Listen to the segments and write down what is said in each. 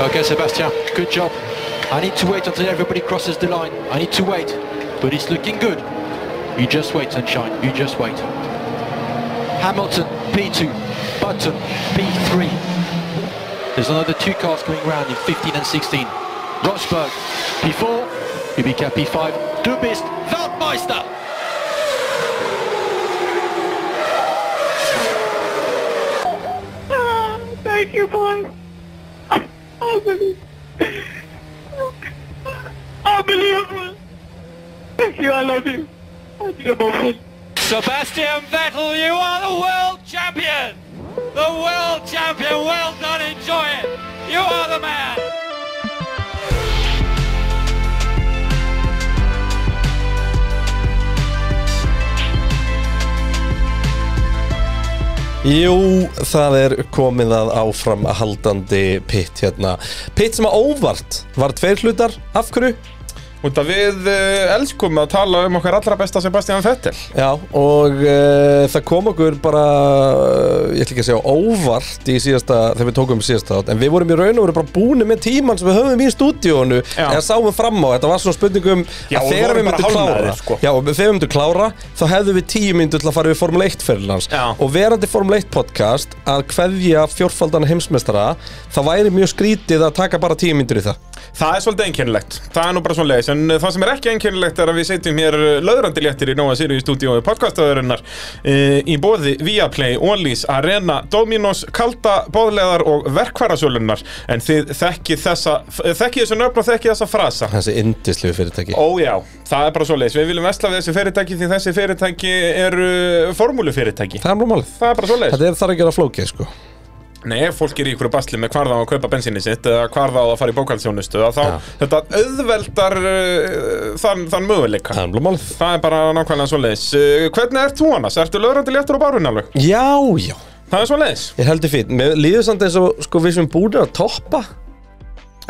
Okay, Sebastian, good job. I need to wait until everybody crosses the line. I need to wait, but it's looking good. You just wait, Sunshine, you just wait. Hamilton, P2, Button, P3. There's another two cars coming round in 15 and 16. Rosberg, P4, Kubica, P5, Du bist Weltmeister! Thank you, boys. Unbelievable. Unbelievable. Thank you, I love you. I need a moment. Sebastian Vettel, you are the world champion! The world champion, well done, enjoy it! You are the man! Jú, það er komið að áfram að haldandi pitt hérna. Pitt sem að óvart var tveir hlutar. Af hverju? Út að við uh, elskum að tala um okkar allra besta Sebastian Vettel Já, og uh, það kom okkur bara, uh, ég ætla ekki að segja óvart í síðasta, þegar við tókum síðasta átt, en við vorum í raun og voru bara búinu með tíman sem við höfum í stúdíónu, Já. eða sáum fram á, þetta var svona spurningum Já, að við þegar vorum við bara myndum klára, hálfnaðir, sko. já, og þegar við myndum klára, þá hefðum við tíu myndu til að fara við Formule 1 ferðin hans, Já. og verandi Formule 1 podcast að kveðja fjórfaldana heimsmeistara, það væri mjög skrítið að taka bara tíu myndur í það. Það er svolítið einkennilegt, það er nú bara svona leiðis En uh, það sem er ekki einkennilegt er að við setjum hér uh, löðrandi léttir í Nóa Sirius stúdíói podcastöðurinnar uh, Í bóði Viaplay, Onlys, Arena, Dominos, Kalda, Bóðleðar og Verkvarasölunar En þið þekkið þessa, f- þekkið þessu nöfn og þekkið þessa frasa Þessi indislegu fyrirtæki. Ójá, það er bara svo leiðis, við viljum vesla við þessi fyrirtæki því þessi fyrirtæki eru uh, formúlufyrirtæki Það er nú málið. Það er bara svo leiðis Þetta er þar að gera flókið, sko. Nei, ef fólk er í ykkur basli með hvar það á að kaupa bensinni sitt eða hvar það á að fara í bókaldsjónustu þá Já. þetta auðveldar uh, þann, þann möguleika Það er nú málið. Það er bara nákvæmlega svo leiðis uh, Hvernig ert þú annars? Ertu lögrandi léttur á bárun alveg? Já, já, Það er svo leiðis ég heldur fín Mér líður samt eins og sko við sem búin að toppa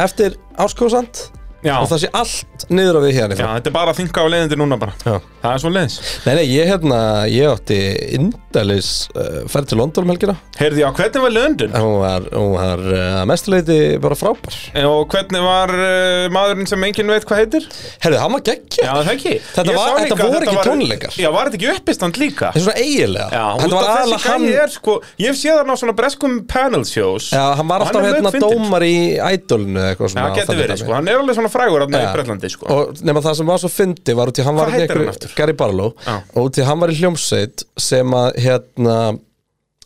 Eftir áskóðsand Já, Og það sé allt niður á við hérna í Já frá. þetta er bara að þinga á leiðindi núna bara Já. Það er svo leiðis Nei, nei, ég hérna, ég átti Indælis uh, ferð til London um helgina Heyrðu, já, hvernig var löndun? Hún var, hún var uh, að mestuleiti bara frábær Og hvernig var uh, maðurinn sem enginn veit hvað heitir? Herðu, hann var geggja Já, það ekki Þetta Ég var- sá þetta líka að voru ekki tónleikar. Já, var þetta ekki uppistand líka? Það er svona eiginlega Já, Þetta út var af aðalega þessi hann gæi er sko Ég hef séð hann á svona breskum panel shows Já, hann var og alltaf er hérna laukfyndinn. dómar í ædolinu eða eitthvað Já, svona það getur þannig verið, dæmi. sko, hann er alveg svona frægur hann í Já. Bretlandi, sko og nema það sem var svo fyndi var út í hann var Hvað heitir einhverju- hann aftur? Gary Barlow Já. og út í hann var í hljómsveit sem að hérna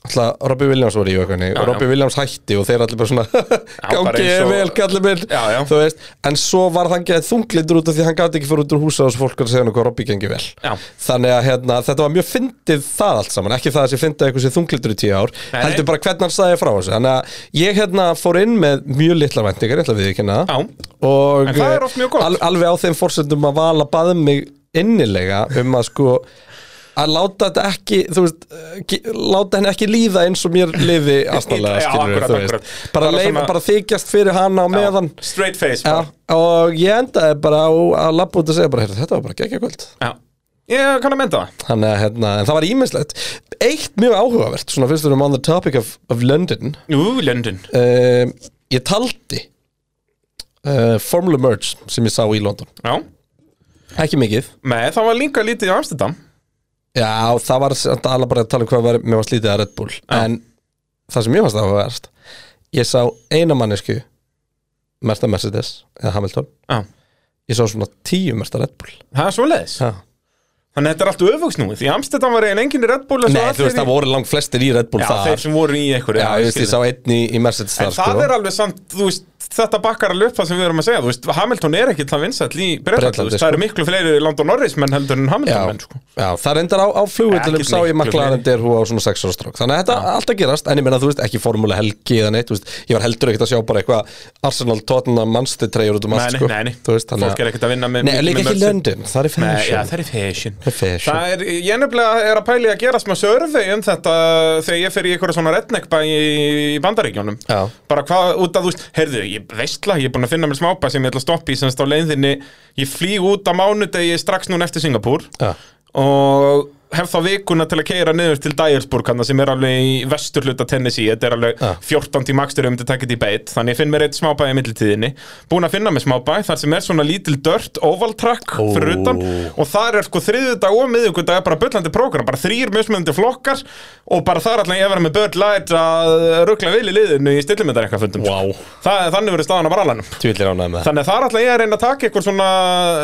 alltaf Robbie Williams voru í og eitthvað og já. Robbie Williams hætti og þeir allir bara svona bara gangi eins ég og- vel kallir minn Já, já. þú veist en svo var það ekki þunglindur út af því að hann gæti ekki fyrir út úr húsa og svo fólk var að segja hann hvað Robbie gengi vel Já. þannig að hérna, þetta var mjög fyndið það allt saman ekki það að sé fyndið eitthvað sem þunglindur í tíu ár Nei, nei. heldur bara hvernig hann sagði frá þessu þannig að ég hérna fór inn með mjög litla vendingar ég ætla við ekki hérna Já, og En það er oft mjög gott. al, alveg á þeim fórsendum að vala baði mig innilega um að sko að láta þetta ekki þú veist, eh, ge- láta henni ekki líða eins og mér liði aðstæðlega Já, skilur akkurat, þú veist akkurat. bara Bara leifa, svona- bara þykjast fyrir hana á meðan já, straight face sko. já, bara og ég endaði bara á að labba út og segja bara, "Heyrðu, þetta var bara gekkja kvöld Já, ég kann að mynda það þannig að hérna, en það var ímislegt eitt mjög áhugavert, svona fyrst við erum on the topic of, of London Ú, London um, ég taldi uh, Formula Merge sem ég sá í London Já, ekki mikið með það var líka lítið í Amsterdam Já, það var samt alveg bara að tala um hvað var, mér var slítið að Red Bull En það sem ég fannst að hafa verst Ég sá eina mannesku Merta Mercedes eða Hamilton Já, Ég sá svona tíu merta Red Bull það er svo leiðis ha. Þannig að þetta er allt öfugsnúið Því Amsterdam var eigin enginn í Red Bull en svo Nei, allir þú veist, í- það voru langt flestir í Red Bull Já, þar þeir sem voru í einhverju Já, já, ég veist, ég skil. sá einn í, í Mercedes En þar það sko. er alveg samt, þú veist, þetta bakkar alveg upp það sem við erum að segja, þú veist, Hamilton er ekkit það vinsall í Breitland, Bretlandi, þú veist, sko. það eru miklu fleiri London Norris menn heldur en Já, Hamilton menn, sko. já, það reyndar á, á flugvillunum Ekkert sá ég miklu maklarinn der hú á svona 6 ára strók Þannig að þetta er allt að gerast, en ég meina þú veist ekki formúli helgi eða neitt, þú veist, ég var heldur ekkert að sjá bara eitthvað Arsenal, Tottenham, Manchester treyjur út um allt Nei, sko nei, nei, Þú veist, þannig fólk er ekkit að vinna með Nei, mikið líka með ekki merch. London, það er Nei, já, fashion Það það er fashion er fashion Það er, ég nefnilega er að pæli að gera smá survey um þetta þegar ég fer í einhverja svona redneck bæ í, í bandaríkjónum Já. bara hvað, út að þú veist, heyrðu, ég veistla ég er búin að finna mér smápa sem ég ætla að stoppa í semst á leiðinni, ég flýg út á mánudegi strax núna eftir Singapúr Já. og hef þá vikuna til að keira niður til Dyersburg hann sem er alveg í vestur hluta Tennessee þetta er alveg Ah. 14 tíma akstur um til að taka þetta í beitt þannig ég finn mér eitt smábæ í mittiltíðinni búin að finna mér smábæ þar sem er svona lítil dört oval track fyrir utan og þar er sko þriðudag og miðugudag er bara bullandi prógram, bara þrýr mismunandi flokkar og bara þar allan ég að vera með Bud Light að ruggla vil í liðinu í stillumindar eitthvað fundum Vá. það, þannig verður staðan á varalannum Tvílir ánægð með það Þannig að það er alltaf ég að reyna að taka eitthvað svona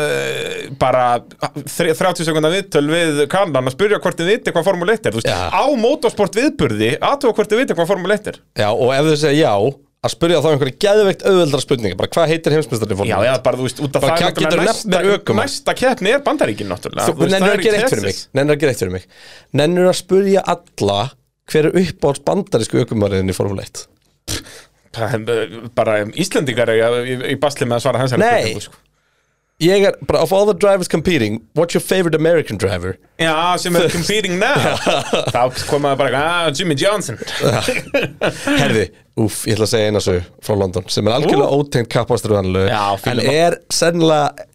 eh, bara þr- 30 sekundar viðtöl við kannan að spyrja hvort þið viti hvað Formule 1 er þú veist, Já. á motorsport viðburði aðtöfa hvort þið viti hvað Formule 1 er Já, og ef þau segja já að spyrja þá einhverja geðveikt auðveldra spurninga bara hvað heitir heimsmyndstarinn fór Já, já, bara þú veist, út Bara af það er kjá- náttúrulega geturðu nefnt mér næsta, ökumann? næsta keppni er bandaríkin náttúrulega Þú veist, nennir það að er í gera eitt fyrir mig Texas. Nennir að gera eitt fyrir mig Nennir að spurja alla hver er uppáhalds bandarísku ökumariðin í Formule 1 Það er, eh, Bara um, Íslendingar eiga í, í basli með að svara sko. hans Nei. Ég er bara, of all the drivers competing What's your favorite American driver? Já, sem er competing now Þá komaði bara, ah, Jimmy Johnson Herði, úf, ég ætla að segja eina svo frá London sem er algjörlega Ú. ótegnd kappasturvanlu Já, en fílum að- er sennilega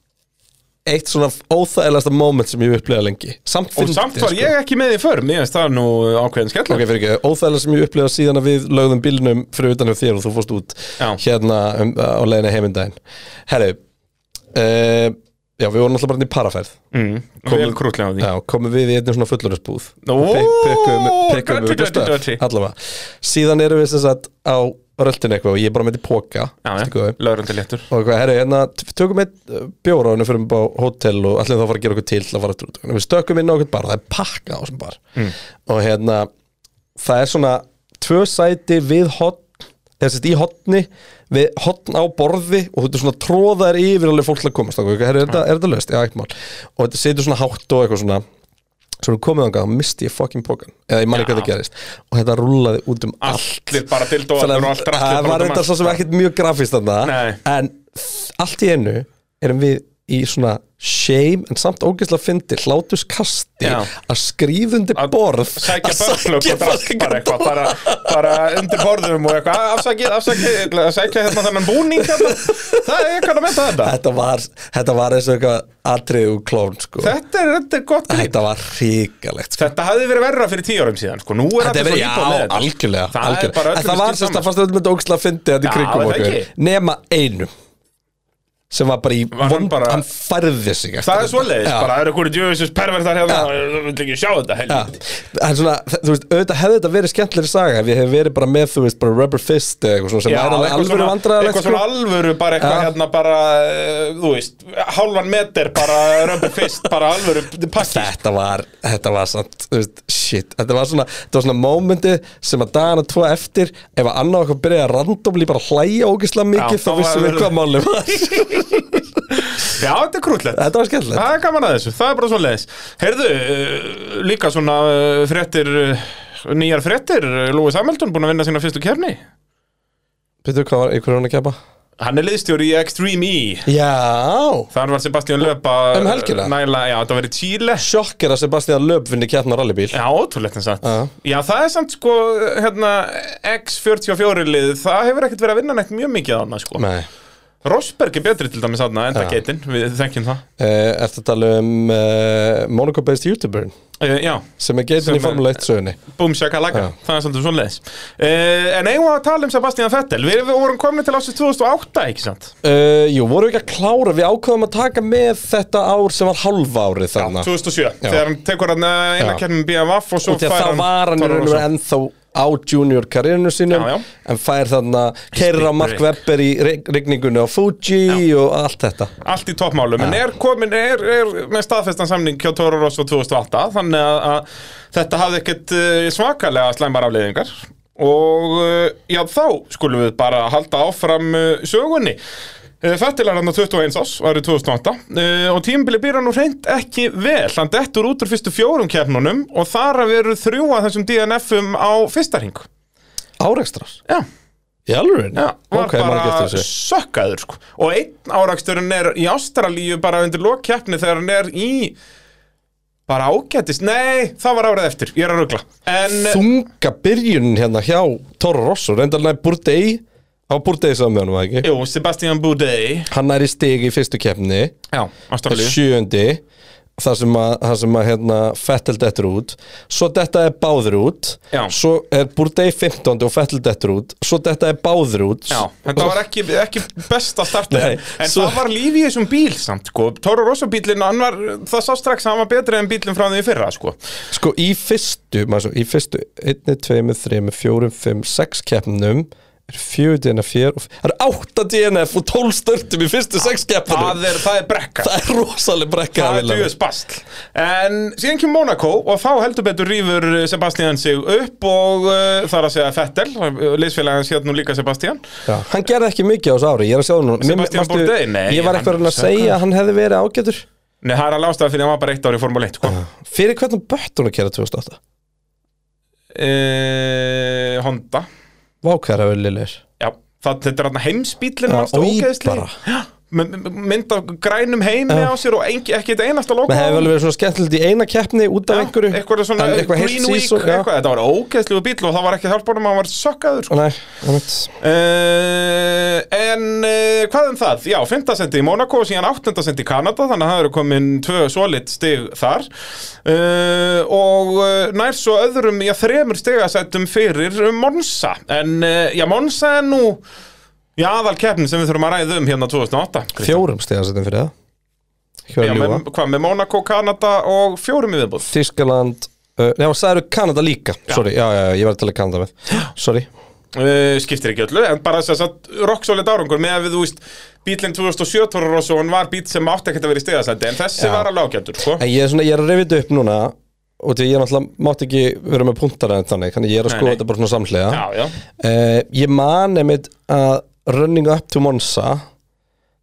eitt svona óþægilegasta moment sem ég hef upplegað lengi Samt Og samt fyndið, var sko. ég ekki með í förm, ég veist það er nú ákveðin skellur Ok, fyrir ekki, óþægilega sem ég upplega síðan að við lögðum bílnum fyrir utan hjá þér og þú fórst út Já. hérna um, á leiðinni heimindaginn Herri, uh, já, við vorum alltaf bara inn í paraferð mm, Vel krútlega á því Já, komum við í einnig svona fullurinsbúð Ó, Pekkum dirty, við dirty, dirty. allavega Síðan erum við sem sagt á röltin eitthvað og ég er bara með í póka Já, ertu góður? já, lögrandi léttur og eitthvað, herru, hérna, t- tökum eitt uh, bjór á hennu fyrir upp á hótel og allir þá fara að gera okkur til til að fara aftur út Þannig að við stökkum inn á okkur bar, það er pakka á þessum bar Mm. og hérna, það er svona tvö sæti við hotn eða sérst í hotni við hotn á borði og þetta er svona tróðar yfir alveg fólk til að komast okkur, herru, er þetta, Mm. er þetta löst? Já, eitt mál og þetta situr svona hátt og eitthvað svona svo við komum þangað, þá misti ég fucking pókan eða ég man ekki Já. hvað það gerist og þetta rúlaði út um allt Allir bara dildóðar og Þannig allt að draslið það var bara út um þetta allt. svo sem ekkert mjög grafist þarna Nei. En þ- allt í einu erum við í svona shame en samt ógeðslega fyndi hlátuskasti Já. að skrífundi Að borð Sækja börnflögg og drast fucking bara eitthvað bara, dót. bara undir borðum og eitthvað Afsækja, afsækja, sækja hérna þennan búning hérna. Það er eitthvað að metta þetta Þetta var, þetta var eins og eitthvað atriðu klón sko. Þetta er, þetta er gott grín Þetta var hrikalegt sko. Þetta hafði verið verra fyrir tíu árum síðan sko. Nú Þetta er þetta er svo verið, já, lípa með þetta algjörlega, Það er bara algjörlega. öllum En það var skýrt sérst saman. að fannst öllum þetta ógeðslega fyndi þetta Já, í kringum var það okkur ekki? Nema einum sem var bara í Var hann vond, bara- hann færði sig eftir Það er þetta. svoleiðis, Já. bara það eru hverju djöfisins pervertar hérna Já. Ég vil ekki sjá þetta Já, helviti en svona, þú veist, auðvitað hefði þetta verið skemmtilegri saga ef ég hef verið bara með, þú veist, bara rubber fist eða eitthvað svona sem Já, væri alveg eitthvað alveg svona- vandræðalegt sko. Eitthvað svona alvöru, bara eitthvað Já. hérna bara, eh, þú veist, hálfan meter bara römbu fyrst, bara alvöru pakki Þetta var, þetta var samt, þú veist, shit Þetta var svona, þetta var svona momenti sem að dagana tvo eftir ef að annað okkar byrjaði að randomli bara að hlæja ógislega mikið Já, þá þá vissum var- við hvað máli var Já, þetta er krúllett Þetta var skemmtilegt Það er gaman að þessu, það er bara svona leðis Heyrðu, eh, líka svona eh, fréttir, eh, nýjar fréttir eh, Lewis Hamilton búin að vinna sína fyrstu kefni Veitu hvað var, einhverjum hann að kepa? Hann er liðstjóri í Extreme E Já, Þar var Sebastian Löpa Um helgina? Næla, já, þetta var í Chile sjokk er að Sebastian Lööp vinni kjarnar rallybíl Já, ótrúlegt en satt Já. Já, það er samt sko, hérna, X44 lið Það hefur ekkert verið að vinna neitt mjög mikið þarna sko Nei, Rosberg er betri til dæmis aðna enda Já. geitin, við þekkjum það Eh, ertu að tala um uh, Monaco-based YouTuberin uh, Já, sem er geitin í Sem er- Formule 1 sögunni búm shakalaka, Já. það er svolítið svona leðis En eigum við að tala um Sebastian Vettel Við, við vorum komin til ásins 2008, ekki sant? Uh, jú, voru við ekki að klára, við ákvaðum að taka með þetta ár sem var halva árið þarna 2007, þegar hann tekur hann eh, eina Já. kjærnum BMF og svo Því að þá var hann í raun og veru Toro Rosso. ennþá á junior karriérinu sínum Já, já. en fær þarna kerra big Mark break. Webber í rig- rigningunni á Fuji og allt þetta Allt í toppmálum, en er komin er, er með staðfestan samning hjá Toro Rosso 2008 þannig að, að þetta hafði ekkert eh, svakalega slæmar afleiðingar og eh, já, þá skulum við bara halda áfram eh, sögunni Eh, Fettil er hann á 21 ás, árið 2008 eh, og tímabili býr hann nú reynd ekki vel, hann dettur út úr fyrstu fjórum keppnunum og þar að veru þrjú að þessum DNF-um á fyrsta hring Árekstrar Já, Í alveg? Já, var ok, maður bara getur þessu sökkaður sko. og einn áraksturinn er í Ástralíu bara undir lokkeppni þegar hann er í bara ágættist, nei, það var árið eftir ég er að rugla en, Þunga byrjunin hérna hjá Toro Rosso, reyndalna í Burdei á Burdei saman með honum, var það ekki? jú, Sebastian Bourdais Hann er í stig í fyrstu keppni já, Ástralíu sjöundi þar sem að, þar sem að hérna, Fettel dettur út svo þetta er báður út Já. svo er Bourdais 15 og Fettel dettur út svo þetta er báður út Já, þetta var ekki, ekki besta startið Nei, En en svo- það var líf í þessum bíl samt sko. Toro Rosso bílinn, hann var, það sá strax að hann var betri en bílinn frá því í fyrra sko. sko í fyrstu, maður svo, í fyrstu 1, 2, 3, 4, 5, 6 keppnum er 4 DNF 4 og, það eru 8 DNF og 12 störtum í fyrstu 6 keppnum það, er, það er brekka það er rosalega brekka Það er William. djöðs basl En síðan kemur Monaco og þá heldur betur rýfur Sebastian sig upp og uh, það er að segja Fettel Leysfélagin séð nú líka Sebastian Já, hann gerði ekki mikið á þessu ári, ég er að sjá það núna Mér- Sebastian manstu- Bourdais? Nei, Ég var hann- eitthvað að reyna að segja að hann hefði verið ágætur Nei, það er að lástaða fyrir að hann var bara eitt ári í Formule 1 sko. Fyrir hvernig bött hún að kera 2008? uh, Honda Vákæra vel liður Já, það, þetta er hann heimsbílinn Já, hans og í ógeðslega bara. Já, m- m- mynd af grænum heimi Já. á sér og engi, ekki eitt einasta logo Men á hefði honum. alveg verið svona skemmtilegt í eina keppni út af Já, einhverju eitthvað svona Hann- eitthvað heilt Green Week, season, já. eitthvað, þetta var ógeðslegu bíl og það var ekki hjálpunum, hann var sökkaður sko. Nei, einmitt. Uh, en uh, hvað um það? Já, 5. sendi í Monaco og síðan 8. sendi í Kanada þannig að það eru komin tvö solid stig þar uh, og uh, nær svo öðrum, já, þremur stigasættum fyrir Monsa en uh, já, Monsa er nú í aðal keppnin sem við þurfum að ræða um hérna 2008 Kristján. Fjórum stegasettin fyrir það Ekki já, verið að með, ljúga hvað með Monaco, Kanada og fjórum í viðbúð Þískaland uh, Já, sagði Kanada líka Sorry, já, já, já, ég var að tala um Kanada með Sorry uh, skiptir ekki öllu, en bara þess að rock solid árangur með að við, þú veist bílinn 2007 Toro Rosso, hann var bíl sem átti ekkert að vera í stegasætti, en þessi Já. var alveg ágættur sko. En ég er svona, ég er að reyfita upp núna Og því að ég náttúrulega mátt ekki vera með puntar en þannig Þannig ég er að Nei, skoða nei. þetta bara svona samhlega Já, já, Eh, ég man einmitt að running up to Monza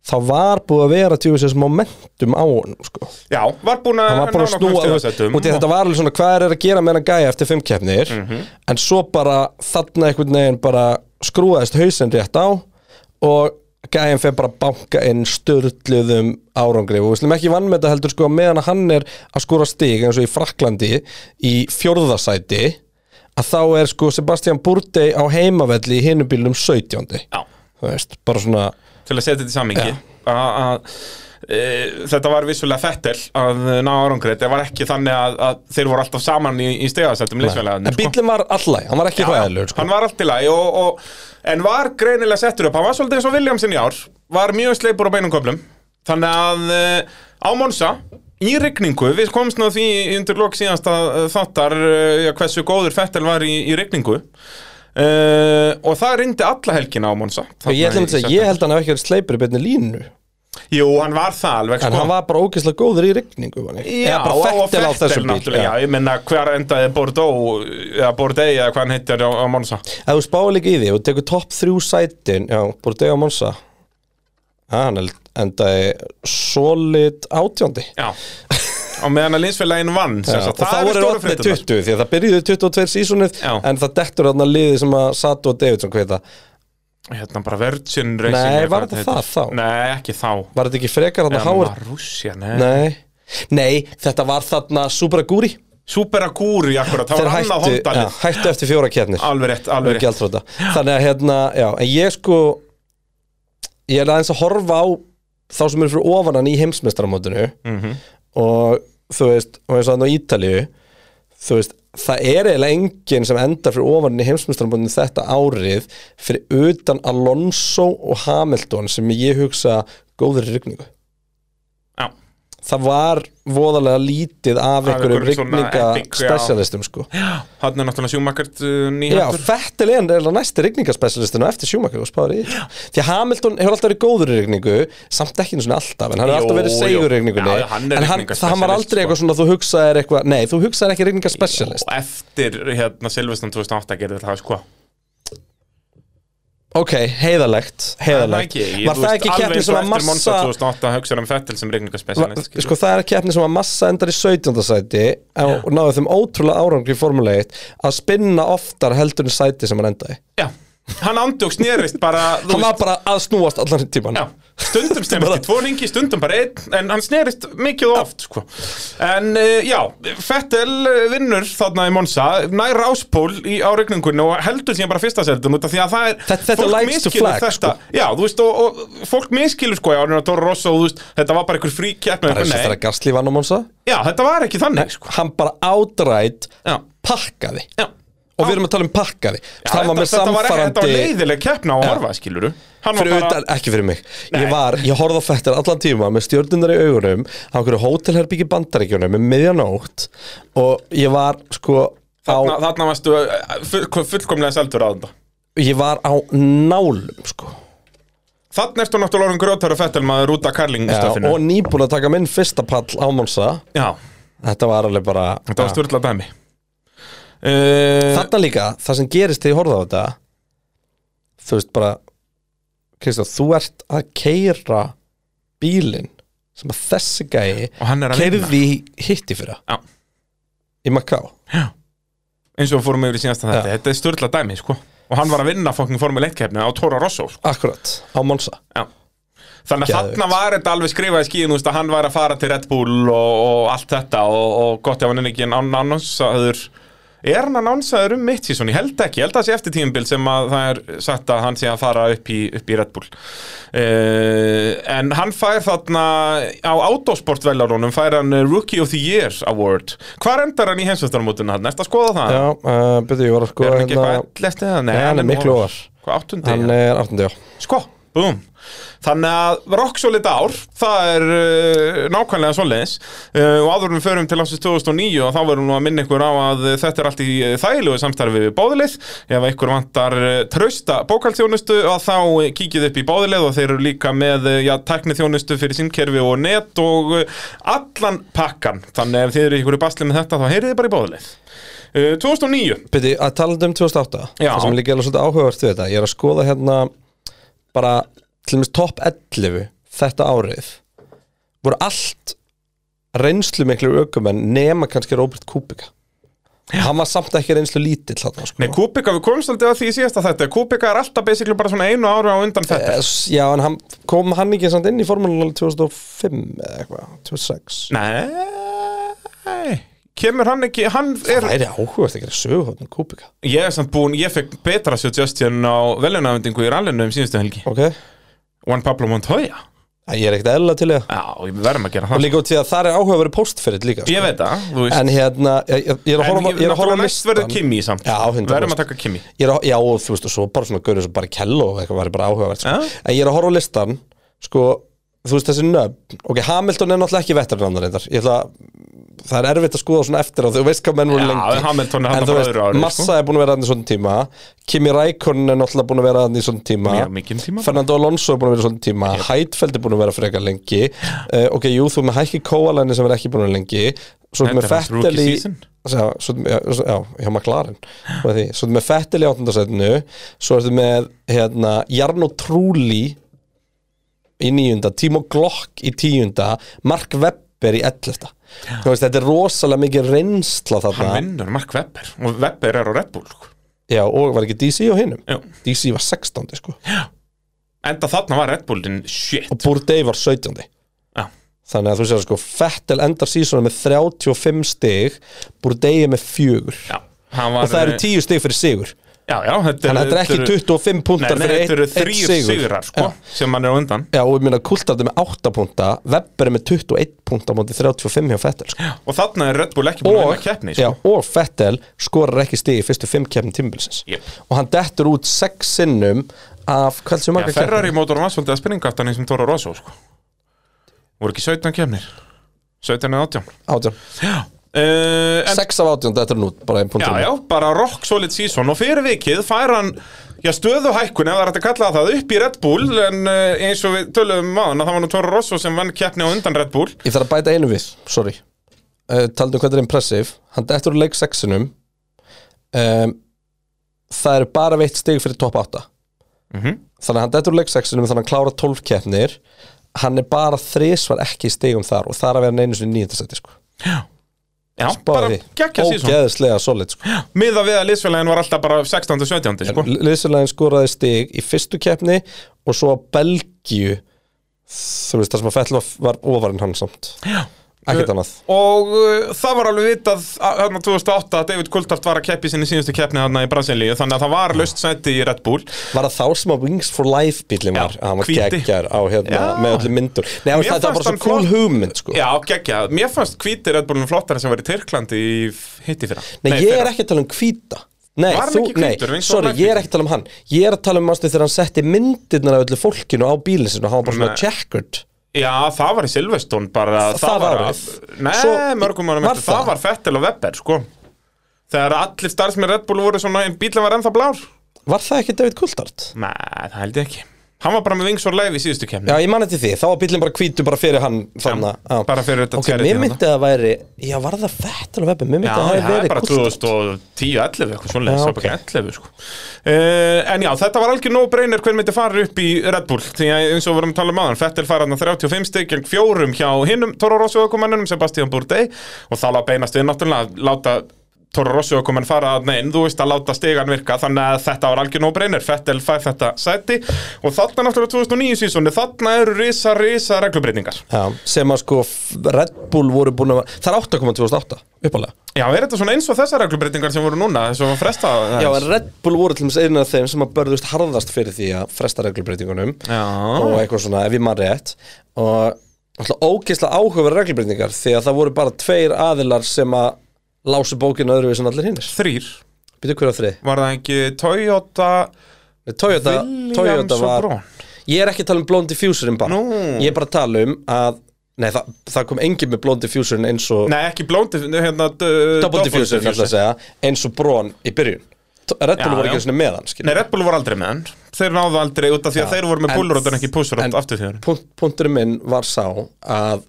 þá var búið að vera tjóðisins momentum á honum sko. já, var búin að hann var búin að snúa þú veist, stegasættum og því þetta var alveg svona hvað er að gera með hann gæja eftir fimm keppnir Mhm. en svo bara þarna einhvern veginn bara skrúaðist hausinn rétt á og gæjan fer bara að banka inn störluðum árangri og við slum ekki vann með þetta heldur sko meðan að hann er að skora stig eins og í Fraklandi í fjórðasæti að þá er sko Sebastian Bourdais á heimavelli í hinum bílum 17. Já, Þú veist, bara svona til að setja þetta í samingi Já. að e, þetta var vissulega fettel að eh, ná árangri, þetta var ekki þannig að, að þeir voru alltaf saman í, í stegasættum en leysfélagarnir sko. bílinn var allæg, hann var ekki hræðilegur sko. Hann var allt í lagi og, og, en var greinilega settur upp, hann var svolítið eins og Williamson í ár var mjög sleipur á beinum köflum þannig að uh, á Monsa í rigningu, við komst nú að því undir lok síðasta eh, þáttar uh, hversu góður Fettel var í, í rigningu Uh, og það reyndi alla helgina á Monsa og ég, ætla einmitt að segja, ég held að hann hef ekki verið sleipur í beinni línu Jú, hann var það alveg En sko. hann var bara ógeðslega góður í rigningu var hann ekki? Já, Eða bara og fettil á Vettel þessum bíl náttúrulega, Já, ég menna hver endaði Bordeaux eða Bordeaux eða hvað hann heitir á, á Monsa Ef þú spáir líka í því og tekur topp þrjú sætin Já, Bordeaux og Monza Já, hann held- endaði solid átjóndi Já Og meðan að linsfélagin vann sem sagt, og þá eru voru stóru orðnir fréttirnar. 20 því að það byrjuði 22 sísunnið Já. en það dettur þarna liði sem að Sato og Davidson hvað heita Hérna bara Virgin Racing Nei, eða var hvað þetta heitir. það þá? Nei, ekki þá var þetta ekki frekar þarna háir Marussia, nei. nei Nei. Nei, þetta var þarna Subaraguri Super Aguri akkurat, það Þeir var annað hættu, ja, hóndalið hættu eftir fjóra keppnir Alveg rétt, Alveg ekki alveg rétt gjaldþrota Þannig að hérna, já, en ég sko Ég er aðeins að horfa á þá sem eru fyrir ofan hann í heimsmeistaramótinu Mhm. og þú veist, og eins og þannig á Ítalíu þú veist, það er eiginlega enginn sem endar fyrir ofan hann í heimsmeistaramótinu þetta árið fyrir utan Alonso og Hamilton sem ég hugsa góður í rigningu Já, Það var voðalega lítið af Af einhverjum einhverjum svona rigninga epic, já. specialistum sko hann er náttúrulega sjúmakart uh, Já, nýhættur Fettel er eiginlega næsti rigningaspecialistinn og eftir Schumacher og spáður í því. Því að Hamilton hefur alltaf verið góður í rigningu samt ekki einu svona alltaf, en hann Jó, hefur alltaf verið segur í jó. rigningunni Já, já, hann er en hann, það hann var rigningaspecialist, aldrei sko. eitthvað svona þú hugsaðir eitthvað, nei, þú hugsaðir ekki rigningaspecialist Og eftir hérna Silvestan 2008 gerði það sko Ok, heiðalegt, heiðalegt Ég- Var þú það veist, ekki alveg keppni eins sem og að eftir Monza massa 2008 hugsaður um Fettel sem Va- regningaspecialist sko það er keppni sem að massa endar í 17. sæti og náðu þeim ótrúlega árangri í Formule 1 að spinna oftar heldur en sæti sem hann endaði Já, hann andjók snerist bara þú hann var veist, bara að snúast allan tíman Já, Stundum snerist í tvo ringi, stundum bara einn En hann snerist mikið og oft sko. En uh, já, Fettel eh, vinnur þarna í Monsa Nær áspól í áreikningunni Og heldur síðan bara fyrsta seldum Út af því að það er Þetta- þetta fólk likes to misskilur flag, sko. þetta, Já, þú veist, og, og fólk miskilur sko Já, Arnur Tóra Rosso, þú veist, þetta var bara einhver frí keppni bara eins og Nei, þegar Gasly vann á Monsa Já, þetta var ekki þannig sko. hann bara ádrætt Já, pakkaði já og við erum að tala um pakkaði Já, það var með þetta var ekki- Þetta var samfarandi leiðileg keppna á að horfa, skiluru Hann var fyrir bara, utan, ekki fyrir mig Nei. ég var, ég horfði á fættir allan tíma með stjörnunar í augunum á einhverju hótelherbyggi bandaríkjunum með miðjanótt og ég var sko á, þarna, þarna varstu uh, full, fullkomlega seldur á þetta ég var á nálum sko Þannig ertu náttúrulega orðin grótar og fettel maður út af Já, karlingstafinu og nýbúin að taka minn fyrsta pall á Monsa Já, þetta var alveg bara þetta var styrla dæmi uh, þarna líka, það sem gerist þegar ég horfði á þetta þú veist bara Kristján, þú ert að keira bílinn sem að þessi gæi Og hann er að keirði hitti fyrir Já. í Macau Eins og við fórum yfir í síðasta þetta, Já. þetta er styrla dæmi sko Og hann var að vinna fokkin formule 1 keppni á Tóra Rosso sko. Akkurat, á Monsa Þannig að Geðveikt. þarna var þetta alveg skrifað í skíðin að Hann var að fara til Red Bull og, og allt þetta Og, og gott ef hann er ekki annonsaður Er hann annonsaður um mitt síðan? Ég held ekki, ég held að það sé eftir tímabil sem að það er sagt að hann sé að fara upp í, upp í Red Bull Uh, en hann fær þarna á autosportvelarunum fær hann uh, Rookie of the Year Award Hvar endar hann í heimsvöldunarmótinu hann? Ertu að skoða það? Já, uh, betur ég var að sko er hann ekki eitthvað lestið það? Nei, Nei, hann er miklu nú- ofar. Hvað, áttundi? Hann er 18, já Sko, búm Þannig að rock solid ár, það er uh, nákvæmlega svoleiðis uh, og áður en við förum til ásins 2009 og þá verðum nú að minna ykkur á að uh, þetta er allt í uh, þægilegu samstarfi við bóðilið ef ykkur vantar uh, trausta bókaltjónustu og þá uh, kíkið upp í bóðilið og þeir eru líka með uh, já, tæknithjónustu fyrir símkerfi og net og uh, allan pakkan þannig ef þið eru ykkur í basli með þetta þá heyrið þið bara í bóðilið uh, 2009 Betur, að tala um 2008 Já. Það sem er líka alveg svolítið áhugavert við þetta Ég er að skoða hérna bara til dæmis topp 11 þetta árið voru allt reynslu miklu aukumenn nema kannski Robert Kubica Hann var samt ekki reynslu lítill þarna sko Nei, Kubika, við komumst aldrei að því í síðasta þetta Kubika er alltaf basically bara svona einu ára á undan þetta Eh, s- Já, en hann kom hann ekki samt inn í formúlunum 2005 eða eitthvað, 2006 Nei Kemur hann ekki, hann er Það er áhugavert ekki að sögu hóttum Kubica Ég er samt búinn, ég fekk betra suggestion á velunafendingu í rallinu um síðustu helgi Ok, Æ, Juan Pablo Montoya ég er ekkert eðla til í það Já, við verðum að gera Og það líka út í að það er áhugaverið postferill líka sko. Ég veit það, þú veist En hérna, ég, ég- ég er að horfa ég, Ég er að horfa á náttúrulega næst verður listan. Kimi samt Já, 100%. Verðum að taka Kimi Ég er að, Já, og þú veist, og svo bara svona gaurið sem bara kello og eitthvað var bara áhugavert sko. Ja. En ég er að horfa á listan Sko, þú veist þessi nöfn Ok, Hamilton er náttúrulega ekki vettarinn reyndar Ég ætla að Það er erfitt að skoða svona eftir á því, þú veist hvað menn voru Já, lengi Hamilton er En þú þarna frá veist, öðru ári, sko. Massa er búin að vera hann í svona tíma Kimi Rækonen er náttúrulega búin að vera hann í svona tíma Mjög mikinn tíma. Fernando Alonso er búin að vera í svona tíma yep. er búin að vera frekar lengi uh, Ok, jú, þú ert með Hækki Kóalani sem er ekki búin að vera lengi Svo ertu Þetta með er hans Fettel rookie í season. Já, svo, ertu með- já, svo- já, hjá McLaren og því, svo ertu með Fettil í áttundasætinu svo ertu með hérna, Jarno Trulli í níunda, Timo Glock í tíunda, Mark Webber í ellefta þú veist, þetta er rosalega mikið reynsla Hann þarna vinnur Mark Webber Og Webber er á Red Bull sko. já, og var ekki DC á hinum Já. DC var 16, sko, Enda þarna var Red Bullin shit og Bourdais var 17 Já. þannig að þú sér sko Fettil endar sísona með 35 stig Bourdais er með 4 Já, hann var eh, og það eru 10 stig fyrir sigur Já, já, Þannig þetta að þetta er ekki eru- 25 punktar Nei, nei, fyrir þetta eru einn- einn þrýr sigur. sigrar sko, sem hann er á undan Já, og ég minna Kultard er með 8 punta Webber er með 21 punta á móti 35 hjá Fettel sko. Og þarna er Red Bull ekki búin að og, vinna keppni já, sko. og Fettel skorar ekki stig í fyrstu 5 keppnum tímbilsins Jep. og hann dettur út 6 sinnum af hvað sem Já, marga Ferrari mótor var svolítið að springa aftan eins og Tóra Rosso sko. voru ekki 17 kemnir 17 eða 18 keppnum já. Uh, en, 6 af 18 dettur hann út bara 1 já, punktur já, bara rock solid season og fyrir vikið fær hann já, stöðuhækkun, ef það er hægt að kalla það upp í Red Bull en uh, eins og við töluðum maður það var nú Tóra Rosso sem vann keppni á undan Red Bull Ég þarf að bæta einu við, sorry uh, Taldum hvað þetta er impressive Hann dettur úr leik 6-inum um, Það eru bara veitt stig fyrir top 8 Mhm. Þannig að hann dettur úr leik 6-inum Þannig að hann klára 12 keppnir Hann er bara þrísvar ekki í stigum þar Og þar að vera hann einu sinni nýjöndasæti sko. já, Bara bara því gekkja season Ógeðislega solid sko. miða við að liðsfélagin var alltaf bara 16. og 17. Sko. Liðsjölegin skoraði stig í fyrstu keppni Og svo á Belgíu þú veist, það sem að Fettel var, var ofarinn hann samt ekkert annað Og uh, það var alveg vitað að- þarna 2008 að David Kultart var að keppi sinni síðustu keppni þarna í Brasilíu þannig að það var löst sæti í Red Bull var það þá sem að Wings for Life bílum var Já, að hann var hvíti. geggjær á hérna Já. með öllum myndur Nei, þú veist, Mér þetta var fannst bara hann svo cool flott. hugmynd sko. Já, geggja, mér fannst hvíti Red Bullin flottar sem var í Tyrklandi í f- hitti fyrra Nei, ég er fyrra. ekki að tala um hvíta Nei, Var hann þú, ekki hvítur, nei, Wings for sorry, Life ég er ekki að tala um hann Ég er að tala um manstu þegar hann setti myndirnar af öllu fólkinu á bílinn sinu og hann var bara Nei. svona checkered Já, það var í Silveston bara Það það var var að, árið. Nei, Svo- mörgum árum var eftir, það það? var Fettel og Webber, sko Þegar allir starfsmenn Red Bull voru svona, bílinn var ennþá blár Var það ekki David Coulthard? Nei, það held ég ekki Hann var bara með Wings for Life í síðustu keppni Já, ég man eftir því, þá var bílinn bara hvítu bara fyrir hann þarna Já. bara fyrir þetta Ok, charity mér þarna. myndi að það væri, já, var það Fettel og Webbi, mér myndi Já, að það það hafi er verið bara Coulthard 2010-11 eitthvað svoleiðis, Já, það er bara ekki 11 sko. uh, En já, þetta var algjör nóg breynir hver myndi fara upp í Red Bull því að eins og við vorum að tala um aðan, Fettel fara hann 35 stygg gegn fjórum hjá hinnum Toro Rosso ökumennunum Sebastian Bourdais og þá lá beinast við náttúrulega að láta Toro Rosso ökumenn fara að neinn, þú veist að láta stegan virka þannig að þetta var algjör nóg breynir Fettel fær þetta sæti og þarna náttúrulega 2009 sísoni, þarna eru risa, risa reglubreitingar Já, sem að sko f- Red Bull voru búin að það er 8.2008 uppalega Já, er þetta svona eins og þessar reglubreitingar sem voru núna, þess að fresta Já, en Red Bull voru til dæmis einu af þeim sem að börðust harðast fyrir því að fresta reglubreitingunum Já. og eitthvað svona, ef ég maður rétt og alltaf ógeðslega áhugaverð reglubreitingar því að það voru bara tveir aðilar sem að lásu bókinu öðru við sem allir hinnir þrýr Býtu hverja þrið? var það ekki Toyota Toyota, Williams Toyota og var Braun Ég er ekki að tala um Blond Diffuserinn bara Nú. Ég er bara að tala um að Nei, það, það kom engin með Blond Diffuserinn eins og Nei, ekki Blóndi, hérna d- Double Diffuserinn, ætla að segja Eins og Brón í byrjun T- Red Bull Já, voru já. ekki svona með hann, Nei, skilur Red Bull voru aldrei með hann Þeir náðu aldrei út af því að Já, þeir voru með en- bullrótt en ekki pushrótt en- aftur því þeir Punt, Punturinn minn var sá að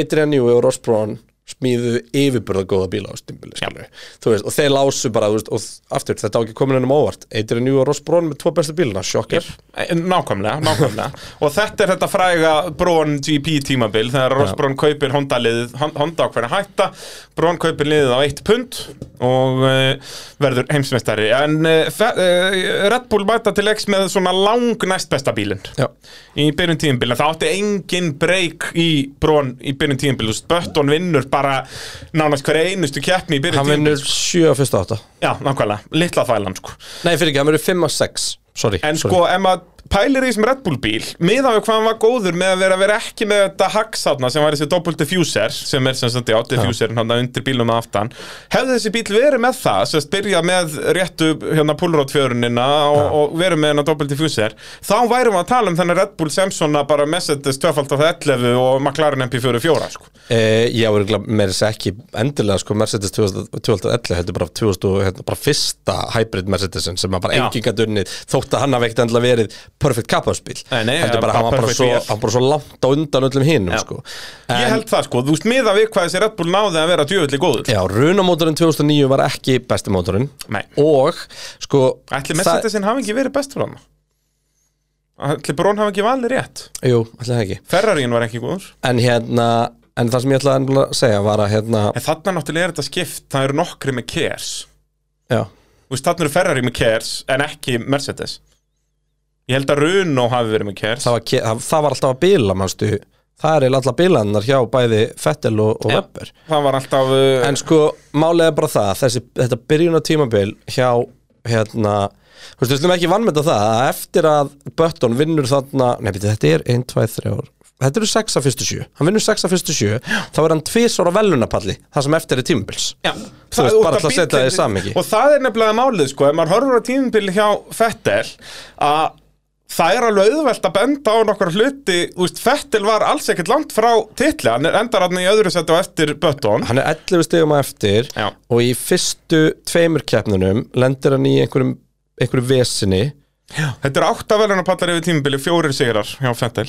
Adrian Newey og Ross Brón smíðuðu yfirburða góða bíla á stimbili, skilur Þú veist, og þeir lásu bara, þú veist, og þ- aftur, þetta á ekki komin ennum óvart Adrian Newey og Ross Brón með tvo bestu bílina, sjokkir Eh, Nákvæmlega, nákvæmlega Og þetta er þetta fræga Brón GP tímabil Þegar Ross Já. Brón kaupir Honda liðið Hon- Honda á hverja hætta Brón kaupir liðið á eitt pund Og uh, verður heimsmeistari En uh, uh, Red Bull mæta til X með svona lang næst besta bílinn Já, í byrjun tíðinbíla, það átti engin breyk í brón í byrjun tíðinbíla Bötton vinnur bara nánast hver einustu keppni í byrjun hann vinnur 7 tíðinbíla á fyrsta átta Já, nákvæmlega, litla þvælan sko Nei, fyrir ekki, hann verður 5 á 6 Sorry, En sorry. sko, ef maður pælir í þessum Red Bull bíl miðan við hvað hann var góður með að vera, vera ekki með þetta hagsatna sem var þessi double diffuser sem er sem sagt, já, diffuserin hann undir bílum að aftan hefði þessi bíl verið með það sem sagt, byrja með réttu hérna pullrot fjörunina og, og verið með hennar double diffuser þá værum við að tala um þennan Red Bull Samsona bara Mercedes 2.11 og McLaren MP44 sko. Eh, já, örgulega, mér er þess ekki endilega sko Mercedes 2011 heldur bara, 2000, og- hérna, bara fyrsta hybrid Mercedesin sem að bara Já. enginn gæti unnið þótt að hann hafi ekkert endilega verið perfect kappaðspil Nei, nei, heldur bara bara, hann var bara, perfect svo, vél. hann bara svo langt á undan öllum hinum sko Ég en, held það sko, þú veist miðan við hvað þessi Red Bull náði að vera djöfulli góður Já, runamótorinn 2009 var ekki besti mótorinn Nei. og sko Ætli það- Mercedesin hafi ekki verið bestur hann Ætli Brón hafi ekki valið rétt Jú, ætli það ekki Ferrarín var ekki góður En hérna, en það sem ég ætlaði nefnilega að segja var að hérna, En þarna náttúrulega er þetta skipt Það eru nokkri með Kers já Þú veist, þarna eru Ferrari með Kers En ekki Mercedes Ég held að Runo hafi verið með Kers það var, ke- það, það var alltaf að bila manstu. það er eiginlega alltaf bilannar hjá bæði Fettel og, og Já. Webber Það var alltaf uh, en sko málið er bara það þessi, þetta byrjun á tímabil hjá hérna þú veist, við slum ekki vannmynda það að eftir að Bötton vinnur þarna nei, beti, þetta er 1, 2, 3 ár þetta eru 6 af fyrstu 7 hann vinnur 6 af fyrstu 7 þá er hann tvisor á velunapalli það sem eftir er tímabils Já, Þú veist, og bara það til að setja það í bíllinn- samhengi. Og það er nefnilega málið, sko, ef maður horfur á tímabili hjá Fettel að það er alveg auðvelt að benda á nokkar hluti, þú veist, Fettel var alls ekkert langt frá titli, hann er- endar hann í öðru setja á eftir Bötton hann er 11 stegum að eftir Já. og í fyrstu tveimur keppnunum lendir hann í einhverjum, einhverjum vesinni Þetta eru átta velunarpallar yfir tímabili, fjórir sigrar hjá Fettel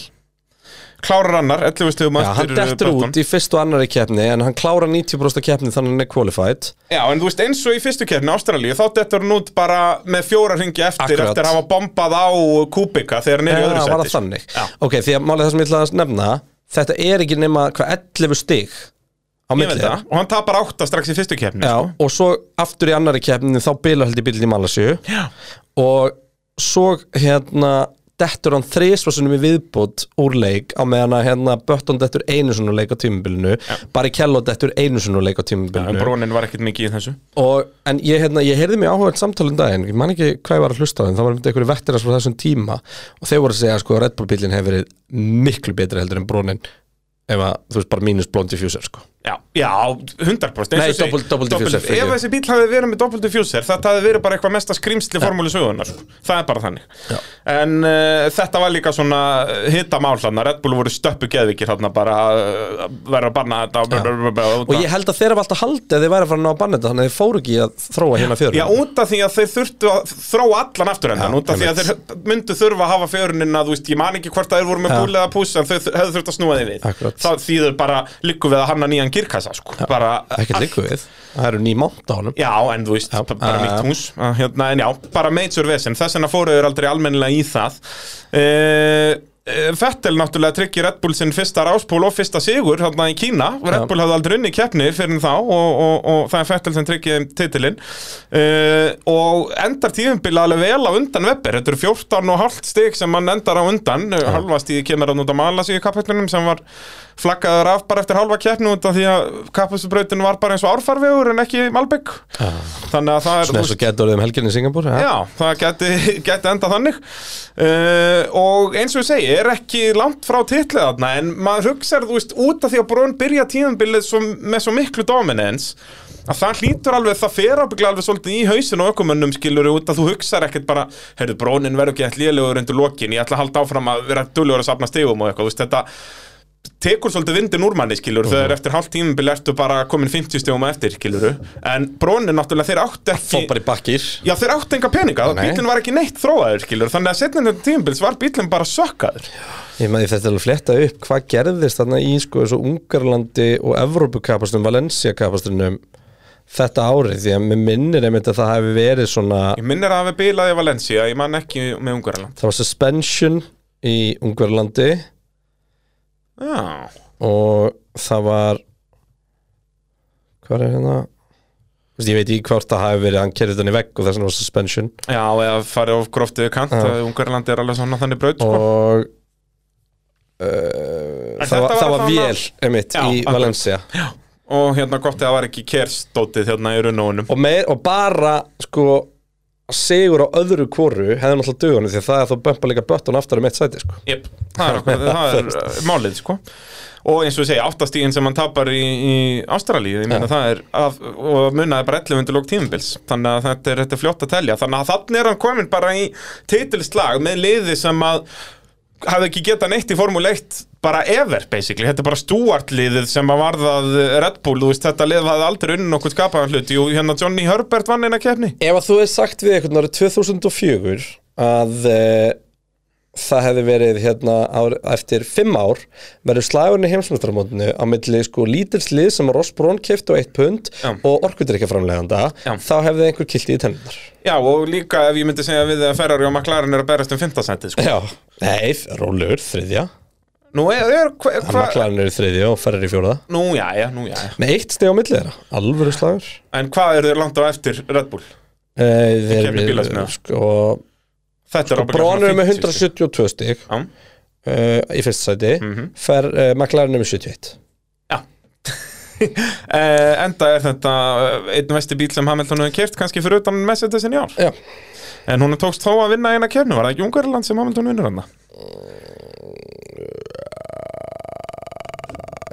Klárar annar, 11 stegum Já, hann eftir eh, dettur Button. út í fyrst og annari keppni en hann klára 90% keppni þannig að hann er qualified Já, en þú veist, eins og í fyrstu keppni Ástralíu, þá dettur hann út bara með fjóra ringi eftir Akkurat. eftir að hafa bombað á Kubika þegar hann er í öðru Já, var það sæti. þannig Já. Ok, því að málið það sem ég ætla að nefna þetta er ekki nema hvað 11 stig á Ég veit milli það, og hann tapar átta strax í fyrstu keppni. sko. Já, og svo aftur í annari keppni þá bila held í bílinn í Malasíu Já. og svo hérna dettur hann þrisvarsunum í viðbót úr leik á meðan að hérna Bötton dettur einu svona leik á tímabilinu Barry Kello dettur einu svona leik á En tímabilinu brónin var ekkert mikið í þessu og, en ég, hérna, ég heyrði mig áhugað samtalum um daginn, ég man ekki hvað ég var að hlusta á þeim það var myndið einhverju vettirans frá þessum tíma og þeir voru að segja að sko, Red Bull bílinn hefur verið miklu betri heldur en brónin ef að, þú veist, bara mínus blond diffuser sko. Já, já 100% Nei, double- double diffuser, fyrir Ef ég. þessi bíl hafði verið með double diffuser Þetta hafði verið bara eitthvað mesta skrýmsli formúli sögunar sko. Það er bara þannig Já. En uh, þetta var líka svona hitta mál hérna Red Bull voru stöppu geðvikir hérna bara uh, verða að banna þetta og, og, og, og, og ég held að þeir hafa alltaf haldið að þeir væri að fara að ná að banna þetta þannig að þeir fóru ekki í að þróa hérna fjörun Já, út af því að þeir þurftu að þróa allan aftur endan Já, Út af því að þeir myndu þurfa að hafa fjörunina Þú veist, ég man ekki hvort að þeir voru með Já. búli eða púss En þau hefðu þurft að snúa því við Akkurat. Það þýður bara likku við að hanna nýjan girkassa sko. Bara ekki líku við, það eru ný mánt á honum Já, en þú veist, Já, bara bara já, nýtt já. hús Að, hérna, En já, bara major vesen Þess vegna fóruðu þeir aldrei almennilega í það uh, Fettel náttúrulega tryggir Red Bull sinn fyrsta ráspól og fyrsta sigur hérna í Kína Red Já. Bull hafði aldrei unni keppni fyrir þá og, og, og það er Fettel sem tryggir þeim titilinn uh, og endar tíðumbil alveg vel á undan Webber þetta eru 14 og halvt stig sem hann endar á undan ja. halva stíði kemur hann út að mala sig í kapphættunum sem var flaggaður af bara eftir halva keppni út af því að kapphættubrautin var bara eins og árfarvegur en ekki Malbygg þannig að það er Svona eins og getur orðið um helginni í Singapur Já, það geti, geti enda þannig uh, Og eins og ég segi, er ekki langt frá titlið þarna En maður hugsar, þú veist, út af því að Brón byrja tíðanbilið svo, með svo miklu dominance að það hlýtur alveg, það fer ábygglega alveg svolítið í hausin og ökumönnum skilur út að þú hugsar ekkert bara, heyrðu, brónin verður ekki eitthvað lélegur undir lokin, ég ætla að halda áfram að vera duglegur að safna stegum og eitthvað, þú veist, þetta tekur svolítið vindin úr manni, skilur Mhm. þegar eftir hálft tímubil ertu bara komin 50 stegum eftir, skilur en brónin náttúrulega þeir átt Fá ekki bara í bakkir Já, þeir áttu enga peninga, Nei. bílinn var ekki neitt þróaður, skilur, þannig að setna þetta tímabils var bílinn bara sökkaður. Ég maður þetta er að fletta upp hvað gerðist þarna í sko þessu Ungarlandi og Evrópukapastunum, Valencia-kapastunum þetta árið því að mér minnir einmitt að það hefði verið svona Ég minnir að hafi bílaði í Valencia, ég man ekki með Ungarland. það var suspension í Ungarlandi Já, og það var hvað er hérna Þú veist, ég veit í hvort það hafi verið hann kerði þannig vegg og þess vegna var suspension já, eða farið of gróftið kant, Já. ja. Ungarland er alveg svona þannig braut, sko. og En uh, þetta það, var, var það var þarna- vél einmitt Já, í akkurat. Valencia Og hérna gott eða var ekki kerstótið hérna í runnóunum. og, meir, og bara sko sigur á öðru kvoru hefði náttúrulega dugunum því að það er þá bömpa líka bötun aftur um eitt sæti sko. Jep, það er, okkur, það er uh, málið, sko. Og eins og ég segi, áttastígin sem hann tapar í, í Ástralíu, ég meina það er, af, og munaði bara 11 undir lók tímabils, þannig að þetta er, þetta er fljótt að telja. Þannig að þannig er hann komin bara í titilslag með liði sem að hafði ekki getað neitt í Formule 1 bara ever, basically, þetta er bara stúartliðið sem að varðað Red Bull, þú veist, þetta lið hafði aldrei unni nokkuð skapaðan hluti og hérna Johnny Herbert vann eina kefni. ef að þú hefði sagt við einhvern árið 2004 að e, það hefði verið hérna ár, eftir fimm ár verið slagurinn í heimsmyndaramótinu á milli sko lítilslið sem að Ross Brón kefti á eitt pund Já. og orkudrykja framleganda Já. þá hefði einhver kilti í tennunar Já, og líka ef ég myndi segja við að Ferrari og McLaren eru að berast um 15 centið, sko. Já, nei, rólegur, þriðja Nú er, er hva, hva, Maklarinn er í þriðja og ferðir í fjóraða Nú, já, já, nú, já, já. Með eitt steg á milli þeirra, alvöru slagur En hvað eru þeir langt á eftir Red Bull? Eh, Þeir kemur bílasmiða. sko Þetta er Brón er Sko, með 172 stig Já. uh, í fyrsta sæti mm -hmm. fer uh, McLaren er með 71 Eh, enda er þetta eh, einn vesti bíl sem Hamilton hefur kert kannski fyrir utan Mercedesin í ár Já, En hún tókst þó að vinna eina kefnu, var það ekki Ungarland sem Hamilton vinnur hann?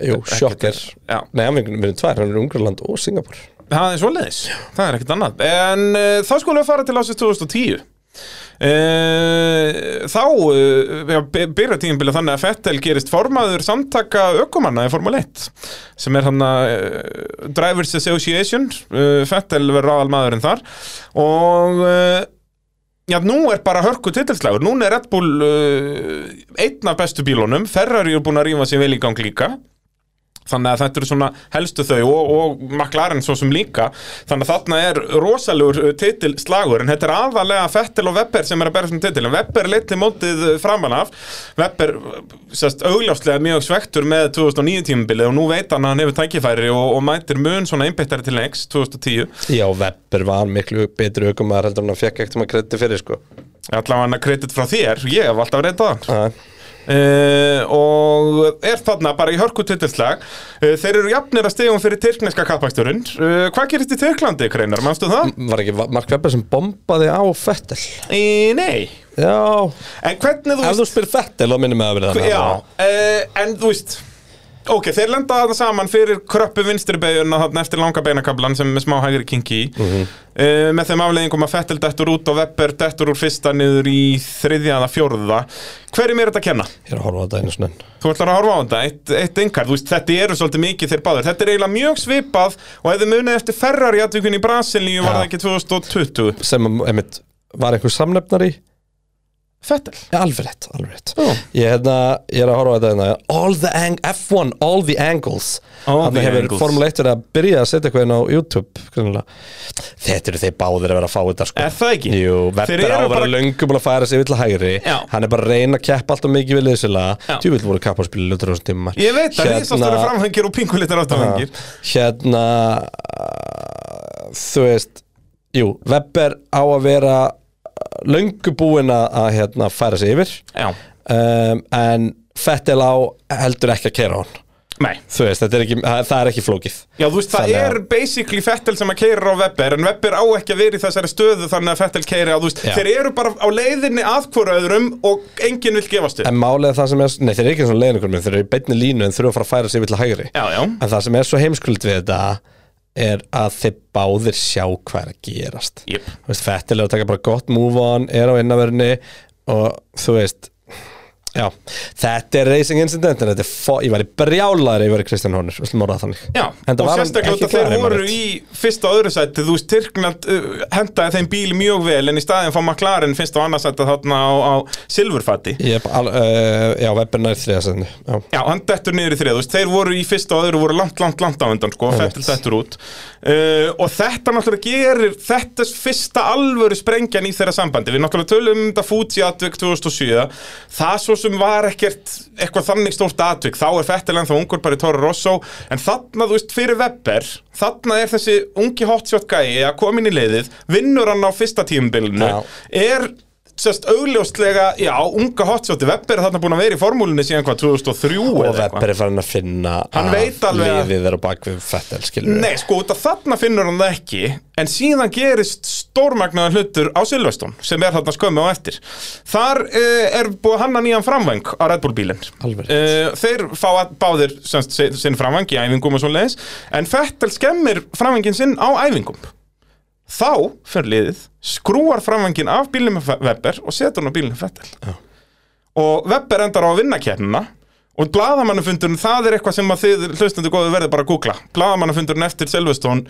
jú, sjokker Já, Nei, hann vinnur vinnur tvær, hann er Ungarland og Singapur það er svoleiðis, það er ekkert annað En uh, þá skulum við fara til ásins 2010 Uh, þá uh, byrja tíðinbila þannig að Fettel gerist formaður samtaka ökumanna í Formule 1 sem er hann að uh, Drivers Association uh, Fettel verður aðal maðurinn þar og uh, Já, nú er bara hörku titilslagur, núna er Red Bull uh, einn af bestu bílunum, Ferrari er búin að rífa sér vel í gang líka Þannig að þetta eru svona helstu þau og, og McLaren svo sem líka Þannig að þarna er rosalegur uh, titilslagur En þetta er aðalega Fettel og Webber sem er að berja sem titil En Webber leitli mótið uh, framan af Webber, uh, sérst, augljóslega mjög svektur með 2009 tímabilið Og nú veit hann að hann hefur tækifæri og, og mætir mun svona einbyttari til lengs 2010 Já, Webber var miklu betri aukumar heldur en hann fekk ekkert um að kredi fyrir sko allavega hann að kredit frá þér, ég hef alltaf reynda það Já. Uh, og er þarna bara í hörku titilslag uh, þeir eru jafnir að stegum fyrir tyrkneska kappaksturinn uh, hvað gerist í Tyrklandi, Kreinar, manstu það? Var ekki Mark Webber sem bombaði á Fettel Í, nei Já en hvernig þú Ef þú spyr Fettel þá minnum við að vera þannig Já, uh, en þú veist Ok, þeir lenda þarna saman fyrir kröppu vinstri beiguna þarna eftir langa beinakablan sem er með smá hægri kinki mm með þeim afleiðingum að Fettel dettur út og Webber dettur úr fyrsta niður í þriðja eða fjórða Hverjum er þetta að kenna? Ég er að horfa á þetta einu snönn Þú ætlar að horfa á þetta, eitt, eitt engar, þú veist, þetta eru svolítið mikið þeir báður Þetta er eiginlega mjög svipað og ef þið munið eftir Ferrari atvikun í Brasilíu Já. var það ekki 2020 Sem einmitt var einhver samnefnar í Fettel Já, alveg rétt, alveg rétt ég, hérna, ég er að horfa á þetta hérna All the ang F1, all the angles All Þarna the hefur angles. Formule 1 verið að byrja að setja eitthvað inn á YouTube grunnilega. Þetta eru þeir báðir að vera að fá þetta sko Er það ekki? Jú, Webber Þeir á eru að vera bara- löngum að færa sig vill að hægri Já. Hann er bara að reyna að keppa alltaf mikið við Já. liðsilega Tjúvill voru kapparspil í lötur á þessum tíma Ég veit að hérna... risastóri framhengir og pinkulittar áttafhengir Hérna uh, Þú veist Jú, Webber á að vera löngu búinn að að, hérna, færa sig yfir Já, um, en Fettel á heldur ekki að kera hann nei þú veist, þetta er ekki, það það er ekki flókið Já, þú veist, það Þannig að- er basically Fettel sem að keira á Webber en Webber á ekki að vera í þessari stöðu þannig að Fettel keira á, þú veist, Já. þeir eru bara á leiðinni að hvora öðrum og enginn vil gefast upp en málið er það sem er, nei þeir eru ekki svona leiðin þeir eru í beinni línu en þurfa að fara að færa sig yfir til hægri Já, já, en það sem er svo heimskuld við þetta er að þeir báðir sjá hvað er að gerast Jep. þú veist, Fettel er að taka bara gott move on er á innavörni og þú veist já, þetta er racing incident en þetta er, fó, ég var í brjálaður ef ég var í Kristján Horner, við slum orðað þannig já Enda og var hann sérstaklega ekki út að þeir klár, ef maður voru veit. í fyrsta og öðru sæti, þú veist, Tyrkland uh, hendaði þeim bíl mjög vel en í staðin fá McLaren fyrst og annars sæti þarna á, á Silfurfatti Ég er bara, uh, já, Webber nær þriðasendinu Já, Já, hann dettur niður í þrið, þú veist, þeir voru í fyrsta og öðru voru langt, langt, langt á undan, sko, Einmitt. Fettil dettur út uh, og þetta náttúrulega gerir þetta er fyrsta alvöru sprengjan í þeirra sambandi, við náttúrulega tölum um þetta Fuji atvik 2007, það svo sem var ekkert eitthvað þannig stórt atvik þá er Fettil ennþá ungur bara í Toro Rosso en þarna, þú veist, fyrir Webber þarna er þessi ungi hotshot gæi að koma inn í liðið, vinnur hann á fyrsta tímabilinu, Já. er Sest augljóslega, já, unga hotshotti Webber er þarna búin að vera í formúlunni síðan hvað 2003 og eða Webber er farin að finna Hann að veit alveg að- liðið er á bak við Fettel skilur Nei, sko, út af þarna finnur hann það ekki En síðan gerist stórmagnaðan hlutur á Silveston Sem er þarna skömmu á eftir Þar uh, er búið að hanna nýjan framvæng á Red Bull bílinn Alveg rétt. uh, Þeir fá að báðir semst, si- sinn framvæng í æfingum og svo leiðis En Fettel skemmir framvængin sinn á æfingum Þá fyrir liðið skrúar framvængin af bílnum með Fe- Webber og setur hann á bílnum með Fettel og Webber endar á að vinna kérnina og blaðamannafundurinn, það er eitthvað sem að þið hlustandi góðu verði bara að googla blaðamannafundurinn eftir Silveston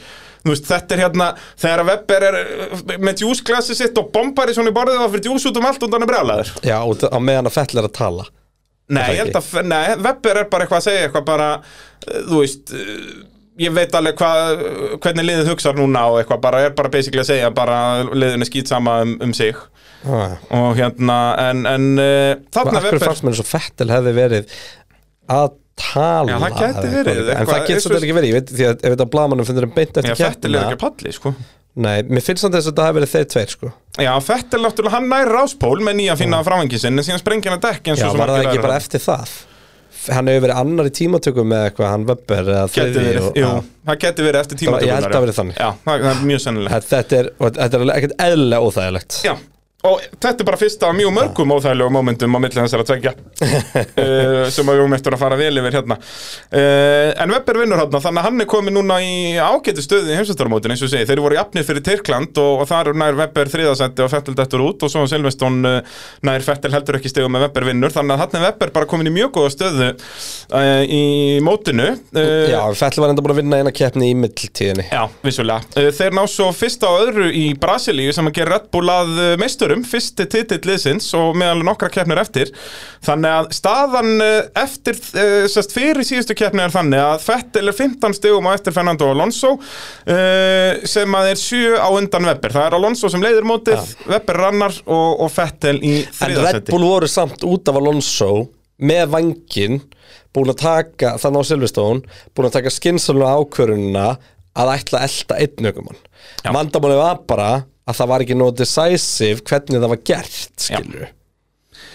þú veist, þetta er hérna, þegar að Webber er eh, með djúsglasi sitt og bombar í svona í borðið og fyrir djús út um allt og hann er brjálæður Já, og það- á meðan að Fettel er að tala nei, það ég held ekki? að, nei, Webber er bara eitthvað að segja eitthvað bara, eh, þú veist eh, ég veit alveg hvað, eh, hvernig liðið hugsar núna og eitthvað bara, er bara basically að segja bara að liðinu skýt sama um, um sig ah. og hérna, en, en uh, og þarna akkur fannst mér eins og Fettel hefði verið að tala Já, það gæti eða verið, eitthvað. en eitthvað- það getur svolítið eitthvað- ekki verið, ég veit því að ef þetta blaðmannum finnir um beint Já, eftir Fettil er keppnina ekki að palli, sko Nei, mér finnst þannig að þetta hefði verið þeir tveir sko Já, Fettel náttúrulega, hann nær ráspól með nýja finna framvangin sinn, en síðan sprengir hann dekk eins Já, og var það ekki bara eftir það F- Hann hefur verið annar í tímatökum með eitthvað, hann Webber eða Geti þriðji verið, og- jú, Já. það geti verið eftir var- tíma ég held að verið þannig. Já, það, það er mjög sennilegt Þetta- Þetta er, og þetta er alveg ekkert eðlilega óþægilegt Já, og þetta er bara fyrsta af mjög mörgum óþægilegum momentum á milli þessara tveggja uh, sem að við um eftir að fara vel yfir hérna uh, En Webber vinnur hérna, þannig að hann er komið núna í ágæti stöðu í heimsastarmótin eins og ég segi, þeir voru jafnir fyrir Tyrkland og, og þar nær Webber þriðasendi og Fettel dettur út og svo Silveston uh, nær Fettel heldur ekki stegum með Webber vinnur þannig að hann er Webber bara komin í mjög góða stöðu uh, í mótinu uh, Já, Fettel var enda búin að vinna eina keppni í mittiltíðinni Já, vissulega. Uh, Þeir ná svo fyrsta og öðru í Brasilíu sem að gera Red Bull að uh, meisturum, fyrsti titill liðsins og meðal nokkra keppnir eftir. Þannig að staðan uh, eftir, uh, sérst fyrir síðustu keppni er þannig að Fettel er 15 stegum á eftir Fernando Alonso uh, sem að er 7 á undan Webber. Það er Alonso sem leiðir mótið, Webber rannar og, og Fettel í En Red þriðasetti. Bull voru samt út af Alonso með vangin búin að taka, þannig á Silveston búin að taka skinsaluna ákvörunina að ætla að elta einn ökumann vandamáli var bara að það var ekki nóg decisive hvernig það var gert skilur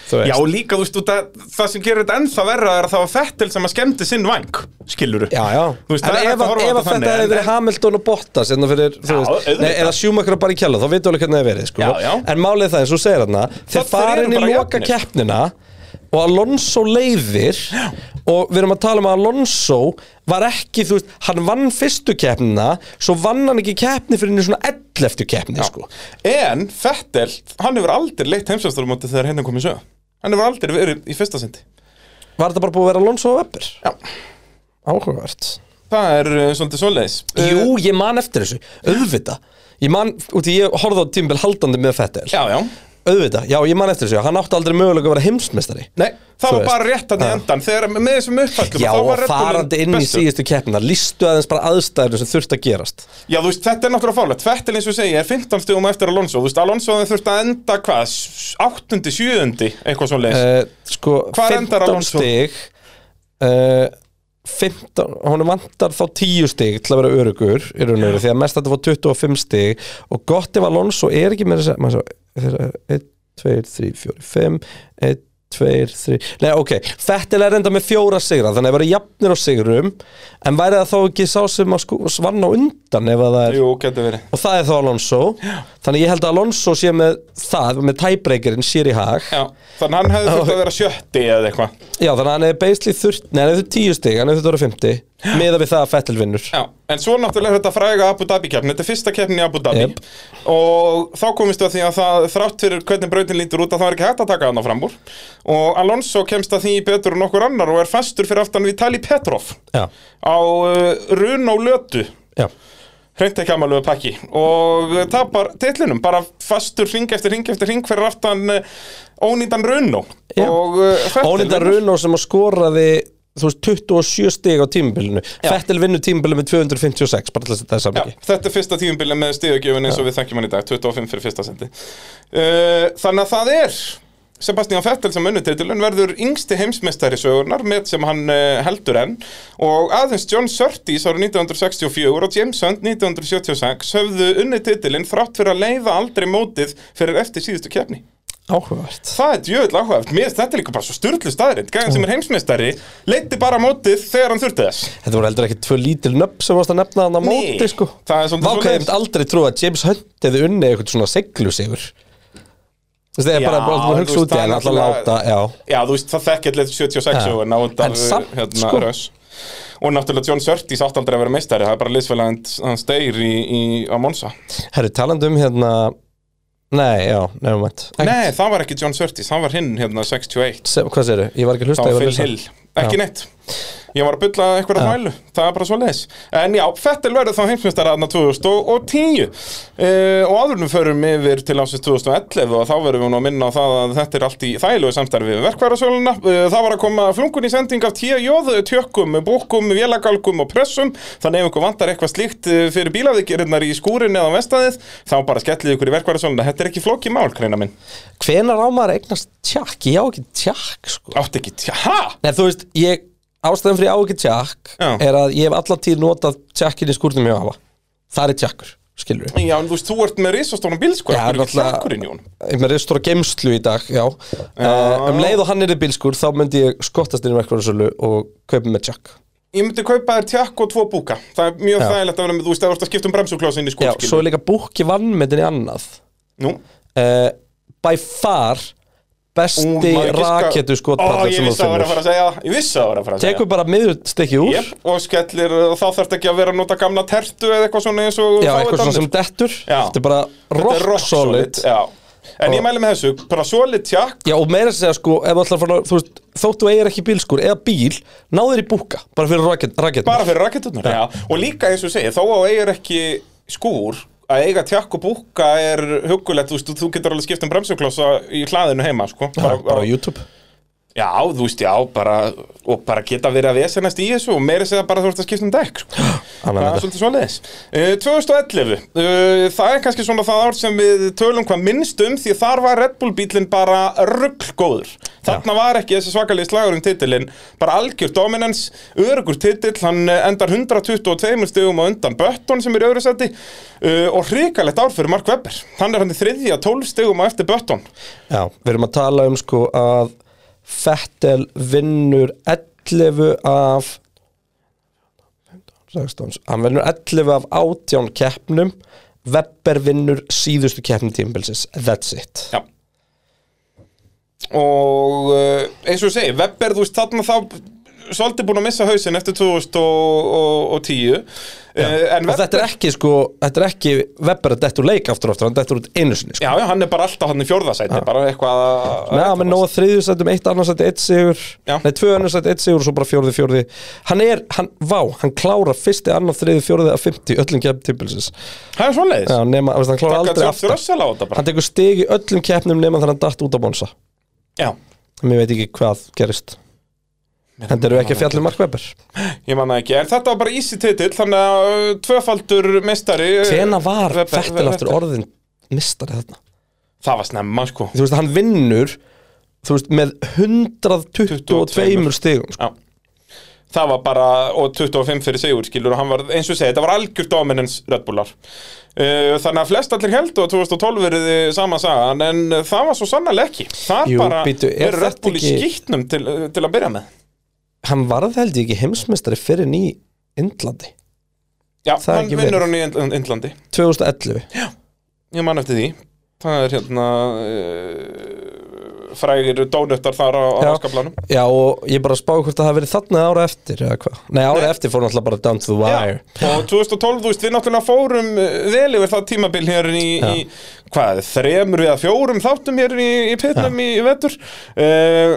þú Já, veist, og líka, þú veist, út að það sem gerir þetta ennþá verra er að það var Fettil sem að skemmti sinn væng, skiluru. já, já. Þú en veist, það er ef, hægt að horfa á ef að þetta þetta þannig, hefði en- verið Hamilton og Bottas hérna fyrir, þú Já, veist, auðvitað. nei, eða sjúmakra bara í kjalla þá veitum við alveg hvernig það hefði verið sko. Já, já. en málið er það eins og þú segir hérna þeir þeir eru fara inn í bara loka jafnir. keppnina og Alonso leiðir og við erum að tala um að Alonso var ekki, þú veist, hann vann fyrstu keppnina, svo vann hann ekki keppni fyrir henni svona 11. keppni sko. En Fettel, hann hefur aldrei leitt heimsvæmstælumóti þegar hérna komið sög. Hann hefur aldrei verið í fyrsta sendi. var þetta bara búið að vera Alonso og Webber Já. áhugavert Það er uh, svolítið svoleiðis. Uh, Jú, ég man eftir þessu, auðvita Ég man, út í ég horfði á tímbil haldandi með Fettel Eh, Já, já. Auðvita, já, ég man eftir þessu, hann átti aldrei mögulega að vera heimsmeistari Nei, það Þú var veist. bara rétt hann í endan þegar með þessum uppfællum Já, og farandi inn í síðustu keppna Listu aðeins bara aðstæðinu sem þurft að gerast Já, þú veist, þetta er náttúrulega fálegt Fettil eins og segja er 15 stugum eftir Alonso Þú veist, Alonso hafði þurft að enda hvað 8. 7. eitthvað svo leiðis uh, Sko, Hvar endar 15 Alonso? stig uh, 15, hún vantar þá 10 stig til að vera örugur í raun og veru, því að mest þetta var 25 stig og gott ef Alonso er ekki með þess að maður eh, svo, 1, 2, 3, 4, 5 1, 2, 3 Nei, ok, Fettil er enda með fjóra sigra þannig að vera jafnir á sigrum en væri það þá ekki sá sem að sko, svanna undan ef að það er Jú, getur verið og það er þá Alonso þannig að ég held að Alonso sé með það með tæbreykerinn sér í hag Já, þannig hann hefði þurft að vera sjötti eða eitthvað Já, þannig að hann hefði beisli þurft, nei, hann hefði þurft 10 stig, hann hefði þurft að vera 50 meða við það að Fettil vinnur Já, en svo náttúrulega er þetta fræga Abu Dhabi keppni, þetta er fyrsta keppni í Abu Dhabi Jep. og þá komist við að því að það þrátt fyrir hvernig brautin lítur út að það er ekki hægt að taka hann fram úr og Alonso kemst að því betur en okkur annar og er fastur fyrir aftan Vitali Petrov Já, á uh, run og lötu já, hreint ekki amalögu pakki og uh, tapar titlinum, bara fastur ring eftir ring eftir ring fyrir aftan uh, ónýndan Runo Já. og uh, Vettel- Ónindar Runó sem að skoraði þú veist, 27 stig á tímabilinu Fettil vinnur tímabilinu með 256 bara til þess að þetta er Já, samingi þetta er fyrsta tíðumbilið með stíðugjöfun eins og við þekkjum hann í dag, 25 fyrir fyrsta sendi uh, Þannig að það er Sebastian Vettel sem unnu titilun verður yngsti heimsmeistari sögurnar með sem hann uh, heldur enn og aðeins John Surtees árið 1964 og James Hunt 1976 höfðu unni titilin þrátt fyrir að leiða aldrei mótið fyrir eftir síðustu kefni Áhugavert Það er djöðl áhugað, mér finnst þetta líka bara svo styrlu staðrind Gæðan sem er heimsmeistari leiddi bara mótið þegar hann þurfti þess Þetta voru heldur ekki tvö lítil nöpp sem varst að nefna hann á Nei, móti sko það er svolítið Vákaði svoleiðis. ég myndi aldrei trú að James Hunt hefði unni eitthvað svona seglu sigur Þú veist, það er Já, bara bara að þú hugsa veist, út í það er hann alltaf láta, náttúrulega- já Já, þú veist, það þekki allir 76 Já. og ná undar En samt, hérna, sko. Russ. Og náttúrulega John Surtees átt aldrei að vera meistari, það er bara liðsfélagand hans deyr í, í, á Monsa Herri, talandi um hérna Nei, já, nefnum mætt Nei, það var ekki John Surtees, hann var hinn hérna 61 Hvað segirðu? Ég var ekki að hlusta Það ég var var að Phil lesa. Hill, ekki neitt Ég var að bylla eitthvað að þvælu, það er bara svo leis En já, Fettel verður þá heimsmeistari aðna 2010 uh, Og áðurnum förum yfir til ásins 2011 Og þá verðum við nú að minna á það að þetta er allt í þægilegu samstarfi við verkværasöluna uh, Það var að koma flunkun í sending af tíu jóðu tjökkum, bókum, vélagalgum og pressum Þannig ef ykkur vantar eitthvað slíkt eh, fyrir bílaðikirinnar í skúrin eða á vestæðið Þá bara skellið ykkur í verkværasöluna, þetta er ekki flóki mál, kreina minn Hvenær á maður að eignast tjakk? Ég á ekki tjakk sko. Átt ekki, tja- ha? Nei, þú veist, ég, ástæðan fyrir ég á ekki tjakk Já. er að ég hef allan tíð notað tjakkin í skúrnum hjá hafa Það er tjakkur, skilur við Já, en þú veist, þú ert með risastónum bílskvæð, Já, það er ekki náttúrulega- hlakkurinn í honum Ég með ristur á geimslu í dag, já, Uh, Um leið og hann er í bílskur þá myndi ég skottast inn í verkvæðarsölu og kaupa með tjakk Ég myndi kaupa þér tjakk og tvo búka Það er mjög Já. þægilegt að vera með, þú veist, það vorst að skipta um bremsuklása inn í Já, svo skólskil er líka búki vannmyndin í annað Nú, uh, By far Ú, besti maður giska- raketu Ó, skotpallur ég sem vissi að þú það var að finnur fara að segja það. Ég vissi að það var að fara að segja Tekur bara miðurstekki úr Jep, og skellir, og þá þarf ekki að vera að nota gamla tertu eða eitthvað svona eins og Já, fáið eitthvað svona annir. sem dettur Já. Þetta er bara Þetta er rock, solid Já, en ég mæli með þessu, bara solid tjakk Já, og meira að segja sko, ef þú ætlar að fara þú veist, þótt þú eigir ekki bílskur eða bíl náður í búka, bara fyrir raket, raketin Bara fyrir raketunar, já. Og líka eins og segja, þó að þú eigir ekki skúr að eiga tjakk og búka er hugulegt, þú veist, þú getur alveg skipt um bremsuklossa í hlaðinu heima, sko bara, bara á YouTube Já, þú veist, já, bara, og bara geta verið að vesenast í þessu og meira segja bara þú ert að skipta um dekk, sko. Annað þetta. það er svolítið Eh, svo leiðis. 2011, uh, það er kannski svona það ár sem við tölum hvað minnst um því þar var Red Bull bílinn bara rugglgóður. Þarna var ekki þessi svakalegi slagur um titilinn, bara algjör dominance, örugur titill, hann eh, endar 122 stegum á undan Bötton sem er í öðru seti uh, og hrikalegt ár fyrir Mark Webber. Hann er hann í þriðja 12 stegum á eftir Bötton. Já, við erum að tala um sko að Fettel vinnur 11 af 16, hann vinnur 11 af 18 keppnum Webber vinnur síðustu keppnum tímabilsins That's it Já Og uh, eins og ég segi, Webber, þú veist, þarna þá svolítið búin að missa hausinn eftir 2010 uh, Og En Webber, þetta er ekki sko, þetta er ekki Webber að dettur leik aftur og aftur, hann dettur út einu sinni sko. já, já, hann er bara alltaf hann í fjórðasæti, bara eitthvað að- Nei, hann er nóg að þriðju sætum, eitt annarsæti, eitt sigur Já. Nei, tvö annarsæti, eitt sigur og svo bara fjórði, fjórði Hann er, hann, vá, hann klárar fyrsti, annar, þriði, fjórði að 50 öllum keppnum tímabilsins Það er svoleiðis Já, nema, veist, hann klárar Takka aldrei George aftur Russell á þetta bara Hann tekur stig í öllum keppnum nema þannig að hann datt út á bonsa Já, Mér veit ekki hvað gerist En þeir eru ekki að fjalla um Mark Webber ég manna ekki, en þetta var bara easy titill Þannig að uh, tvöfaldur uh, mestari Hvena var Fettel aftur orðin mistari þarna? Það var snemma, sko Þú veist, hann vinnur Þú veist, með 122 stigum sko. Já Það var bara, og 25 fyrir sigur skilur og hann var, eins og segja, þetta var algjör dominance Red Bullar uh, Þannig að flest allir held og 2012 verið sama sagan en eh, það var svo sannarlega ekki Það Jú, bara bíddu, er er Red þetta Bull í ekki- skýtnum til, eh, til að byrja með Hann varð held ég ekki heimsmeistari fyrir ný Indlandi Já, Það er hann ekki verið. vinnur hann í Ind- Indlandi 2011 Já, Ég man eftir því Það er hérna uh, frægir dónuttar þar á, á hanskaplanum já og ég bara spáði hvort að það hafi verið þarna ára eftir eða hvað Nei, ára eftir fór náttúrulega bara down to the wire og 2012, þú veist, við náttúrulega fórum eh, vel yfir það tímabil hér í, í hvað, þremur eða fjórum þáttum hér í, í pitnum í, í vetur uh,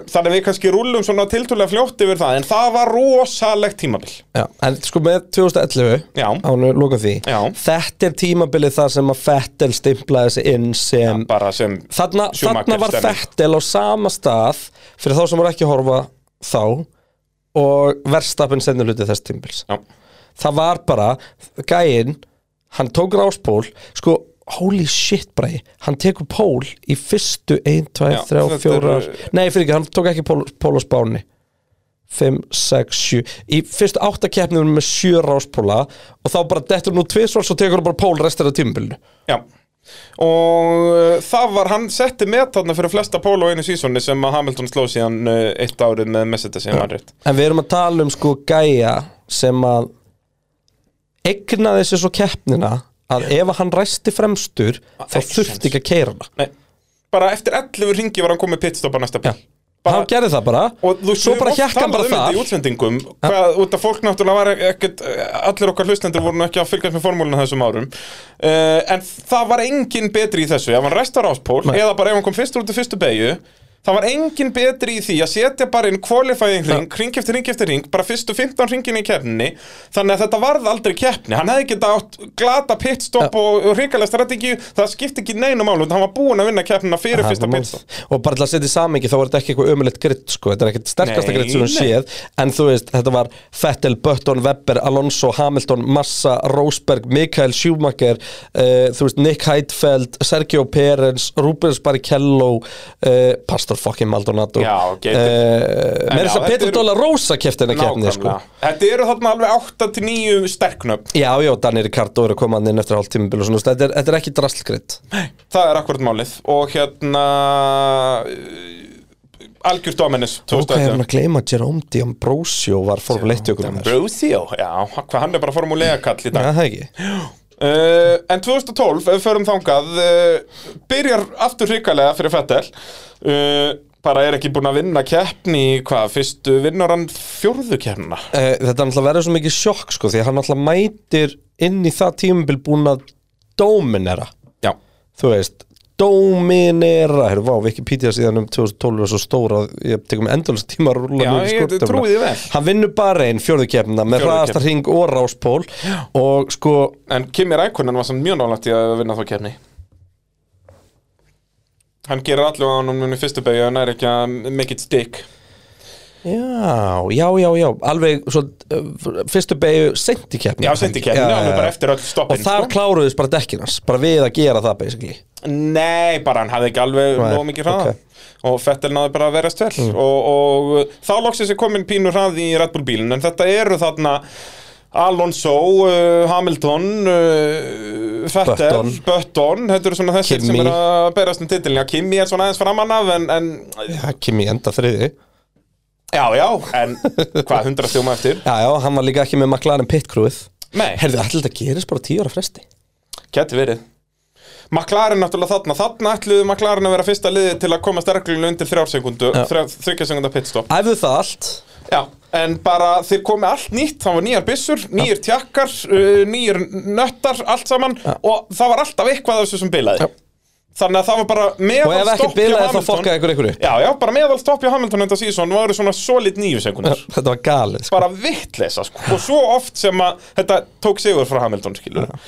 þannig að við kannski rúllum svona tiltúlega fljótt yfir það, en það var rosalegt tímabil Já, en sko með 2011 Já. Ánu loka því Já. Þetta er tímabilið þar sem að Fettel stimplaði sig inn sem bara sem þarna, Schumacher þarna var stemning. Fettel á sama stað Fyrir þá sem voru ekki að horfa þá Og verðstapin sendur hluti þess tímbils Já. Það var bara Gæinn, hann tók ráspól Sko, holy shit bræði Hann tekur pól í fyrstu 1, 2, Já, 3, þetta 4 er- Nei, fyrir ekki, hann tók ekki pól, pól á spáni 5, 6, 7 Í fyrstu áttakeppnum með 7 ráspóla Og þá bara dettur nú tvisvar Svo tekur hann bara pól restir af tímbilinu Já og uh, það var, hann setti met þarna fyrir flesta pól á einu sísoni sem að Hamilton sló síðan uh, eitt árið með Messenger sem var rétt En við erum að tala um sko gæja sem að egnaði sér svo keppnina að ef að hann ræsti fremstur þá ekki þurfti ekki að keira hana Nei. bara eftir 11 ringi var hann komið pitstop á næsta bíl Hann gerði það bara og þú Svo bara hékk hann bara það um í þar útsendingum hvað, út af fólk náttúrulega var ekkert allir okkar hlustendur voru nú ekki að fylgjast með formúluna þessum árum uh, en það var engin betri í þessu ef hann restar áspól eða bara ef hann kom fyrstur út í fyrstu beigju það var engin betri í því að setja bara inn qualifying ring, ring eftir ring eftir ring bara fyrstu 15 ringin í keppninni þannig að þetta varð aldrei keppni hann hefði getað átt glata pitstop og, og hrikalega strategi, það skipti ekki neinu málu hann var búin að vinna keppnina fyrir Það fyrsta var pitstop málið. Og bara til að setja í samingi þá var þetta ekki eitthvað ömulegt gritt sko. Þetta er ekkert sterkasta Nei, gritt sem hún nei. séð En þú veist, þetta var Fettel, Button, Webber, Alonso, Hamilton, Massa, Rosberg, Mikael Schumacher uh, Þú veist, Nick Heidfeld, Sergio Perens, Rubens Barrichello uh, Pastor fucking Maldonado Já, uh, geitir. En Mér er já, þess að þetta Petur eru- Dóla Rósa kefti hennar kefni sko. Nákvæmlega. Þetta eru þarna alveg 8-9 sterknöfn Já, já, Danny Ricardo er að koma hann inn eftir hálf tímabil og svona, þú veist, þetta, er, þetta er ekki drastlgritt Það er akkurat málið Og hérna eh, Algjör Dominus Ok, hérna. ég er hann að gleyma að Jerome D'Ambrosio var formuleittökur um þessu Brosio, já, hvað hann er bara formulega kall í dag Já, það ekki Uh, en 2012, ef við förum þangað uh, byrjar aftur hrikalega fyrir Fettel uh, bara er ekki búin að vinna keppni í hvað, fyrstu vinnur hann fjórðu keppnina Eh, þetta er alltaf verið svo mikið sjokk sko því að hann alltaf mætir inn í það tímabil búin að dominera Já, þú veist, dominera hérna, vá, Wikipedia síðan um 2012 er svo stóra, að ég tekum endalins tíma að rúla Já, niður í ég skrúfdöfluna. trúi því vel. hann vinnur bara einn fjörðukefna með Fjórðu hraðasta keppni. hring og ráspól og sko, En Kimi Rækonen var samt mjög nálægt í að vinna þá kefni Hann gerir allu á hann um í fyrstu beigju en er ekki að make it stick Já, já, já, já, alveg svo, uh, fyrstu beigju seint í keppni Já, seint í keppninni, alveg bara eftir öll stoppin, Og þar sko. kláruðist bara dekkinans, bara við að gera það basically Nei, bara hann hafði ekki alveg Nei, nóg mikið hraða ok. Mm. og Fettel náði bara að verast vel og, og þá loksins er komin pínur hraði í Red Bull bílinn en þetta eru þarna Alonso, uh, Hamilton, uh, Fettel, Button. Button, þetta eru svona þessir Kimi. sem er að berast um titilin, já Kimi er svona aðeins framan af en, en Já, Kimi enda þriði Já, já já, en hvað, 100 stjóma eftir? já, hann var líka ekki með McLaren pit crewið Nei, Herðu, allir þetta gerist bara á tíu ára fresti Gæti verið McLaren náttúrulega þarna, þarna ætluðu McLaren að vera fyrsta liði til að koma sterklinu undir þrjársekundu, Já. þrjársekunda pitstop Æfðu það allt Já, en bara þeir komi allt nýtt, það var nýjar byssur, nýjir tjakkar, uh, nýjir nöttar, allt saman og það var alltaf eitthvað af þessu sem bilaði Já. Þannig að það var bara Og ef meðal ekkert stopp hjá bilaði þá Hamilton fokkaði ykkur ykkur upp Já, já, bara meðal stopp hjá Hamilton enda síðan varu svona solid nýju sekundur Þetta var galið, sko bara vittlesa sko. og svo oft sem að þetta tók sigur frá Hamilton skilur uh,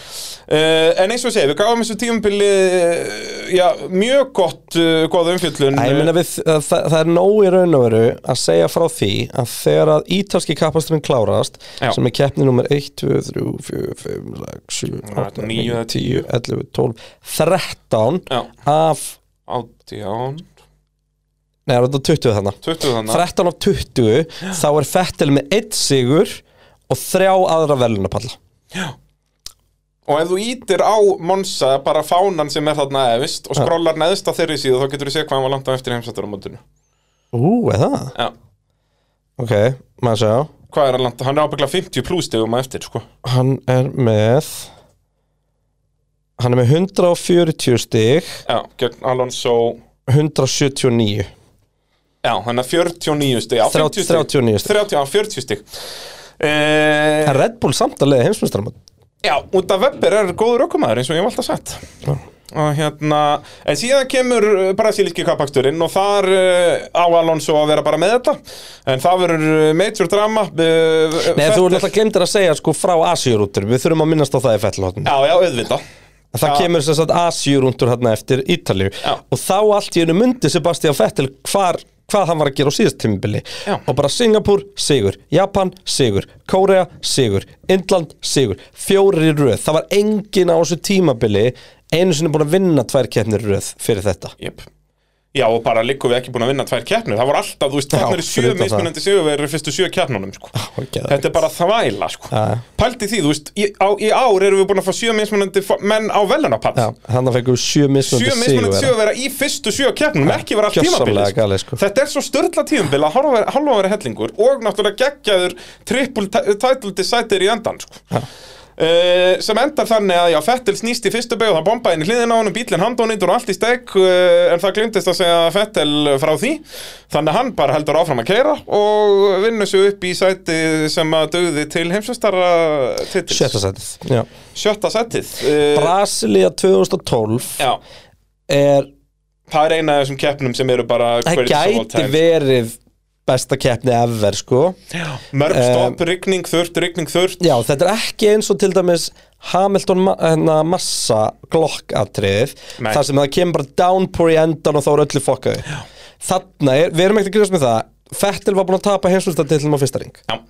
en eins og ég segi, við gáum þessu tímubili uh, já, mjög gott uh, góða umfjöllun eh, Æ, ég meina við, það, það er nóg í raun og veru að segja frá því að þegar að ítalski kapasturinn klárast Já. sem er keppni nummer 1, 2, 3, 4, 5, 6, 7, 8, 9, 10, 11, 12 13 Já. af átján, Nei, það er þetta 20 þannig 20 þannig 13 af 20, þá er Fettel með 1 sigur og þrjá aðra velunapalla og ef þú ítir á Monsa bara fánan sem er þarna efist og skrollar neðst að þeirri síðu þá getur þú séð hvað hann var langt á eftir heimsættur á mótinu Ú, eða? já, Ok, maður sjá hvað er hann langt, hann er ábyggla 50 plústegum að eftir sko Hann er með Hann er með 140 stig já, gegn Alonso 179 já, hann er 49 stig já, Þrjá- 50 stig. 39 stig. 30, já, 40 stig Eh, En Red Bull samt að leiða heimsmyndstarmat Já, út af Webber er góður ökumæður eins og ég hef alltaf sagt og hérna, en síðan kemur uh, brasilíski kappaksturinn og þar uh, á Alonso að vera bara með þetta en það verður uh, major drama uh, Nei, þú er náttúrulega glemdir að segja sko frá Asjurútur Við þurfum að minnast á það í fellhóttinu Já, já, auðvitað Það já. kemur sem sagt Asjurútur hérna eftir Ítalíu Já. Og þá allt í einu myndi Sebastian Vettel hvar, hvað hann var að gera á síðast tímubili Já. Og bara Singapur, sigur Japan, sigur Kórea, sigur Indland, sigur Fjórir í röð Það var engin á þessu tímabili Einu sinni búin að vinna tvær keppnir í röð fyrir þetta Jep. Já, og bara liggum við ekki búin að vinna tvær keppnir Það voru alltaf, þú veist, Já, það eru sjö fyrir utan það. mismunandi sigurverður fyrstu sjö keppnunum, sko og geðveikt. Þetta er bara þvæla, sko Já. Pældi því, þú veist, í, á, í ár erum við búin að fá sjö mismunandi fo- menn á velunapall Já, þannig að fengum við sjö mismunandi sjö sigur mismunandi sigurvera í fyrstu sjö keppnum ekki vera allt gjörsamlega tímabilið sko. galið, sko. þetta er svo störla tímabil að halva vera hellingur og náttúrulega geggjaður triple ti- title decider í endan sko. Uh, sem endar þannig að já, Fettel snýst í fyrstu beig og það bombaði inn í hliðina á honum, bílinn handónýtur og allt í steg uh, en það glimtist að segja Fettel frá því þannig að hann bara heldur áfram að keira og vinnur sig upp í sæti sem að döði til heimsvistara titils, Sjötta sætið Já. sjötta sætið uh, Brasilia 2012 já, er, það er eina af þessum keppnum sem eru bara það greatest of all gæti time. verið besta keppni ever sko Mörg Eh, stopp, rigning, þurrt, rigning, þurrt Já, þetta er ekki eins og til dæmis Hamilton ma- hérna, massa glokk atriðið, Nei. þar sem það kemur bara downpour í endan og þá er öllu fokkaði Þarna er, við erum ekkert að grjóðast með það Fettil var búin að tapa heimsvöldatitlum á fyrsta ring Já.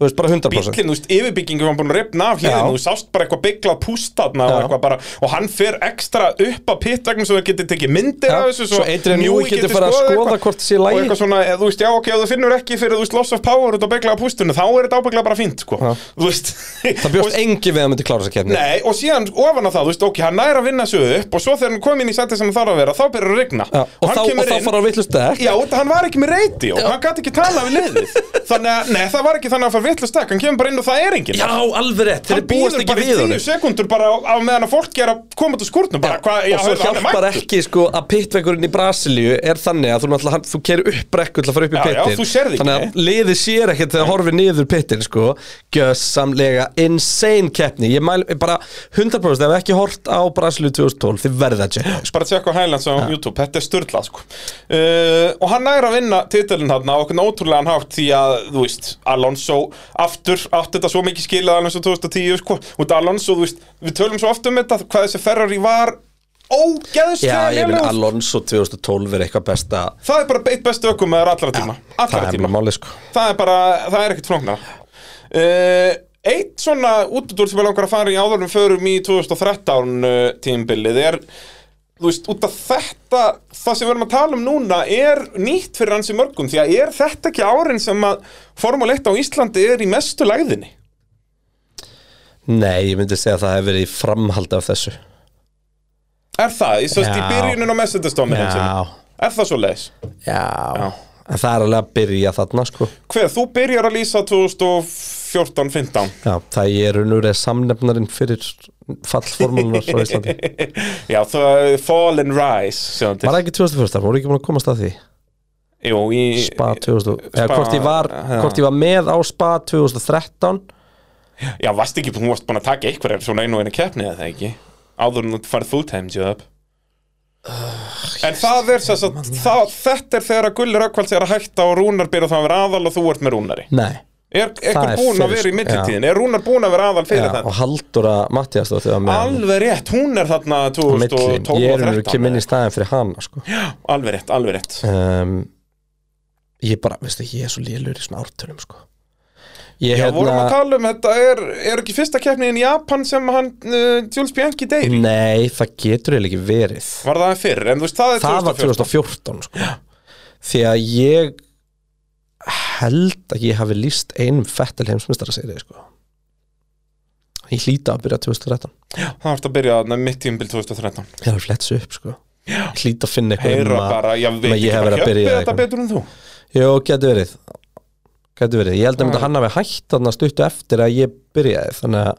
Þú veist, bara 100% Bíllinn, þú veist, yfirbyggingu var búin að ripna af Já. hliðinu, þú sást bara eitthvað bygglað pústaðna og Já. eitthvað bara, og hann fer ekstra upp að pitt vegna svo það getur tekið myndir Já. af þessu, Svo Adrian Newey getur farið að skoðað skoða hvort það sé í lagi. og eitthvað svona, eða, þú veist, já ok, ef þú finnur ekki fyrir, þú veist, loss of power út á bygglaða pústunni, þá er þetta ábygglega bara fínt, sko, þú veist Það bjóst engi við að myndi klára þessa keppni Nei, og síðan ofan að það, þú veist, ok, hann næra að vinna sig upp og svo þegar hann kom inn í sæti sem hann þarf að vera, þá byrjar að rigna Já, og, hann þá, og kemur þá inn- fara á vittlust dekk Já, þetta- hann var ekki með radio, hann gæti ekki tala við liðið Þannig að, nei, það var ekki þannig að hann fara vitlu stakk, hann kemur bara inn og það er enginn alveg rétt, Hann býður bara í tíu sekundur bara á, á meðan að fólk er að koma út úr skúrnum bara, hvað, já, og svo hörðu, hann er hjálpar mættur. ekki sko að pittvegurinn í Brasilíu er þannig að þú, náttúrulega- hann- þú kerir upp brekku til að fara upp í Já, já, pittin þú sérð ekki. þannig að liði sér ekkert þegar horfið niður pittin sko, gjössamlega insane keppni, ég mæl ég bara 100% ef ekki hort á Brasilíu 2012 þið verða að checka sko. bara tjekka á Highlands á YouTube, þetta er styrla sko. uh, og hann næra að vinna titilin þarna og okkur ótrúlegan hátt því að þú veist, Alonso aftur átti þetta svo mikið skilið Alonso 2010 sko. og Alonso, þú veist, við tölum svo oft um þetta hvað þessi Ferrari var Já, ógeðslega ég minn lélegur. Alonso 2012 er eitthvað besta Það er bara beitt bestu ökum með allra tíma Það Allra er tíma bara málið sko það er bara, það er ekkert flóknar uh, Eitt svona útudur sem ég langar að fara í áðurum förum í 2013 uh, tímbilið er þú veist, út af þetta það sem við erum að tala um núna er nýtt fyrir hans í mörgum því að er þetta ekki árin sem að Formule 1 á Íslandi er í mestu lægðinni Nei, ég myndi segja að það hefur verið í framhaldi af þessu Er það, ég svo veist, í Já. byrjunin á Mercedes-dómi Já, Er það svo leiðis? já En það er alveg að byrja þarna sko Hver, þú byrjar að lýsa 2014-15 Já, það er unur eða samnefnarinn fyrir fallformúlunar á Íslandi Já, það Fall and Rise sjáum til. Var það ekki 2001, voru ekki búin að komast að því Jú, í Spa 2000, eða Spa- hvort ég, var, já. hvort ég var með á Spa 2013 Já, varst ekki búin, varst búin að taka einhverjar svona einu og einu keppni eða það ekki áður en þú farið full-time job En það er sess að það, þetta er þegar að Gulli Rökkvalds er að hætta og Rúnar byrja þá að vera aðal og þú ert með Rúnari Nei, Er er eitthvað búin fyrir- að vera í millitíðin? Er Rúnar búin að vera aðal fyrir já, þetta? og Halldóra Mattiasdóttir var með hann Alveg rétt, hún er þarna á milli. 2012 Ég er og unur ekki 13 minn í staðin fyrir hana sko Alveg rétt, alveg rétt um, Ég bara, veistu, ég er svo lélur í svona ártölum sko Ég Já, vorum að hérna tala um þetta, er, er ekki fyrsta keppniðin í Japan sem hann, uh, Jules Bianchi deyr? í? Nei, það getur eiginlega ekki verið Var það fyrr, en þú veist, það er það var 2014 2014 sko. því að ég held að ég hafi líst einum fettil heimsmyndstara sko. ég hlýta að byrja 2013 Það var að byrja þarna mitt tímbil 2013 ég hafi fletsu upp sko. ég hlýta að finna eitthvað heyra um að- bara, ég veit að ég ekki hef bara verið að hjöppi byrja þetta eitthvað. betur en þú Jó, getur verið getur verið, ég held að myndi að hann hafi hætt þarna stuttu eftir að ég byrjaði þannig að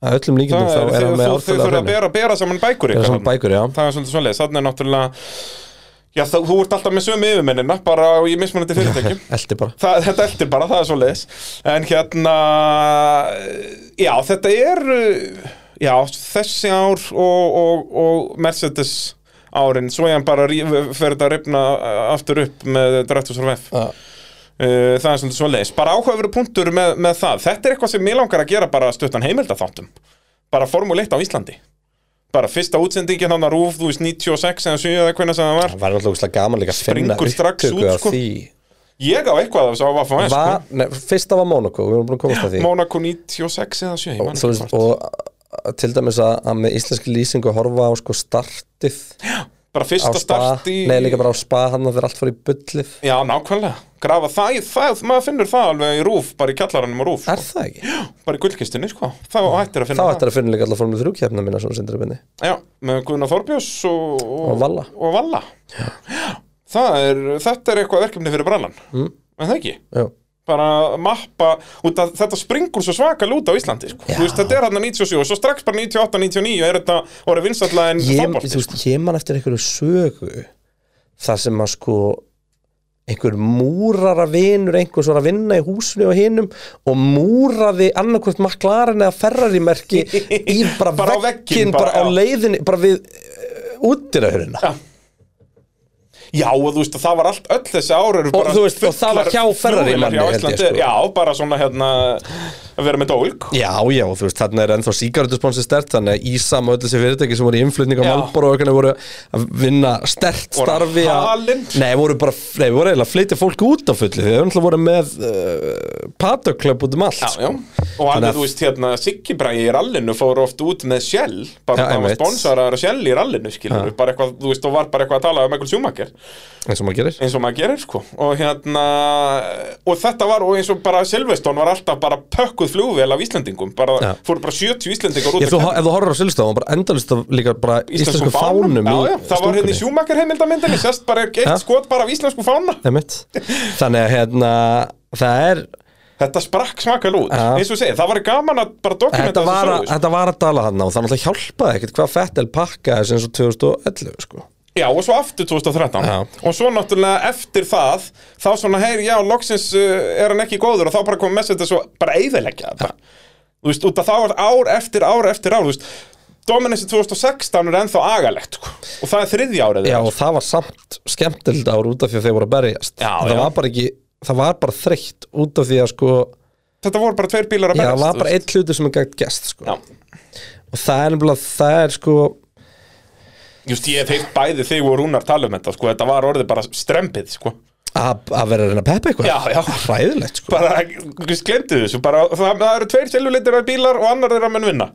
að öllum líkindum það þá er er hann þegar með þú þau ártölu þurfa á að hreinu. bera, bera saman bækur það er ykkar svona þarna. bækur, já það er svolítið svoleiðis, þannig er náttúrulega já, það, þú ert alltaf með sömu yfirmennina bara í mismunandi fyrirtækjum eldi bara Það, þetta eldir bara, það er svo leiðis En hérna Já, þetta er Já, þessi ár og, og, og Mercedes árin Svo ég hann bara ríf, fer þetta að rifna aftur upp með Drættus og VF Já. Uh, það er svona svo leiðis bara áhugaveru punktur með, með það þetta er eitthvað sem mér langar að gera bara stuttan heimildaþáttum bara formuleitt á Íslandi bara fyrsta útsendingin hann að rúf þú veist 96 eða 7 eða hvernig sem það var það var náttúrulega ógeðslega gaman líka að finna Springur strax upptöku út, af sko. því ég á eitthvað af þessu á Vaffa var, nei, fyrsta var Monaco, við erum búin að komast að því Monaco 96 eða 7 ég man og, þú ekki veist, hvort. og að- til dæmis að, að með íslenski lýsingu horfa á sko startið á bara fyrsta spa, sko, start í nei líka bara á spa hann að þeir allt fór í bullið já nákvæmlega grafa það, í- það, maður finnur það alveg í rúf bara í kjallaranum á rúf er það ekki? bara í gullkistinni sko þá hættir að þá finna ætti að finna líka allar formið þrjú kefna mína svona sindur minni Já, með Guðna Þorbjós og, Og Valla. og Valla. Já. Það er, þetta er eitthvað verkefni fyrir brannan mm. en það ekki já, bara mappa, út að þetta springur svo svaka lúta á Íslandi sko. Já. Þú veist, þetta er hann 97 og svo strax bara 98, 99 er þetta orðið vinstallega en ég, fótbolti, sko. þú veist, ég man eftir einhverju sögu þar sem að sko einhver múrara vinur einhvers var að vinna í húsinu og hinum og múraði annarkvæmt maklarinn eða ferrari merki í bara, Bara á vegginn, vekkinn, bara, bara, á já. leiðinni bara við eh, útirahurina Já. Já, og þú veist, það var allt, öll þessi ára eru Og bara þú veist, og það var fullar hjá Ferrari flugvélar manni, hjá held ég, Íslandi. sko. Já, bara svona hérna að vera með dólk Já, já, þú veist, þarna er ennþá sígarettusponsi stert þannig að Ísam og öll þessi fyrirtæki sem voru í innflutning á Já. Malboro og hvernig voru að vinna stert Voru starfi að- halin. Nei, voru bara, nei, voru eiginlega að flytja fólk út á fulli því þau náttúrulega voru með uh, patöklöp út um allt Já, já, sko. og hann, Þannig að- þú veist, hérna Siggi Bragi í rallinu fór oft út með Shell bara Já, það var einmitt. sponsorar að Shell í rallinu, skilur Já. bara eitthvað, þú veist, og var bara eitthvað að tala um einhvern sjúmakir eins og maður gerir eins og maður gerir, sko og hérna, og þetta var og eins og bara Silveston var alltaf bara pökkuð flugvél af Íslendingum, bara Já. fóru bara 70 Íslendingar út Ég, að þú, keppa. ef þú horfður á Silvstof, bara endalist af líka bara íslensku, fánum, já, í já, það var hérna í sjúmakir heimildamindinni sest bara eitt Já. skot bara af íslensku fána Einmitt. Þannig að hérna, það er þetta sprakk smakal út, Já. eins og ég segi það var gaman að bara dokumenta þetta var, að, sögu, sko. þetta var að dala hann á það náttúrulega hjálpaði ekkert hvað Fettel pakkaði sem svo 2011 sko. Já, og svo aftur 2013 Já. Og svo náttúrulega eftir það Þá svona, heyr, já, loksins uh, er hann ekki góður Og þá bara komið messið þessu Bara eyðileggja þetta Þú veist, út að þá er ár eftir ár eftir ár Þú veist, Dominansi 2016 er ennþá agalegt sko. Og það er þriðja árið Já, þeirra, og það var samt skemmtild ár út af því að þeir voru að berjast Já, það, já. Var bara ekki, það var bara þreytt út af því að sko Já, sko. Þetta voru bara tveir bílar að það var þú bara einn hluti sem er gægt gest sko. veist. Já, Og það er nefnilega, það er sko Just ég hef heilt bæði þig og Rúnar tala um þetta sko, þetta var orðið bara strempið sko. Að að vera að reyna að peppa eitthvað? Já, já. Hræðilegt, sko bara, just glemdu þessu bara, það, það eru tveir seljuleitir af bílar og annar þeirra menn vinna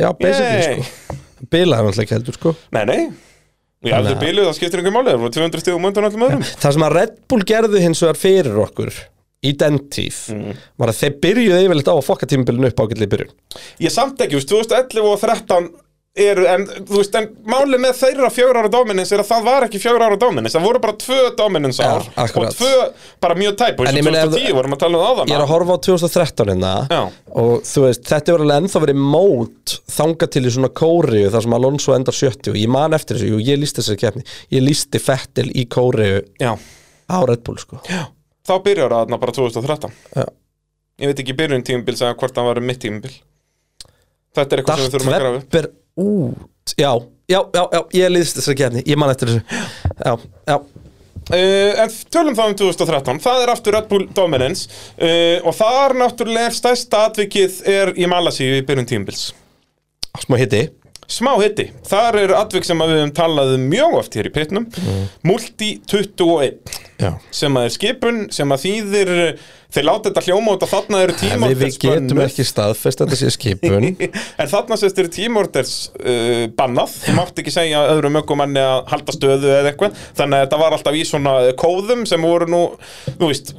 Já, basically, Yay. sko Bilaði náttúrulega ekki heldur, sko Nei, nei, og ef Þannig þau að- bíluð það skiptir einhver máli, það voru 200 stíðum undan öllum öðrum Það sem að Red Bull gerðu hins vegar fyrir okkur í den tíð Mm. var að þeir byrjuðu yfirleitt á að fokka tímabilinu upp ágætlega í byrjun Ég samt ekki, just, 2011 og 13 eru, en, þú veist, en máli með þeirra fjögur ára dominins er að það var ekki fjögur ára dominins, það voru bara tvö dominins ár Já, akkurat. og tvö bara mjög tæp og En ég eins og meina ef þú- 2010 vorum að tala um það áðan Ég er að horfa á 2013 hérna Já. og þú veist, þetta var alveg ennþá verið mót þanga til í svona kóriðu þar sem Alonso endar 70 og ég man eftir þessu, jú, ég lísti þessari keppni ég lísti Fettil í kóriðu Já, á Red Bull, sko Já, þá byrjar það þarna bara 2013 Já. Ég veit ekki í byrjun tímubil segja hvort það var mitt tímubil Þetta er eitthvað sem við Dart þurfum að grafa upp. Webber út Já, já, já, já, ég lísti þessari keppni ég man eftir þessu Já, já, Uh, en tölum það um 2013, það er aftur Red Bull Dominance uh, og þar náttúrulega er stærsta atvikið er í Malasíu í byrjun tímbils. smá hitti Smá hitti, þar er atvik sem að við höfum talað um mjög oft hér í pitnum, Mm. Multi 21 Já sem að er skipun, sem að þýðir, eh, þeir láta þetta hljóma út að þarna eru En við, við tímorters getum ekki staðfest að þetta sé skipun En þarna sérst eru tímorters uh, bannað, þú mátt ekki segja öðrum ökumanni að halda stöðu eða eitthvað þannig að þetta var alltaf í svona uh, kóðum sem voru nú, þú veist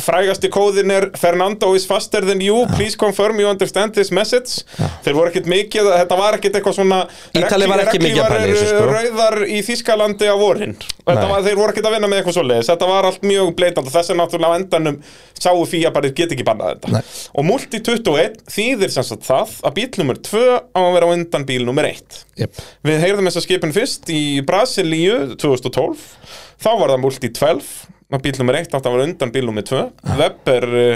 frægasti kóðin er Fernando is faster than you, please confirm you understand this message, þeir voru ekkit mikið þetta var ekkit eitthvað svona Ítalið var ekki mikið að reglívar pæla í þessu, eru sko. rauðar í Þískalandi á vorin þetta Nei. var, þeir voru ekkit að vinna með eitthvað svoleiðis þetta var allt mjög bleitandi, þess er náttúrulega á endanum sáu fíja bara, get ekki bannað þetta Nei. Og Multi 21 þýðir sem sagt það að bíl nummer 2 á að vera á undan bíl nummer 1 yep. Við heyrðum þess að skipin fyrst í Brasilíu 2012 Þá var það Multi 12 að bíl nummer 1 átt að vera á undan bíl nummer 2 Ah. Webber uh,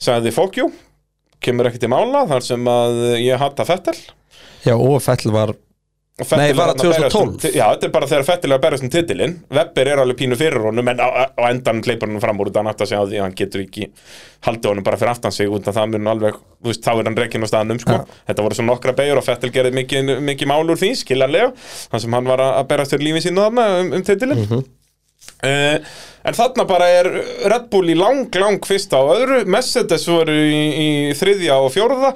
sagði fókjú Kemur ekki til mála þar sem að eh, ég hatta Fettel Já, og Fettil var Og Vettel Nei, er bara þarna að berjast um 2012. ti- Já, þetta er bara þegar Fettel er að berjast um titilinn Webber er alveg pínu fyrir honum En á, á endan hleypar hann fram úr þetta Hann átt að segja á því að hann getur ekki Haldið honum bara fyrir aftan sig Út að það mun alveg, þú veist, þá er hann reikinn á staðanum sko. Þetta voru svona nokkra beigur og Fettel gerði mikið, mikið mál úr því Skiljanlega Þann sem hann var að að berjast fyrir lífi sínu þarna um, um titilinn Eh, en þarna bara er Red Bull í lang, lang fyrsta og öðru Mercedes voru í, í þriðja og fjórða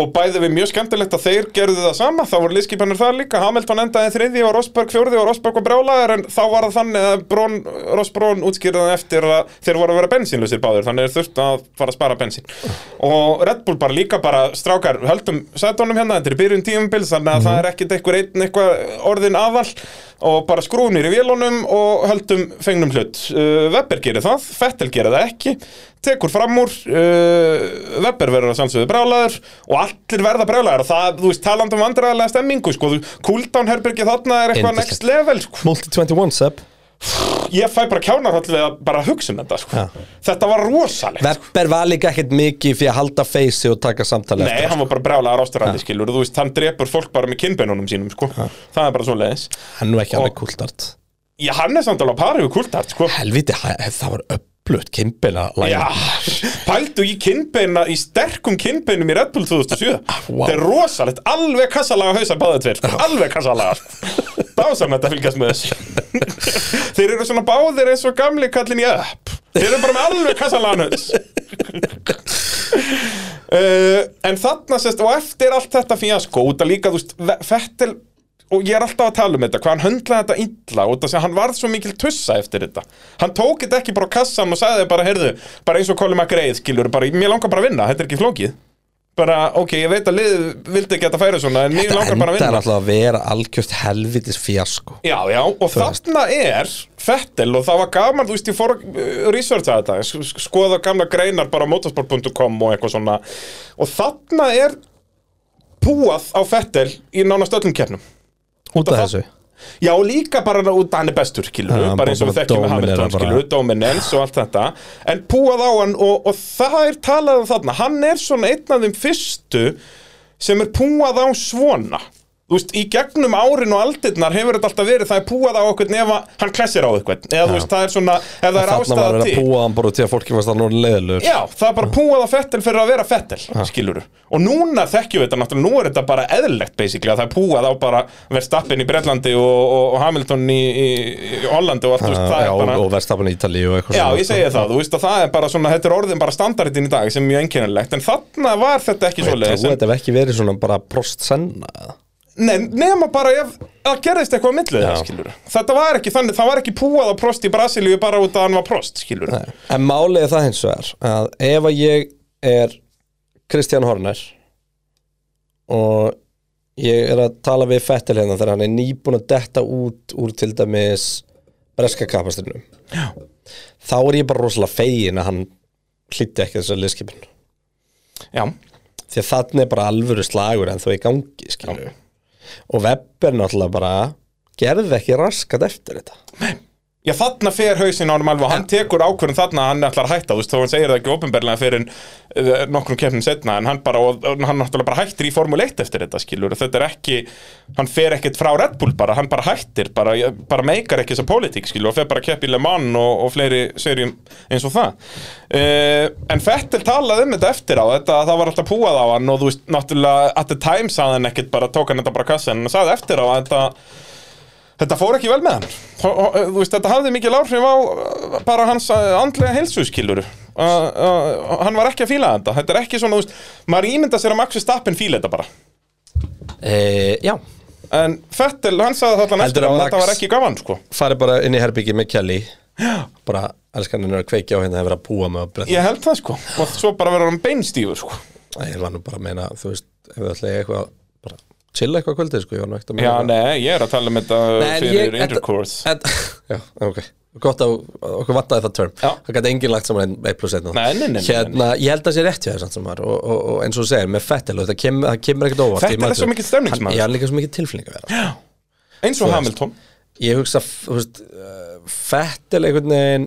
og bæði við mjög skemmtilegt að þeir gerðu það sama það voru liðskipanir þar líka, Hamilton endaði þriðja og Rosberg fjórði og Rosberg var brjálaður en þá var það þannig að Brón, Rosbrón útskýrðan eftir að þeir voru að vera bensínlusir báður þannig er þurft að fara að spara bensín og Red Bull bara líka bara strákar höldum sætunum hérna, þetta er byrjun tímubils þannig að það er ekkit einhver einn eitthvað orðin aðall og bara skrúnir í vélunum og höldum fengnum hlut uh, Webber gerir það, Fettel gerir það ekki tekur fram úr uh, Webber verður að sannsögðu brjálaður og allir verða brjálaður og það, þú veist, talandi um vandræðarlega stemmingu sko, þú- cooldown herbergi þarna er eitthvað Yndislegt. next level sko. Multi 21 sub ég fæ bara kjánarhald við að bara hugsa um þetta sko. Já. þetta var rosalegt Webber var líka ekkert mikið fyrir að halda feysi og taka samtali Nei, eftir hann var bara brjálaður ástæðandi skilur þú veist, hann drepur fólk bara með kinnbeinunum sínum sko. það er bara svo leiðis Hann er nú ekki alveg Og- kúltart Já, hann er samt alveg að pari við kultart sko. Helviti, hæ- það var upplut kimpina Já, pældu í kinnbeina í sterkum kinnbeinum í Red Bull 2007 Vá. Þetta er rosalegt, alveg kassalaga hausar báða tveir, sko. alveg kassalaga sko. Dásamlegt að fylgjast með þessu Þeir eru svona báðir eins og gamli kallin í upp Þeir eru bara með alveg kassalaga haus uh, En þarna sérst, og eftir allt þetta fíasko, út að líka, þú veist, Ve- Vettel og ég er alltaf að tala um þetta, hvað hann höndlaði þetta illa út af því að hann varð svo mikil tussa eftir þetta hann tók þetta ekki bara á kassan og sagði bara, heyrðu, bara eins og Colin McRae skilur, bara, mér langar bara að vinna, þetta er ekki flókið bara, ok, ég veit að liðið vildi ekki að þetta færa svona, en mér Það langar bara að endar vinna alltaf að vera algjört helvitis fjasko Já, já, og veist. þarna er Fettel og það var gaman, þú veist, ég fór að uh, researcha þetta, sk- skoða gamla greinar bara á motorsport.com og eitthvað svona og þarna er púað á Fettel í nánast öllum keppnum Út af það- þessu Já, og líka bara út að hann er bestur, skilur Já, bara eins og við bara þekkjum með dómir Hamilton, eða bara- skilur dominance og allt þetta en púað á hann og, og það er talað um þarna, hann er svona einn af þeim fyrstu sem er púað á svona þú veist, í gegnum árin og aldirnar hefur þetta alltaf verið, það er púað á okkur ef að- hann klessir á eitthvað, eða þú veist, það er svona ef það er Þarna var ástæða hann að til púa hann bara til að fólki varst þannig leðilegur Já, það er bara púað á Fettel fyrir að vera Fettel, skiluru Og núna þekkjum við þetta náttúrulega, nú er þetta bara eðlilegt basically að það er púað á bara Verstappen í Bretlandi og, og, og Hamilton í, í, í Hollandi og allt, þú veist, Já, það er og, bara og verðstafan í Ítalíu og eitthvað Já, svona, ég sko. segi það, þú veist að það er bara svona, þetta er orðin bara standardin í dag sem er mjög einkennilegt, en þarna var þetta ekki Ég svoleiðis, trúi en, þetta hef ekki verið svona bara prost senna eða? ne, nema bara ef það gerðist eitthvað á millið það, Já. skilur Þetta var ekki þannig, það var ekki púað á prost í Brasilíu bara út að hann var prost, skilur Nei. En málið er það hins vegar að ef að ég er Kristján Horner og ég er að tala við Fettil hérna þegar hann er nýbúin að detta út úr til dæmis breska kapastrinum þá er ég bara rosalega fegin að hann hlýtti ekki þessar liðskipin Já, því að þannig er bara alvöru slagur en þó í gangi skilju og Webber náttúrulega bara gerði ekki raskat eftir þetta Já, þarna fer hausinn á hann alveg og hann tekur ákvörðin þarna að hann ætlar að hætta, þú veist, þó hann segir það ekki ofinberlega fyrir uh, nokkrum keppnum setna en hann bara, og, hann náttúrulega bara hættir í Formule 1 eftir þetta, skilur, þetta er ekki hann fer ekkert frá Red Bull bara, hann bara hættir bara, bara meikar ekki þessa pólitík, skilur, og fer bara að keppa í Le Mans og, og fleiri serjum eins og það uh, En Fettel talaði um þetta eftir á þetta, að það var alltaf púað á hann og þú veist, náttúrulega, at the time sagði hann ekkert bara, tók hann þetta bara á kassann, en hann sagði eftir á að þetta þetta fór ekki vel með hann Ho- ho- þú veist, þetta hafði mikil áhrif á uh, bara hans uh, andlega heilsuskilur uh, uh, hann var ekki að fíla þetta þetta er ekki svona, þú veist, maður ímynda sér að Maxi Stappin fíla þetta bara e, Já en Fettel, hann sagði það allan Heldur eftir að á að Max- þetta var ekki gaman, sko farið bara inn í herbyggi með Kelly bara elskan hennar að kveikja á hérna hefur að púa með að brenda ég held það, sko, og svo bara verður hann beinstífur, sko ég var nú bara að meina þú veist ef við ætlaði eitthvað bara chilla eitthvað kvöldið sko ég var nú ekkert að já, meina eitthvað. nei, ég er að tala um þetta Nei, en fyrir ég- intercourse en, já ok gott að að okkur vantaði það term Já. það gæti enginn lagt saman 1 plus 1 Nei, nei, nei, nei, nei. hérna ég held að sé rétt hjá þér samt sem var og, og, og eins og þú segir með Fettel og það kemur, það kemur ekkert óvart Vettel er svo mikill stemningsmaður. ég er líka svo mikið tilfinning að vera eins og Hamilton ég hugsa þú veist, uh, Fettel einhvern veginn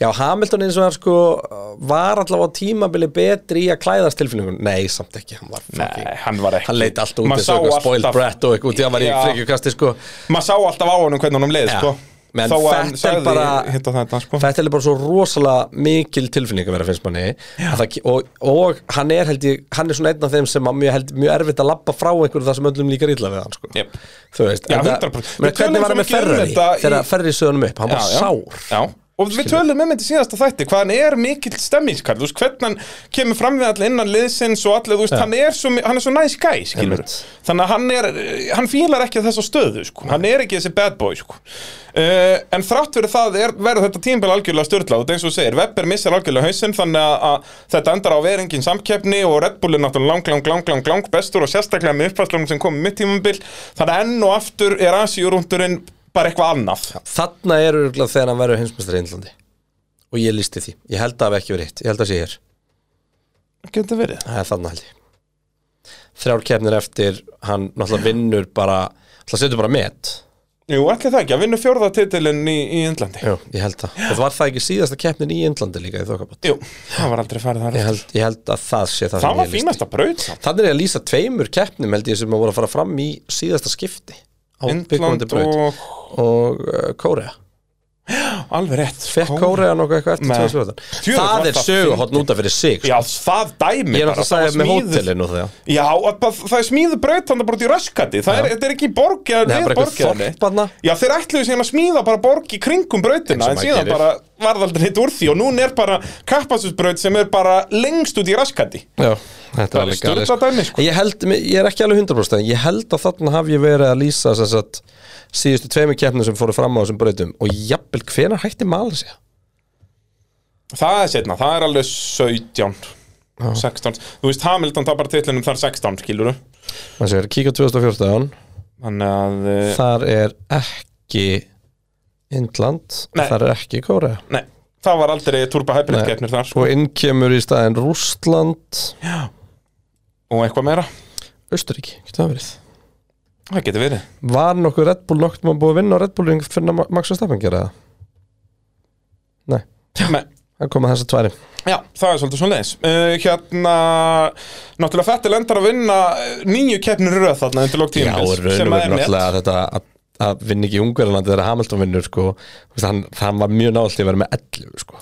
já Hamilton eins og hann sko uh, var allavega á tímabili betri í að klæðast tilfinningun nei samt ekki hann var nei, fucking hann var ekki hann leit allt út Maður eins sá og eitthvað spoiled alltaf- brat og eitthvað út í að hann var í Já. frekjukasti sko maður sá alltaf á honum hvernig honum leið, Já. sko menn Þó að hann Fettel sagði bara hitt og þetta, sko. Fettel er bara svo rosalega mikil tilfinning að vera finnst manni Að það, og, og hann er held ég hann er svona einn af þeim sem að mjög, held, mjög erfitt að labba frá einhverju það sem öllum líkar illa við hann sko. Jep. þú veist Já, en það- 100%. menn Við tölum hvernig var hann með svo mikið um Ferrari þetta í- þegar Ferrari sögðunum upp hann var sár já. Og við tölum um þetta í síðasta þætti, hvað hann er mikill stemmingskall, þú veist, hvernig hann kemur fram við allir innan liðsins og allir, þú veist, hann er svo, mi- hann er svo næs gæ, skilur. Einmitt. Þannig að hann er, hann fílar ekki þessa stöðu, sko, hann er ekki þessi bad boy, sko. Uh, en þrátt fyrir það er, verður þetta tímbil algjörlega störtlað og það eins og þú segir, Webber missar algjörlega hausinn þannig að, að þetta endar á að vera engin samkeppni og Red Bull er náttúrulega lang, lang, lang, lang, lang bestur og sérstaklega með uppfæslunum sem kom í mitt tímabil, þannig að enn og aftur er Asíurúndurinn bara eitthvað annað. þarna er örgulega þegar hann verður heimsmestari í Índlandi og ég listi því ég held að það hafi ekki verið hitt ég held að sé hér Getur verið. það er þarna held ég þrjár keppnir eftir hann náttúrulega vinnur bara náttúrulega setur bara met Jú, allir það ekki, að vinna fjórða titilinn í, í Indlandi Jú, ég held það og það var það ekki síðasta keppnin í Índlandi líka í þokkabot Jú, það var aldrei farið þar ég aftur. held, ég held að það sé það, Það sem var ég listi. fínasta braut samt Þannig er ég að lýsa tveimur keppnum held ég sem að voru að fara fram í síðasta skipti á byggvandi Indland braut og og uh, Kórea alveg rétt sko. Fekk Kórea nokkuð eitthvað Nei. eftir 2014 Fjögur var Það er það söguhotn út af fyrir sig sko. Já, það Ég dæmi er bara, alltaf að það var segja með smíðuð- hótelinu þegar Já, að- að- það er smíðu braut þannig bara út í raskati Það er, þetta er ekki borg eða Nei, það er við bara eitthvað borginni. þorpanna Já, þeir ætluðu síðan að smíða bara borg í kringum brautina Eins og En maður síðan gerir. bara varð aldrei hitt úr því Og núna er bara kappasusbraut sem er bara lengst út í raskati Já, þetta Það er er alveg galið sturlað dæmi, sko. En Ég held, ég er ekki alveg 100% en Ég held að þarna haf ég verið að lýsa sem sagt, síðustu tveimur keppnum sem fóru fram á þessum brautum og jafnvel hvenær hætti maður sér Það er setna, það er alveg 17 16, þú veist Hamilton tapar titlinum þar 16, skilur Man sér, kíka 2014 Þannig að eh, Þar er ekki Indland Nei. Þar er ekki Kórea Nei, það var aldrei turba hybrid Nei. keppnir þar sko. Og inn kemur í staðin Rústland og eitthvað meira, Östuríki, getur það verið það getur verið Var nokkuð Red Bull nokt maður búið að vinna á Red Bull ring fyrir að Max Verstappen gera það? Nei, Nei, það koma þessar tværi Já, það er svolítið svona leis uh, Hérna, náttúrulega Fettil endar að vinna eh, níu keppnir í röð þarna undir lók Já, og tímabils raun og veru náttúrulega þetta að, að vinna ekki í Ungverðanlandi þegar Hamilton vinnur sko, þú veist, hann, hann var mjög nált í að vera með 11 sko.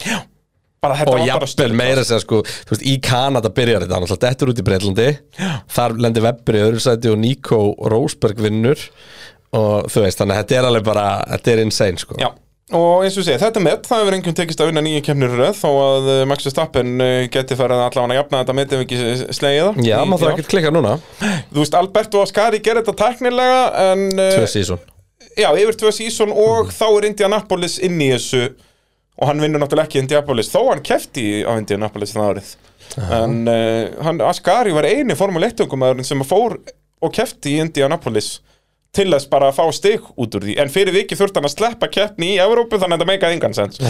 bara þetta og var bara jafnvel stund meira að segja sko, þú veist, í Kanada byrjar þetta hann alltaf dettur út í Breitlandi þar lendir Webber í öðru sæti og Nico Rosberg vinnur og þú veist, þannig að þetta er alveg bara þetta er insane sko Já, og eins og segja, þetta met, það hefur einhvern tekist að vinna nýju kemnir röð þó að eh, Max Verstappen eh, geti farið allavega að jafna þetta met ef ekki s- slegið það Já, Í- maður þarf ekki að klikka núna, Þú veist, Alberto Ascari gerir þetta tæknilega en, eh, tvö sísón Já, yfir tvö sísón og þá er Indianapolis inn í þessu og hann vinnur náttúrulega ekki Indianapolis þó hann kefti á Indianapolis það árið en uh, hann, Ascari var eini formule 1 tungumæðurinn sem fór og kefti í Indianapolis til þess bara að fá stig út úr því en fyrir vikið þurfti hann að sleppa keppni í Evrópu þannig að þetta meikaði engan sens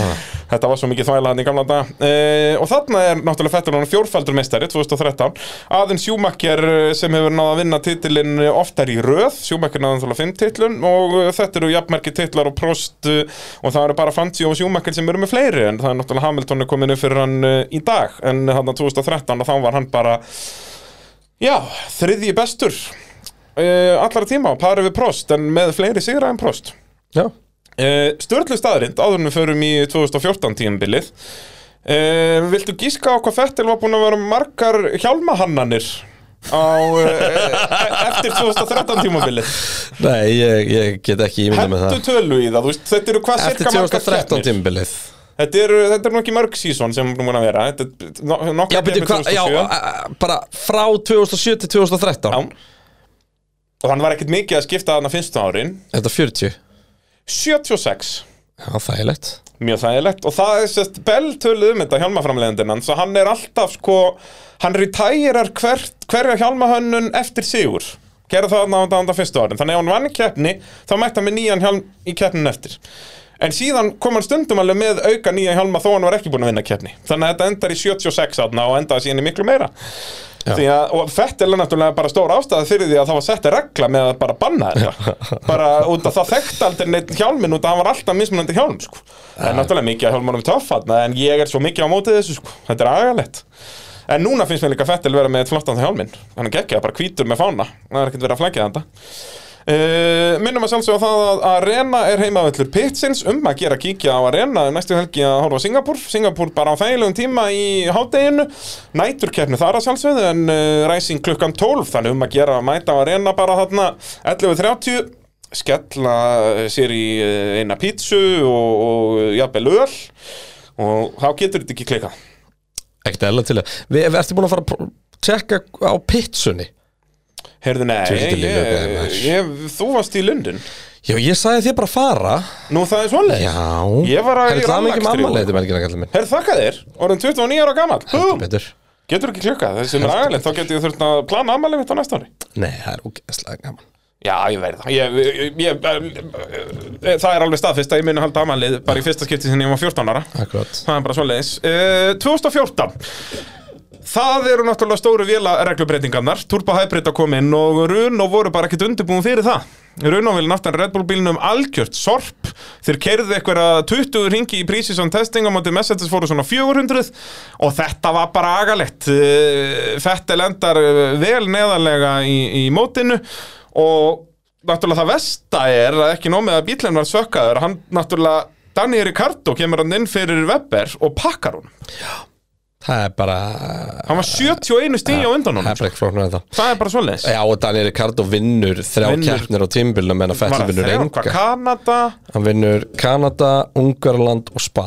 þetta var svo mikið þvæla hann í gamla dag uh, og þarna er náttúrulega fettur hann fjórfaldur meistari 2013, aðeins Sjúmakker sem hefur náða að vinna titilin oftar í röð, Sjúmakker náða náttúrulega fimm titlun og eh, þetta eru jafnmerki titlar og prost eh, og það eru bara Fantsi og Sjúmakker sem eru með fleiri en það er náttúrulega Hamilton er komin upp fyrir hann eh, í dag en þarna 2013 og þá var hann bara já, þriðji bestur uh, allara tíma á pari við Prost en með fleiri sigra en Prost Já, uh, Störlu staðrind áður en við förum í 2014 tímbilið uh, Viltu gíska á hvað Fettil var búin að vera margar hjálmahannanir á uh, eftir 2013 tímabilið nei, ég, ég get ekki ímynda með Hentu það tölu í það, þú veist, þetta eru hvað Eftir cirka margar 2013 keppnir tímbilið Þetta eru, þetta eru nú ekki mörg sísón sem búin að vera Þetta er no- Já, nokkrar byrju, keppnir hva, já, 2007. a- a- bara frá 2007 til 2013 já Og hann var ekkert mikið að skipta þarna finnstu árin Þetta er 40 76 Já, þægilegt Mjög þægilegt og það er sérst Bell töluð um þetta hjálmaframlegandinn hans og hann er alltaf sko, hann retærar hverja hjálmahönnun eftir sigur gera það þarna á þetta fyrstu árin þannig að ef hann vann í keppni þá mætti hann með nýjan hjálm í keppnin eftir en síðan kom hann stundum alveg með auka nýja hjálma þó hann var ekki búin að vinna keppni þannig að þetta endar í 76 þarna og endaði síðan í miklu meira Því að, og Fettel er náttúrulega bara stór ástæða fyrir því að það var sett regla með að bara banna þetta bara út af það þekkt aldrei neitt hjálmin út af að hann var alltaf mismunandi hjálm sko. það er náttúrulega mikið að hjálmunum töffatna en ég er svo mikið á mótið þessu sko. þetta er agalegt en núna finnst mér líka Fettel vera með flottan hjálmin hann er geggjað, bara hvítur með fána það er ekkert verið að flækja þetta Uh, minnum að sjálfsögja það að Arena er heimavöllur Pitsins um að gera kíkja á Arena um næstu helgi að horfa á Singapúr Singapúr bara á þægilegum tíma í hádeginu næturkeppni þar að sjálfsögðu en uh, Rising klukkan 12 þannig um að gera að mæta á Arena bara þarna 11.30 skella eh, sér í eh, eina pítsu og, og eh, jafnvel öl og þá getur þetta ekki klikað Ekkert eðla til að Við við ertu búin að fara að pró- tjekka á pitsunni Heyrðu, nei, Tjúlítið ég, líka, ég, maður. þú varst í Lundin Já, ég sagði þér bara að fara Nú það er svoleið Já Ég var að- Herri, ég það er mikið rafmagnsdrjúgur. mammalegið þetta merkina kallar minn Herðu þakka þér, orðin 29 ára gammal Heldur betur Getur ekki klukkað, það sem er agalegt, þá getur ég þurft að plana aðmælið mitt á næsta ári. Nei, það er ógeðslega gaman Já, ég verði það. Ég, ég, ég, eh, það er alveg staðfist að ég muni halda aðmælið bara í fyrsta skipti sinni ég var 14 ára. Akkurat Það er bara svoleiðis. Uh, 2014. Það eru náttúrulega stóru vila reglubreitingarnar. Turbo Hybrid að koma inn og Runo voru bara ekkert undirbúin fyrir það. Runo vil náttúrulega Red Bull bílnum algjört sorp. Þeir kerðu eitthvað 20 ringi í prísi sem testing á móti Mercedes fóru svona 400 og þetta var bara agalegt. Eh, Fettel endar eh, vel neðarlega í, í mótinu og náttúrulega það versta er að ekki nómið að bílinn var sökkaður hann náttúrulega Danny Ricardo kemur hann inn fyrir Webber og pakkar hún Það er bara hann var 71 stíð á undan sko. hún Það er bara ekki flóknar en það það er bara svoleiðis Já, og Daniel Ricardo vinnur þrjá Vinnur. keppnir á tímbilnum en að Fettil vinnur hvað enga Kanada Hann vinnur Kanada, Ungarland og Spa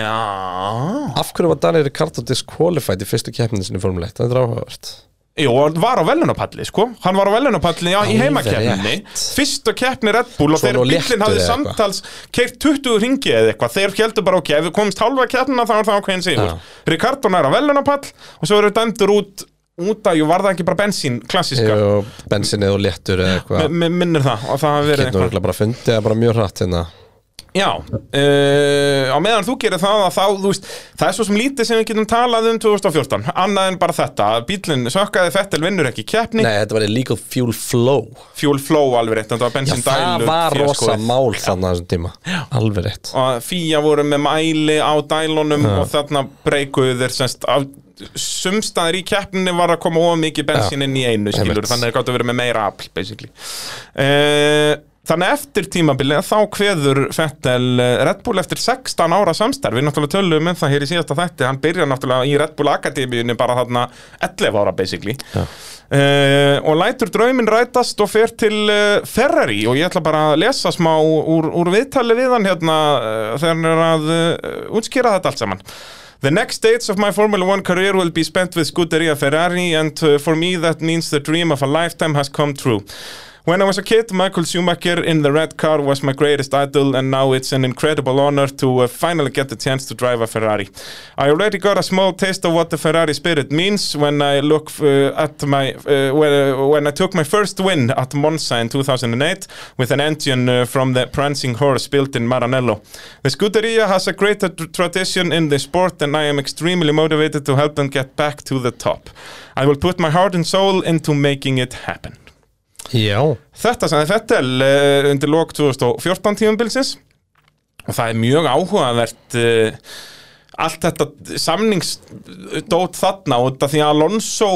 já Af hverju var Daniel Ricardo disqualified í fyrstu keppninu sinni formulegt? Það er áhugavert Jú, hann var á velunapalli, sko Hann var á velunapalli já, í Alveg heimakeppninni rétt. Fyrsta keppni Red Bull og Svo þegar nú léttur bíllinn hafði eða eitthvað. samtals Keirt 20 ringi eða eitthvað Þeir heldur bara, ok, ef við komumst halva keppnina þá er það ákveðin sigur Já. Ricardo nær á velunapall Og svo eru dæmdur út Út að, jú, var það ekki bara bensín, klassíska Og bensinnið og léttur eða eitthvað M- m- minnir það og það hafi verið Getur eitthvað nú bara fundið það bara mjög hratt hérna Já, uh, á meðan þú gerir það að þá, þú veist, það er svo sem lítið sem við getum talað um 2014 annað en bara þetta, að bílinn sökkaði Fettel vinnur ekki keppni, Nei, þetta var illegal fuel flow fuel flow alveg rétt, en það var Já, bensin það var rosa mál þarna á þessum tíma Alveg rétt og fíja voru með mæli á dælunum og þarna breykuðu þeir semst af sumstaðar í keppninni var að koma of mikið bensin inn í einu skilur, Einmitt. þannig að það gáttu að vera með meira afl basically uh, þannig að eftir tímabilið þá kveður Fettel eh, Red Bull eftir 16 ára samstarf, við náttúrulega töluðum um það hér í síðasta þætti, hann byrjar náttúrulega í Red Bull Akademíunni bara þarna 11 ára basically uh, og lætur drauminn rætast og fer til eh, Ferrari og ég ætla bara að lesa smá úr, úr viðtali við hann hérna eh, þegar hann er að uh, útskýra þetta allt saman The next stage of my Formula One career will be spent with Scuderia Ferrari, and uh, for me that means the dream of a lifetime has come true. When I was a kid, Michael Schumacher in the red car was my greatest idol, and now it's an incredible honor to uh, finally get the chance to drive a Ferrari. I already got a small taste of what the Ferrari spirit means when I look uh, at my uh, when, when I took my first win at Monza in 2008 with an engine uh, from the prancing horse built in Maranello. The Scuderia has a great tr- tradition in the sport, and I am extremely motivated to help them get back to the top. I will put my heart and soul into making it happen. Já Þetta sem þið Fettel uh, undir lok 2014 tímumbilsins og það er mjög áhugavert uh, allt þetta samningsdót þarna út af því að Alonso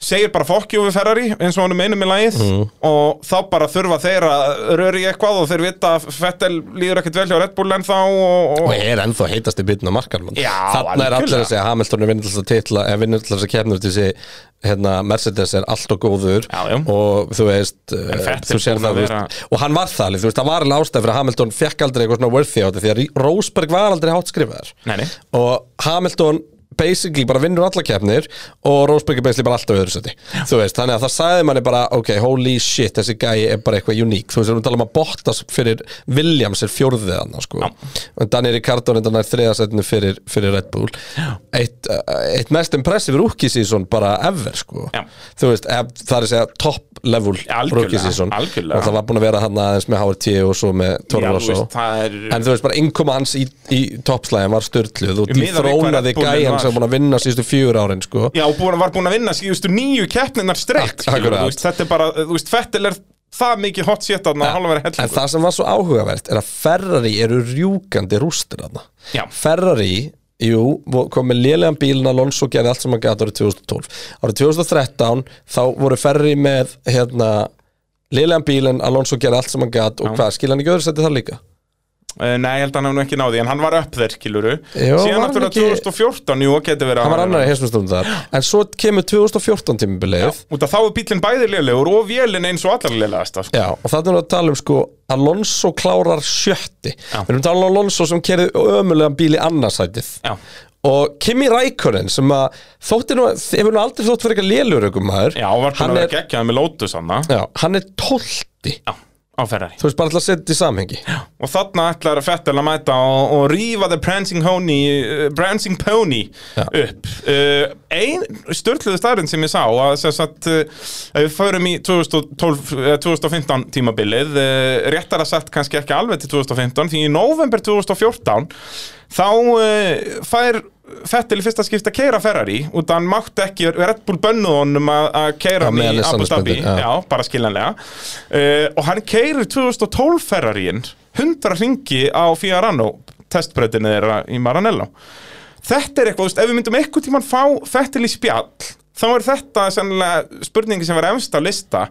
segir bara fokkjú við Ferrari eins og hann er meinum í lagið Mhm. og þá bara þurfa þeir að röri eitthvað og þeir vita að Fettel líður ekkert vel hjá Red Bull en þá og, Og er ennþá heitast í bytna markar mann. Já, Þarna er allir algjörlega. að segja Hamilton er vinnulast að titla En vinnulast að kefnur til sig Hérna, Mercedes er allt og góður Já, já. Og þú veist eh, Vettel þú sér búinn að það, þú vera- veist, Og hann var það alveg, Þú veist, það var alveg ástæð fyrir að Hamilton fekk aldrei eitthvað svona worthy á þetta Því að Rí- Rosberg var aldrei hátt skrifaðar Nei, nei. Og Hamilton basically bara vinnur alla kefnir og Rosberg er basically bara alltaf í öðru seti þú veist, þannig að það sagði manni bara ok, holy shit, þessi gæi er bara eitthvað uník þú veist, við erum að tala um að Bottas fyrir Williams er fjórðið hann, sko en Daniel Ricardo er þannig þriðasetinu fyrir, fyrir Red Bull eitt, uh, eitt mest impressive rookie season bara ever, sko Já. þú veist, ef, það er að segja top level Algjörlega, rookie season algjörlega. og það var búin að vera hann aðeins með HRT og svo með Já, Toro þú Rosso veist, það er En þú veist bara innkoma hans í, í toppslæðin var störtluð og Ég miða við dethrónaði hvað Red Bullin gæjan var. sem er búin að vinna síðustu fjör árin sko. Já, og búin, var búin að vinna síðustu nýju keppninar streitt Ak- skilur, akkurat. þú veist, Þetta er bara, þú veist, Fettel er það mikið hot shit að hann hálfa verið hellingur En það sem var svo áhugavert er að Ferrari eru rjúkandi rústir þarna Já. Ferrari, jú, vo- kom með lélegan bílin Alonso gerði allt sem hann gæti árið 2012 Árið 2013 þá voru Ferrari með hérna, lélegan bílin Alonso gerði allt sem hann gæti og hvað, skil hann ekki öðru seti það líka? Uh, nei, ég held að hann hef nú ekki náði, en hann var upp þeir, kiluru Jó, Síðan var hann náttúrulega ekki- 2014, jú, geti verið að Hann var annar í hinsmjöstum þar En svo kemur 2014 tímubilið Út af þá er bílinn bæði lélegur og vélinn eins og allar lélegast sko. Já, og það er að tala um sko Alonso klárar sjötti Já. Við erum að tala um Alonso sem kerði ömulegan bíl í annarsætið Já. Og Kimi Rækonen sem að þótti nú, hefur nú aldrei þótt fyrir eitthvað lélur ykkur maður Já, og var búin hann, að vera er, geggjaði með Lotus hann já, hann er tólti Já, á Ferrari Þú veist bara alltaf að setja þetta í samhengi já. Og þarna ætlar Fettel að mæta og, og rífa the prancing pony, uh, prancing pony upp uh, Ein störtluðu starinn sem ég sá að sem sagt, uh, ef við förum í 2012, uh, 2015 tímabilið uh, réttar að sagt kannski ekki alveg til 2015 því í november 2014 þá uh, fær Fettel í fyrsta skipta að keira Ferrari út að hann mátti ekki, Red Bull bönnuð honum að að Já, keira hann meðan í er Abu Dhabi samningsbundin, já. já, bara skiljanlega uh, og hann keirir 2012 Ferrarín 100 ringi á Fiorano testbröðinu þeirra í Maranello þetta er eitthvað, þú veist, ef við myndum eitthvað tímann fá Fettil í spjall þá er þetta sennilega spurningi sem var efst á lista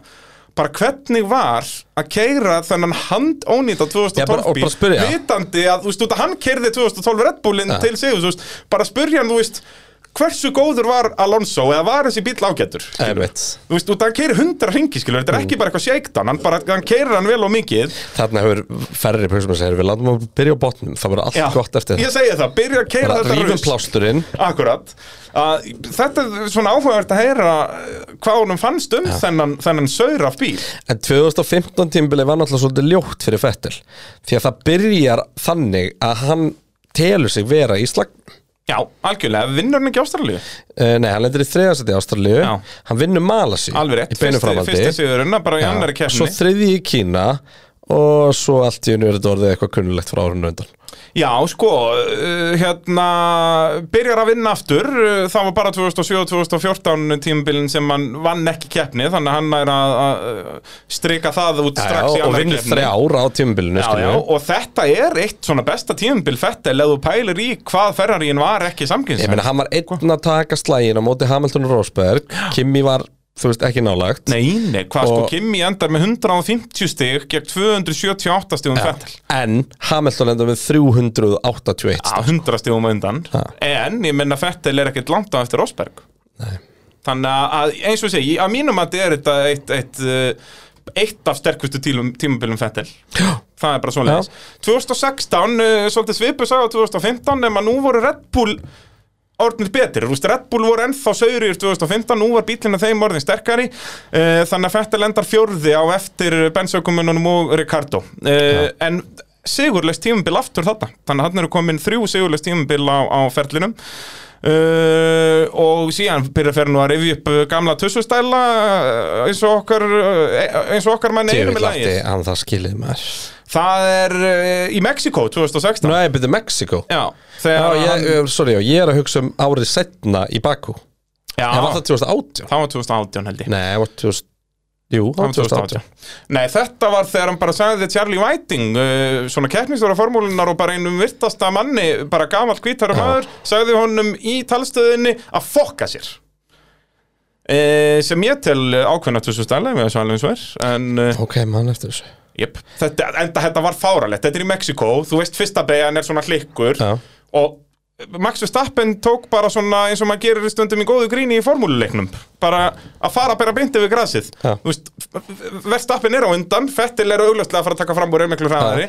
bara hvernig var að keira þennan handónýta Já, bara- 2012 og bíl bara spyrja. vitandi að, þú veist, út að hann keirði 2012 Red Bullinn Já. til sig, þú veist, bara spyrja hann, þú veist, hversu góður var Alonso eða var þessi bíl ágætur skilurðu? Þú veist, út að hann keirir hundra ringi, skilur, þetta er ekki bara eitthvað shakedown, hann bara, hann keirir hann vel og mikið. Þarna hefur Ferrari pöksum að segja Við landum að byrja á botnum, það voru allt gott eftir Ég segi það, byrja að keira Bara þetta rífum plásturinn Akkurat. Að, þetta er svona áhugavert að heyra eh, hvað honum fannst um þennan, þennan saur af bíl. En 2015 tímbili var náttúrulega svolítið ljótt fyrir Fettel Því að það byrjar þannig að hann telur sig vera í slag Já, algjörlega, vinnur hann ekki Ástralíu? uh, Nei, hann lendir í þriðarsæti ástralíu Já. Hann vinnur Malasí Alveg rétt, Í beinu fyrsti, framhaldi fyrsti sigurinn, bara í Já. annari keppni. Svo þriði í Kína og svo allt í unni verið orðið eitthvað kunnulegt frá árunum undan Já, sko, uh, hérna, byrjar að vinna aftur, uh, það var bara 2007-2014 tímabilin sem hann vann ekki keppni, þannig að hann er að, að strika það út Já, já, strax í og annarri vinnur keppni. þrjára á tímabilinu Já, já, og þetta er eitt svona besta tímabil Fettel ef þú pælir í hvað Ferrarín var ekki samkynns Ég meina, hann var Sko. einn að taka slægin á móti Hamilton og Rosberg Kimi var, þú veist, ekki nálagt Nei, nei, hvað sko, Og- Kimi endar með 150 stig gegn 278 stigum Fettel En Hamilton endur með 381 Já, 100 stigum á undan sko. Ha. En ég menna Fettel er ekkert langt á eftir Rosberg Nei. Þannig að eins og ég segi, að mínum að þetta er þetta eitt, eitt, eh, eitt af sterkustu tílum, tímabilum Fettel Það er bara svona leis 2016, eh, svolítið svipu sagði á 2015 nema nú voru Red Bull orðnir betur, þú veist, Red Bull voru ennþá saurir 2015, nú var bílina þeim orðin sterkari eh, þannig að Fettel endar fjórði á eftir bensaukumununum og Ricardo eh, en sigurlegs tímabil aftur þarna þannig að þarna eru komin þrjú sigurlegs tímabil á, á ferlinum Uh, og síðan byrja að fer nú að rifja upp uh, gamla tussustæla uh, eins og okkar uh, eins og okkar mann erum Djöfull með átti lagi hann það skilið maður það er uh, í Mexiko 2016 Nei, byrðu Mexiko já, Já, þegar ég, hann, hann... sorry, já, ég er að hugsa um árið setna í Baku En já, var það 2018? það var 2018 held ég Nei, það var 2000 Jú, það var 2018 Nei, þetta var þegar hann bara sagði Charlie Whiting, uh, svona keppnistóra formúlunar og bara einum virtasta manni bara gamall hvítara maður, sagði honum í talstöðinni að fokka sér uh, sem ég tel ákveðna þessu stæla, við erum svo alveg eins og er en, uh, Ok, mann eftir þessu jöp, þetta, enda þetta var fáralegt þetta er í Mexiko, þú veist fyrsta beigjan er svona hlikkur Já. og Max Verstappen tók bara svona eins og maður gerir stundum í góðu gríni í formúluleiknum bara að fara að bera bindi við grasið Já. Þú veist, Verstappen er á undan Fettil er augljóslega að fara að taka fram úr er miklu hraðari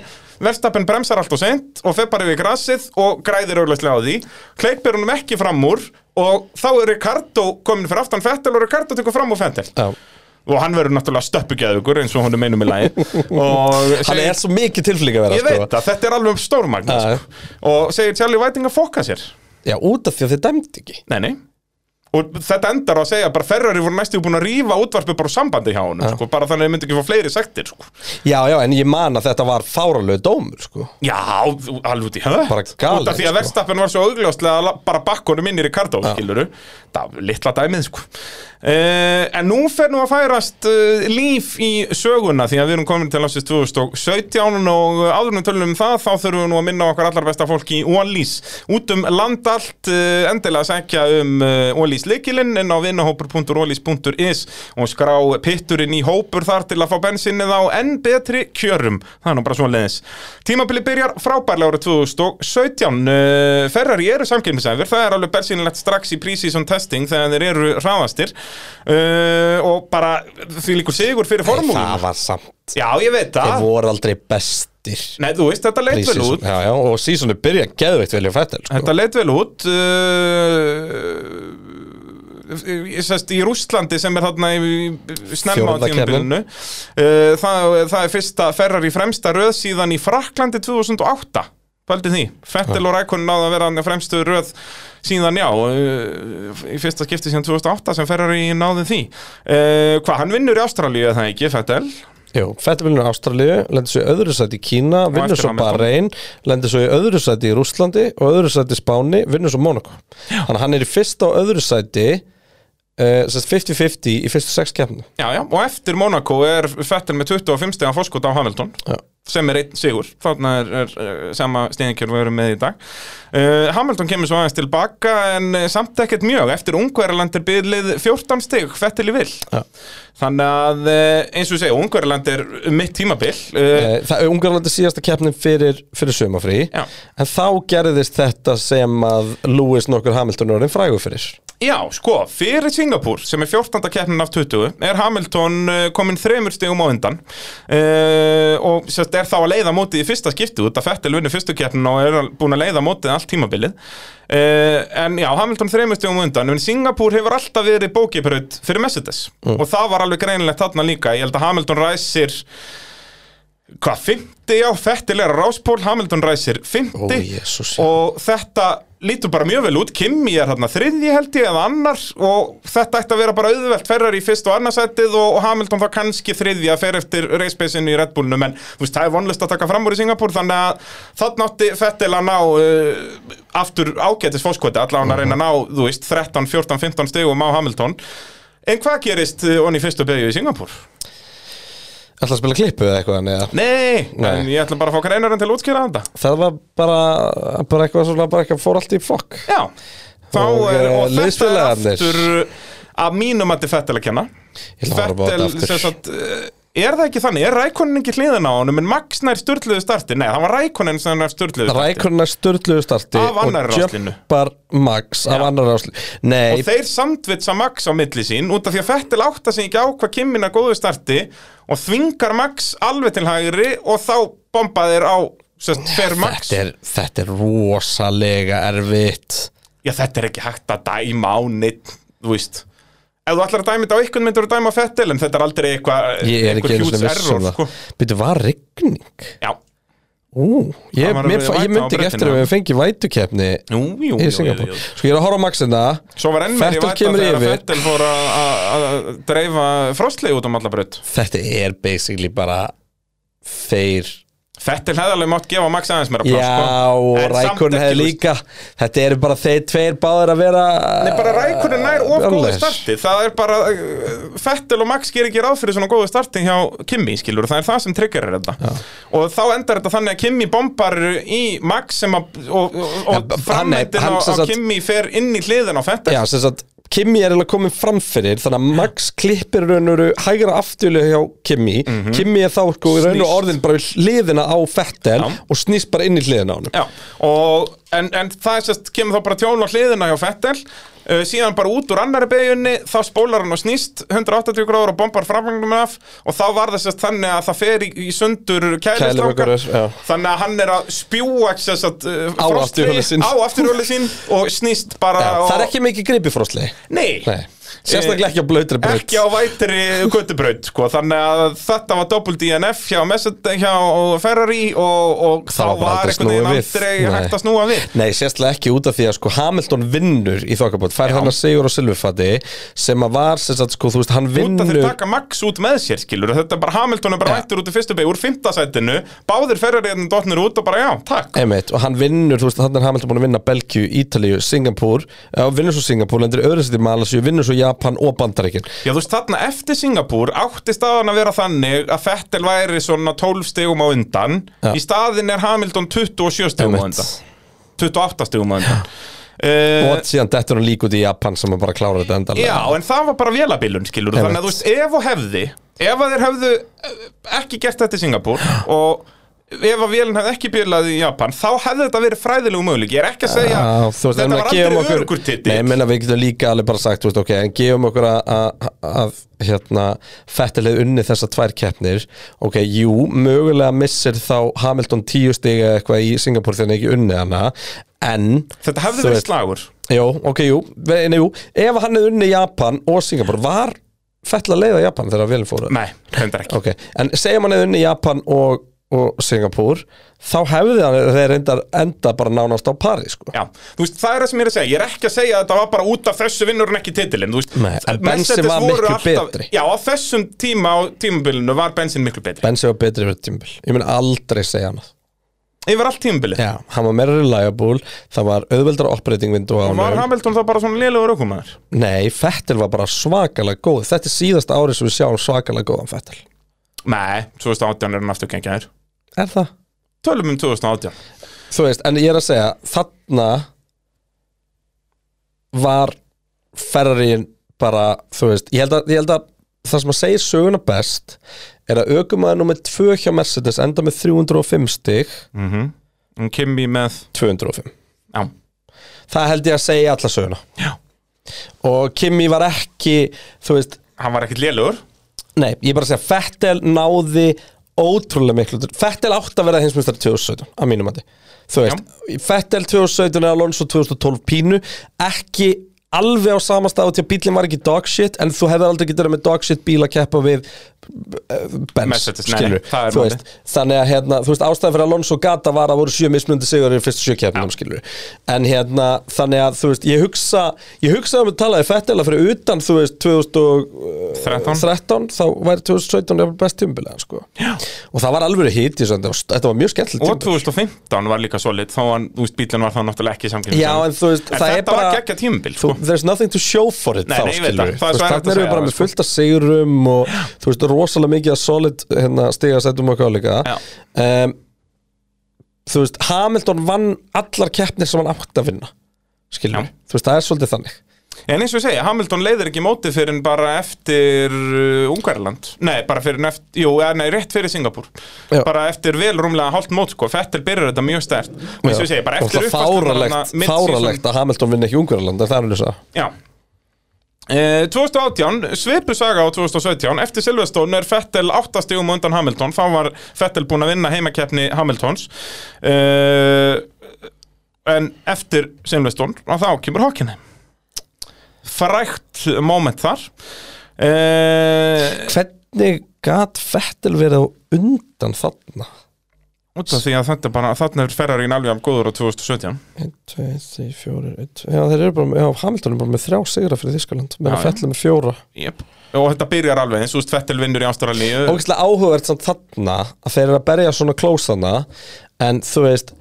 Verstappen bremsar allt og seint og fer bara við grasið og græðir augljóslega á því Kleipir honum ekki fram úr og þá er Ricardo komin fyrir aftan Fettil og Ricardo tekur fram úr Fettil Já. og hann verður náttúrulega stöppugeðugur eins og honum einum í lagi og Hann er svo mikið tilflík að vera sko. Ég veit að þetta er alveg stórmagna Já. sko. og segir Charlie Whiting að fokka sér Já, út af því að þið dæmdi ekki Nei, nei Og þetta endar á að segja bara Ferrari voru næstu búin að rífa útvarpið bara úr sambandi hjá honum sko, bara þannig að þau myndi ekki fá fleiri sektir sko. Já, já, en ég man að þetta var fáralegu dómur, sko Já, þú- alveg út í höf Bara galið, Út af því að sko. Verstappen var svo augljóslega að la- bara bakkunum inn í Ricardo, skiluru Það var litla dæmið, sko uh, En nú fer nú að færast uh, líf í söguna Því að við erum komin til ásins 2017 og áðurnum tölum um það Þá þurfum við nú að minna á okkar allar besta fólk í Ólís Út um land allt uh, endilega að segja um uh, Ólís leikilinn En á vinahópur.ólís.is Og skrá pitturinn í hópur þar til að fá bensinnið á enn betri kjörum Það er nú bara svona leðis Tímabili byrjar frábærlega árið 2017 uh, Ferrari eru samkynnisæfur Það er alveg bersýnilegt strax í pre-season testing Þegar þeir eru hraðastir uh, Og bara því líkur sigur fyrir Það formúlum var samt Já, ég veit Þeir það voru aldrei bestir Nei, þú veist, þetta leit vel Pre-season. út já, já, og sísonu byrja geðveikt vel í fættel sko. Þetta leit vel út uh, ég sest, í Rússlandi sem er þarna í, í- snemma á Fjórða tímabilinu uh, það, það er fyrsta Ferrari fremsta röð síðan í Fraklandi 2008 Paldið því, Fettel og Rækon náðu að vera hann fremstu röð síðan já, uh, í fyrsta skipti síðan 2008 sem Ferrari náði því. Uh, Hvað, hann vinnur í Ástralíu eða það ekki, Fettel? Jú, fættel vinnur Ástralíu, lendur svo í öðru sæti í Kína vinnur eftir svo á með Bahrein, lendur svo í öðru sæti í Rússlandi og öðru sæti í Spáni, vinnur svo Monaco Þannig að hann er í fyrsta og öðru sæti uh, sest 50-50 í fyrstu sex keppni Já, já, og eftir Monaco er Fettel með 25 stegan fórskot á Hamilton Já. sem er einn sigur þarna er, er eh, sama steiningkjörn við erum með í dag uh, Hamilton kemur svo aðeins tilbaka en eh, samt ekkert mjög eftir Ungverjaland er byrlið 14 stig Fettel í vil Já. þannig að eh, eins og ég segja, Ungverjaland er mitt tímabil uh, Eh, Það er Ungarlandi síðasta keppnin fyrir, fyrir sömafrí Já. En þá gerðist þetta sem að Lewis nokkur Hamilton er orðinn frægur fyrir Já, sko, fyrir Singapúr sem er 14. keppnin af 20 er Hamilton eh, kominn þremur stegum á undan uh, og sérst er þá að leiða mótið í fyrsta skiptið út að Fettel vinnur fyrstu keppnin og er al- búinn að leiða mótið allt tímabilið uh, en já, Hamilton þremur stegum á undan en Singapúr hefur alltaf verið bókibraut fyrir Mercedes og það var alveg greinilegt þarna líka ég held að Hamilton ræsir hvað, 50 já, Fettil er að ráspól Hamilton ræsir 50 Ó, Jesús, já. og þetta lítur bara mjög vel út Kimi er þarna þriðji held ég eða annar og þetta ætti að vera bara auðvelt ferrar í fyrst og annarsættið og, og Hamilton þá kannski þriðji að fer eftir racebasinu í Red Bullnum en þú veist, það er vonlust að taka fram úr í Singapur þannig að þarna átti Fettil að ná uh, aftur ágætis fóskvöti allan að reyna að ná, þú veist, 13, 14, 15 stegum á Hamilton en hvað gerist uh, onni í fyrstu beigju í Singapur? Ætla að spila klippu eða eitthvað en eða Nei, Nei. en ég ætla bara að fá greinarinn til að útskýra þetta Það var bara, bara eitthvað svona, bara eitthvað fór allt í fokk Já, þá Og, er, eh, og þetta er liðsfélagarnir. aftur eh, að mínum að þetta er Fettel að kenna Ég ætla að horfa á þetta aftur. sem sagt, eh, er það ekki þannig, er Rækonin ekki hliðin á honum en Max nær sturluðu starti, nei það var Rækonin sem nær sturluðu starti Rækurna störtluðu starti Af annarri og ráslinu. jumpar Max af Já. annar ráslinu Nei, og þeir samtvitsa Max á milli sín út af því að Fettel átta sig ekki á hvað kimmina góðu starti og þvingar Max alveg til hægri og þá bomba þeir á sem sagt, fer Max þetta, er, þetta er rosalega erfitt já þetta er ekki hægt að dæma á neitt, þú veist ef þú ætlar að dæma þetta á einhvern myndur að dæma á Fettel en þetta er aldrei eitthvað Ég er ekki einhver einu huge svona vissum error, það sko. Býttu, var rigning? Já, Ú, ég, Það var mér, alveg fa- ég væta á myndi ekki brautinni. eftir að við fengi vætukeppni jú, jú, í jú, jú, Singapur jú. Sko ég er að horfa á Maxina Svo var enn meiri Fettel væta kemur þegar yfir Fettel fór að- að að dreifa frostlið út um alla braut Þetta er basically bara þeir Fettel hefði alveg mátt gefa Max aðeins meira pláss, Já, sko. og En samt Rækun ekki, hefði þú veist. líka Þetta eru bara þeir tveir báðir að vera Nei, bara rækurinn nær of góðu Alveg. starti Það er bara, uh, Fettel og Max ger ekki ráð fyrir svona góðu starti hjá Kimi, skilur Það er það sem triggerir þetta Og þá endar þetta þannig að Kimi bombar í Max sem að Og, og, og Já, hann- nei, framleitin á, hann sem á sagt- Kimi fer inn í hliðin á Fettel Já, sem sagt, Kimi er eiginlega komin framfyrir Þannig að Max klippir raunuru hægra afturlu hjá Kimi Kimi er þá sko í raunuru Mhm. Snýst. orðin bara við hliðina á Fettel Já. Og snýst bara inn í hliðina á honum Já, og, en, en það er sérst, kemur þá bara tjón á hliðina hjá Fettel uh, síðan bara út úr annari beigjunni þá spólar hann og snýst 180 gráður og bombar framgangnum af og þá var það sérst þannig að það fer í, í sundur kælislákar Kælivökkur, já. þannig að hann er að spjúa sérst, uh, Á afturhjólið sín. á afturhjóli sín og snýst bara Já, og, það er ekki mikið gripi frosli Nei, Nei, sérstaklega ekki á blautri braut ekki á vætri göttubraut sko. þannig að þetta var doppel DNF hjá, Mercedes- hjá Ferrari og, og þá Það var bara aldrei var einhvern veginn snúið við. aldrei Nei. hægt að snúa við Nei, sérstaklega ekki út af því að sko Hamilton vinnur í þokkabót Fær hann að sigur og silfurfati Sem að var, sem sagt, sko, þú veist, hann út að þeir vinnur taka Max út með sér skilur þetta er bara Hamilton er bara Ja. hættur út í fyrstu beig úr fymtasætinu, báðir ferrariðin dotnir út og bara já, takk Einmitt, og hann vinnur, þú veist, þannig er Hamilton búin að vinna Belgíu, Ítalíu, Singapúr uh, vinnur svo Singapúr, lendur í öðru sæti í Malasíu vinnur svo Japan og Bandaríkin Já, þú veist, þarna eftir Singapúr átti staðan að vera þannig að Fettel væri svona 12 stegum á undan Ja. í staðin er Hamilton 27 stegum á undan Einmitt. 28 stegum á undan uh, og síðan dettur hann líka út í Japan sem að bara klára þetta endanlega Já, en það var bara vélabilun, skilur Einmitt. Þannig að þú veist, ef og hefði Ef að þeir hefðu eh, ekki gert þetta í Singapúr Og ef að vélun hefði ekki bílað í Japan Þá hefði þetta verið fræðilegu möguleik Ég er ekki að segja, Já, þú veist, en þetta við var gefum aldrei okkur örugur Nei, titill ég meina við getum líka alveg bara sagt, þú veist, ok, en gefum okkur að, að, að hérna, fettileg unni þessar tvær keppnir ok, jú, mögulega missir þá Hamilton tíu stiga eitthvað í Singapúr þegar hann ekki unni hana en Þetta hefði þú verið veist, slagur Jó, ok, jú, Ve- nei, jú Ef hann hefði unni Japan og Singapur Var fell að leiða Japan þegar Vilin fóru? Nei, þetta er ekki Ok, en segjum hann hefði unni Japan og, og Singapur Þá hefði hann þeir reyndar enda bara nánast á pari sko. Já, þú veist, það er það sem ég er að segja Ég er ekki að segja að þetta var bara út af þessu vinnur en ekki titilinn þú veist. Nei, en Mercedes Benzema var voru miklu alltaf- betri. Já, á þessum tíma á tímabilinu var bensin miklu betri Bensi var betri fyrir tímbil Ég mun aldrei segja hann Yfir allt tímabilið Já, hann var meira reliable Það var auðveldara operating window á Og var honum. Hamilton þá bara svona lélegur aukumæður Nei, Fettel var bara svakalega góð Þetta er síðasta árið sem við sjáum svakalega góðan Fettel Nei, 2018 er hann aftur gengjaður Er það? Tölum um 2018 þú veist, en ég er að segja þarna var Ferrarin bara, þú veist, ég held að, ég held að það sem að segja söguna best er að aukumæður nummer 2 hjá Mercedes enda með 305 stig Hún Kimi Um með 205, Já, það held ég að segja alla söguna Já. og Kimi var ekki, þú veist hann var ekkert lélugur nei, ég er bara að segja, Fettel náði ótrúlega miklu, Fettel átt að vera hinsmjöstar 2017, að mínum mati þú veist, Fettel 2017 eða Alonso 2012 pínu, ekki alveg á sama stað og til að bílinn var ekki dog shit en þú hefði aldrei getið verið með dog shit bíl að keppa við eh, Benz, Mercedes, nei, skilur það er þú málið. veist, þannig að hérna, þú veist, ástæðan fyrir Alonso Gata var að voru sjö mismunandi sigur í fyrstu sjökeppnum, skilur en hérna, þannig að, þú veist, ég hugsa ég hugsa um að tala í fettilega fyrir utan, þú veist, 13. 2013 þá væri 2017 jafnvel best tímbilega, sko Já. og það var alveg hitt í svona, þetta var mjög skemmtilegt Og tímabil. 2015 var líka solid Þá var, þú veist, bílinn var þá náttúrulega ekki samkynning Já, en þú veist, En það er þetta bara var geggja tímabil, þú, sko. There's nothing to show for it Nei, þá, nei, ég veit skilur það. Það er svo erfitt að Þannig erum við segja sko. bara það, með fullt af sigrum og þú veist, rosalega mikið að solid hérna, stiga sætum okkar líka Já. um, Þú veist, Hamilton vann allar keppnir sem hann átt að vinna skilur, Já. þú veist, það er svolítið þannig En eins og ég segja, Hamilton leiðir ekki mótið fyrir en bara eftir uh, Ungarland Nei, bara fyrir en eftir, jú, eh, nei, rétt fyrir Singapur Já. Bara eftir vel rúmlega hálft mót, sko Fettel byrjar þetta mjög stert Og eins og ég segja, bara Og eftir það fáralegt, fáralegt að Hamilton vinna ekki Ungarland, en það er nú svo Já Eh, 2018, svipu saga á 2017 eftir Silveston er Fettel 8 stigum á undan Hamilton, þá var Fettel búinn að vinna heimakeppni Hamiltons eh, en eftir Silveston og þá kemur Hawkinni frækt moment þar eh, Hvernig gat Fettel verið á undan þarna? út af því að þetta bara, þarna er Ferrarín alveg af góður á 2017 1, 2, 3, 4, 1 Já, þeir eru bara með, já, Hamilton er bara með þrjá sigra fyrir Þískaland, meðan Já, já. Fettel er með fjóra yep. og þetta byrjar alveg eins og Fettel vinnur í Ástralíu ógæslega áhugavert samt þarna að þeir eru að berja svona close hana en þú veist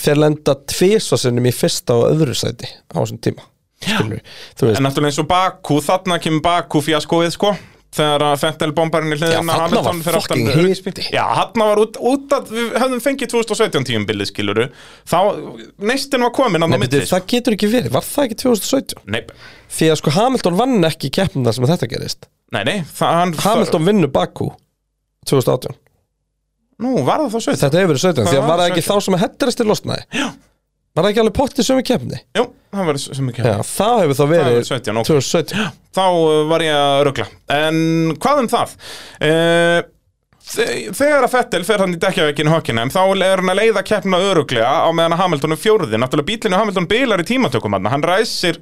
þeir lenda tvísvarsinnum í fyrsta og öðru sæti á þessum tíma skilur, þú En veist, náttúrulega eins og Baku, þarna kemur Baku fjaskóið sko Þegar að Fettel bombarinn í hliðina Já, þarna Hamilton var fyrir aftan fucking Hauksbý. hiti. Já, þarna var út, út að við höfðum fengið 2017 tíum bilið skiluru Þá, neistinn var komin Nei, annað beti, mitt það getur ekki verið, var það ekki 2017? Nei, Því að sko Hamilton vann ekki keppnum þar sem þetta gerist nei, nei það, hann, Hamilton vinnur Baku 2018 Nú, var það þá 17? Þetta hefur verið 17, því Það að var var það ekki þá 17. sem að hettrastir losnaði Já. Var það ekki alveg pottið sömu keppni? Jú, það var sem ekki Já, það hefur þá Það verið var 17, ok 2017 Þá uh, var ég að rugla En hvað um það? Uh, Þegar að Fettel fer hann í dekkjaveikinu Hockenheim þá er hann að leiða keppna öruglega á meðan að Hamilton er fjórði Náttúrulega bílinu Hamilton bílar í tímatökum hann Hann ræsir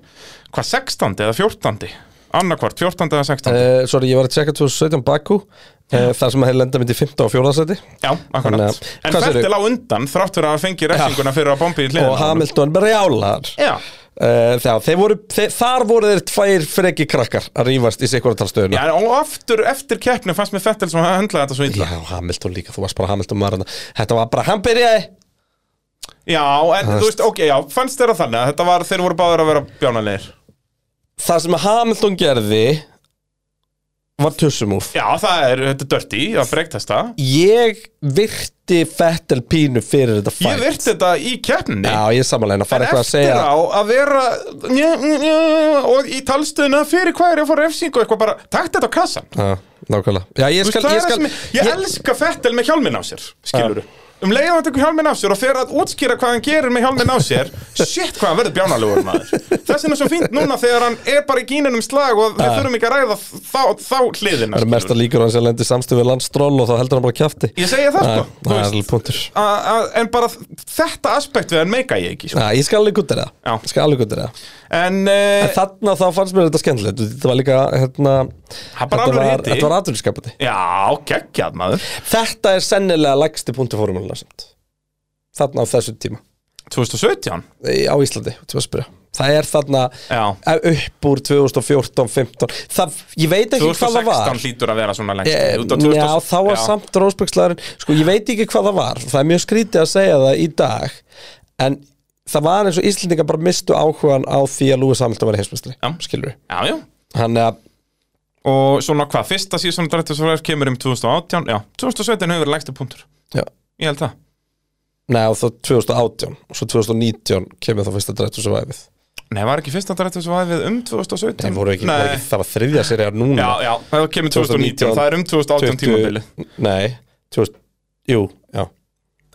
hvað 16. eða 14. Annarkvart, 14. eða 16. uh, Sorry, ég var að tjekka 2017 Baku uh, Þar sem að þeir lenda myndi 15 og 14 seti Já, þannig akkurat að- En hvað segirðu? Fettel á undan þrátt fyrir að fengi refsinguna fyrir að bombi í hliðina Og á honum. Hamilton brjálar Já, uh, þegar, þeir voru, þeir, Þar voru þeir tvær freki krakkar að rífast í sikkur talstöðuna Já, og aftur eftir keppni fannst mér Fettel sem að höndla þetta svo illa Já, Hamilton líka, þú varst bara Hamilton maður þarna. Þetta var bara, hann byrjaði Já, en þú veist, ok, já, fannst þér að þannig að þetta var, þeir voru báður að vera bjánalegir Það sem að Hamilton gerði Var tussumúf Já, það er, þetta er dirty að breyktesta Ég virti Fettel pínu fyrir þetta Ég fætt virt þetta í keppni Já, ég er samanlega að En fara eitthvað að eftir segja á að vera njö, njö, og í talstöðuna fyrir hvað er ég að fá refsing og eitthvað bara takt þetta á kassan Já, nákvæmlega Já, ég Þú veist, skal, það er ég það skal sem ég, ég elska Fettel með hjálmin á sér skiluru um leiðan hann tekur hjálmin á sér og fer að útskýra hvað hann gerir með hjálmin á sér shit hvað hann verður bjánalugur maður þess vegna er svo fínt núna þegar hann er bara í gínunum slag og við þurfum ekki að ræða þá, þá hliðina Það eru mesta skilurðu. líkur hans að lendi samstöð við landstról og þá heldur hann bara kjafti Ég segi það, sko. Þú Það er veist. alveg punktur A- a- en bara þetta aspekt við hann meika ég ekki sko. Já, ég skal alveg guttir Já. það Ég skal alveg guttir það En en, uh, þarna þá fannst mér þetta skemmtilegt Þetta var líka, hérna Það bara Þetta alveg var, hiti. þetta var aðurinnskapandi Já, geggjað maður Þetta er sennilega lægsti punktu fórumulina samt Þarna á þessu tíma 2017 Í- Á Íslandi, þú veist spyrja Það er þarna Já. Eh, upp úr 2014, 15 það, Ég veit ekki hvað það var 2016 hlýtur að vera svona lengt Eh, Já, þá var samt rósbyggslæðurinn Sko, ég veit ekki hvað það var Það er mjög skrítið að segja það í dag En það var eins og Íslendinga bara mistu áhugan á því að Lúi Samhildum var heimsmestri Já. Skilur við Já, já Hann er að Og svona hvað, fyrsta síðan drættisverð kemur um 2018 Já, 2017 hefur verið lægstu punktur Já Ég held það Nei, og þá 2018 Og svo 2019 kemur þá fyrsta drættu sem væfið Nei, var ekki fyrsta drættisverð við um 2017 Nei, voru ekki, voru ekki það var þriðja serið núna Já, já, það kemur 2019 Það er um 2018 tímabili Nei, 2000, jú, já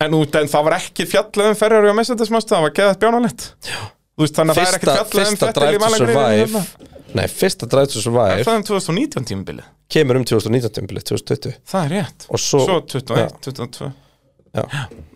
En, út, en það var ekki fjallað um ferrar og messendismastu Það var geðað bjánalett Þú veist, þannig að það er ekki Fyrsta, fjallað um fyrsta Fettel í drættu Malaga- survive Nei, fyrsta drættu Er survive Það er um 2019 tímabili Kemur um 2019 tímabilið, 2020 Það er rétt Og svo- svo 21, Já. 22 Já.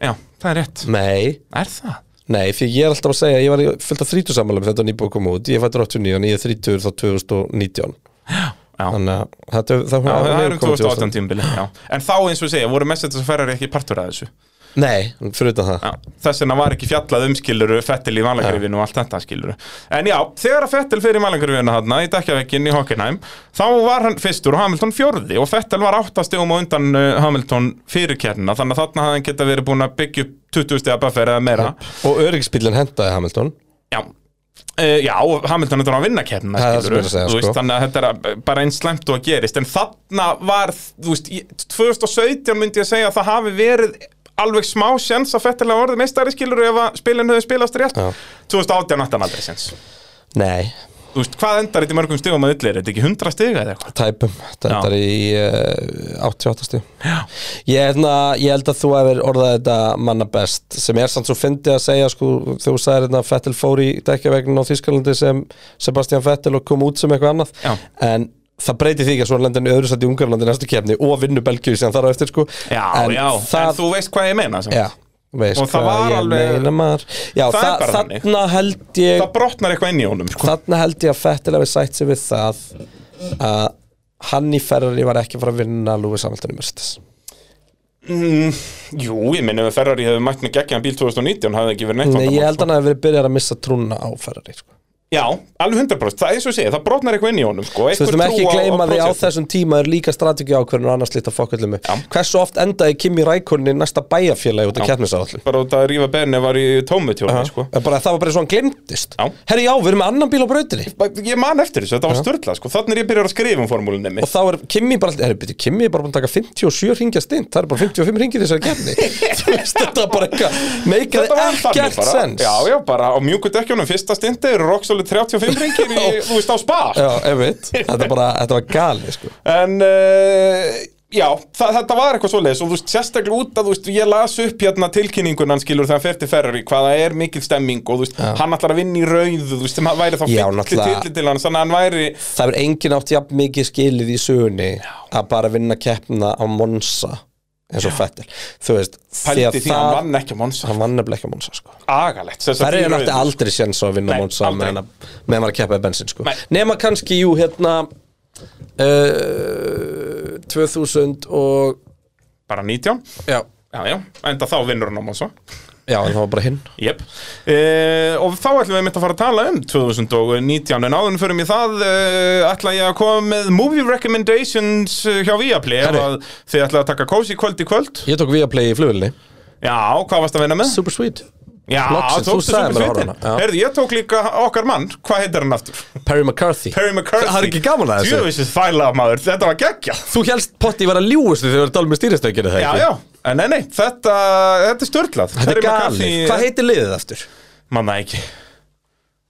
já, það er rétt Nei, Er það? Nei, því ég er alltaf að segja, ég var í fullt af 30 samanlega með þetta nýbúið að koma út, ég fættur 89 og ég er 30 þá 2019 Já. þannig að þetta, það, það Já, það hefur er um komið 2018 tímbili En þá eins og ég segja, voru mest þetta Ferrari ekki partur að þessu Nei, fyrir utan það já, Þess vegna var ekki fjallað um skiluru Fettil í malangrifinu og allt þetta skiluru En já, þegar að Fettil fyrir malangrifinu hann í dækjavekkin í Hockenheim þá var hann fyrstur og Hamilton fjórði og Fettil var áttastegum á undan uh, Hamilton fyrir kérna, þannig að þarna hafði hann geta verið búin að byggja upp 20 stega baffer eða meira Og öryggisbílinn hentaði Hamilton Já Uh, já, Hamilton er þannig að vinna keppnina Það er það skilurðu. sem ég er að segja, Þú veist, sko. Þannig að þetta er bara eins slemt og að gerist En þarna var, þú veist, í 2017 myndi ég að segja að það hafi verið alveg smá sjens að fettilega orðið meistari skilur ef að spilin höfðu spilast rétt Já. 2018 átti hann aldrei sjens Nei, Þú veist, hvað endar þetta í mörgum stigum að yllir? Er þetta ekki 100 stiga eða eitthvað? tæpum, þetta er í uh, 88 stíð Já, ég, hefna, ég held að þú hefur orðað þetta manna best sem er samt svo fyndið að segja sko, þegar þú sagðir þetta Fettil fór í dækjavegnin á Þýskalandi sem Sebastian Fettil og kom út sem eitthvað annað Já. en það breytir því ekki að svo lendin öðru sætt í Ungarlandi í næstu kefni og vinnu Belgíu sem þar á eftir sko já, en já, það, en þú veist hvað ég meina sem. já, veist Og það hvað var ég alveg- meina, maður. já, Það er það bara þannig. þarna held ég Það brotnar eitthvað inn í honum sko. þarna held ég að Fettil hefur sætt sig við það að hann í Ferrari var ekki að fara að vinna Lúfis Hamilton í Mercedes mm, Jú, ég minni ef Ferrari hefði mætt með geggjaðan bíl 2019 hafði ekki verið neitt Nei, ég vandamál, sko. held hann að hafa verið byrjar að missa trúna á Ferrari sko. Já, alveg 100% Það er eins og segja, það brotnar eitthvað inn í honum sko. Þú veistum Einhver ekki trú á- gleyma á því á prósessin. þessum tíma er líka strategið ákverðin og annars lítið að fokkallum Já. Hversu oft endaði Kimi Rækonni næsta bæjarfélagi út af Já. keppnisáallum Bara út að rífa berni var í tómutjóni sko. Það var bara svo hann glemdist Já. Herri já, við erum með annan bíl á brautinni Ég man eftir þessu, þetta var störla sko. Þannig er ég byrjar að skrifa um formúlinni Og mitt þá er Kimi bara, herri, byrju, Kimi er bara búin að taka 57 ringja stint Það er bara 55 ringir þessari keppni Þú veist, þetta er bara eitthvað Þetta Meikaði var þannig ekkert bara sens Já, já, bara á mjúku dekkjónum Fyrsta stindi eru Roxolid 35 ringir í, Þú veist á spa já einmitt Þetta, er bara, þetta var gali, sko En uh, já, þa þetta var eitthvað svoleiðis og þú veist, sérstaklega út að þú veist, ég las upp hérna tilkynninguna hann skilur þegar hann fer til Ferrari hvaða er mikil stemming og þú veist, hann ætlar að vinna í rauðu, þú veist, sem hann væri þá Já, fimmti náttúrulega. titli til hann, þannig að hann væri það er engin átt jafn mikið skilið í sögunni að bara vinna keppna á Monsa eins og Fettil þú veist, pældi því að hann vann ekki að Monsa hann vann nefnilega ekki á Monsa sko. agalegt, þess það er í náttúrulega aldrei séns á að vinna á Nei, Monsa aldrei. meðan að- meðan maður að keppa í bensin sko. Nei. nema kannski, jú, hérna uh, 2000 og bara 19, já, já, já, enda þá vinnur hann á Monsa já en það var bara hinn Jep. Uh, og þá ætlum við mitt að fara að tala um 2019, en áðurinn fyrir mig það uh, ætla ég að koma með movie recommendations eh, hjá Viaplay ef Herri. að þið ætla að taka kósi kvöld í kvöld ég tók við að playa í flugulni, Já, hvað varst að vinna með? super sweet Já, Loksins, þú tókstu sagðir Super mér að horfa Sweetin. hana, já. Heyrðu, ég tók líka okkar mann, hvað heitir hann aftur? Perry McCarthy Perry McCarthy Það er ekki gaman að þessu? Djöfisins þæla maður, þetta var geggja þú helst potti vera ljúustu þegar þú er dalið með stýristökinu það Já, ekki? já, en nei, nei, þetta, þetta er störtlað Þetta er galið. eh? Hvað heitir liðið aftur? Manna ekki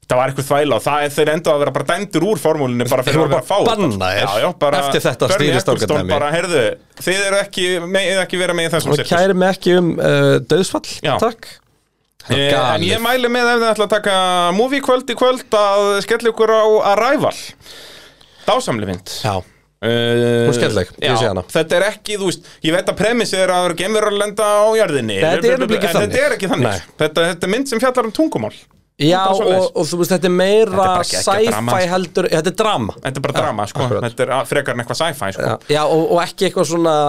Það var eitthvað þvæla og það er þeir enda að vera bara dæmdur úr formúlinni bara fyrir Þeir að voru vera að fá bara þetta. bannaðir Já, já, bara eftir þetta Bernie stýristangardæmi. Ecclestone bara, heyrðu, þið eru ekki, megið ekki vera með í þessum Og sirkus. kæri mig ekki um uh, döðsfall, Já. takk Það Eh, er En galið ég mæli með ef þið ætla að taka movie kvöld í kvöld að skella ykkur á Arrival Dásamli mynd Já, Uh, Hún er skemmtileg, ég já, sé hana. Þetta er ekki, þú veist, ég veit að premissið er að það eru geimverur að lenda á jarðinni Nei, þetta er nefnilega ekki En þannig. Þetta er ekki Nei. þannig þetta, þetta er mynd sem fjallar um tungumál já bara og, svoleiðis. og þú veist, þetta er Þetta meira er bara ekki- ekki drama, sci-fi sko. heldur Þetta er drama Þetta er bara drama, sko akkurat. Þetta er a- frekar en eitthvað sci-fi, sko Já, já og, og ekki eitthvað svona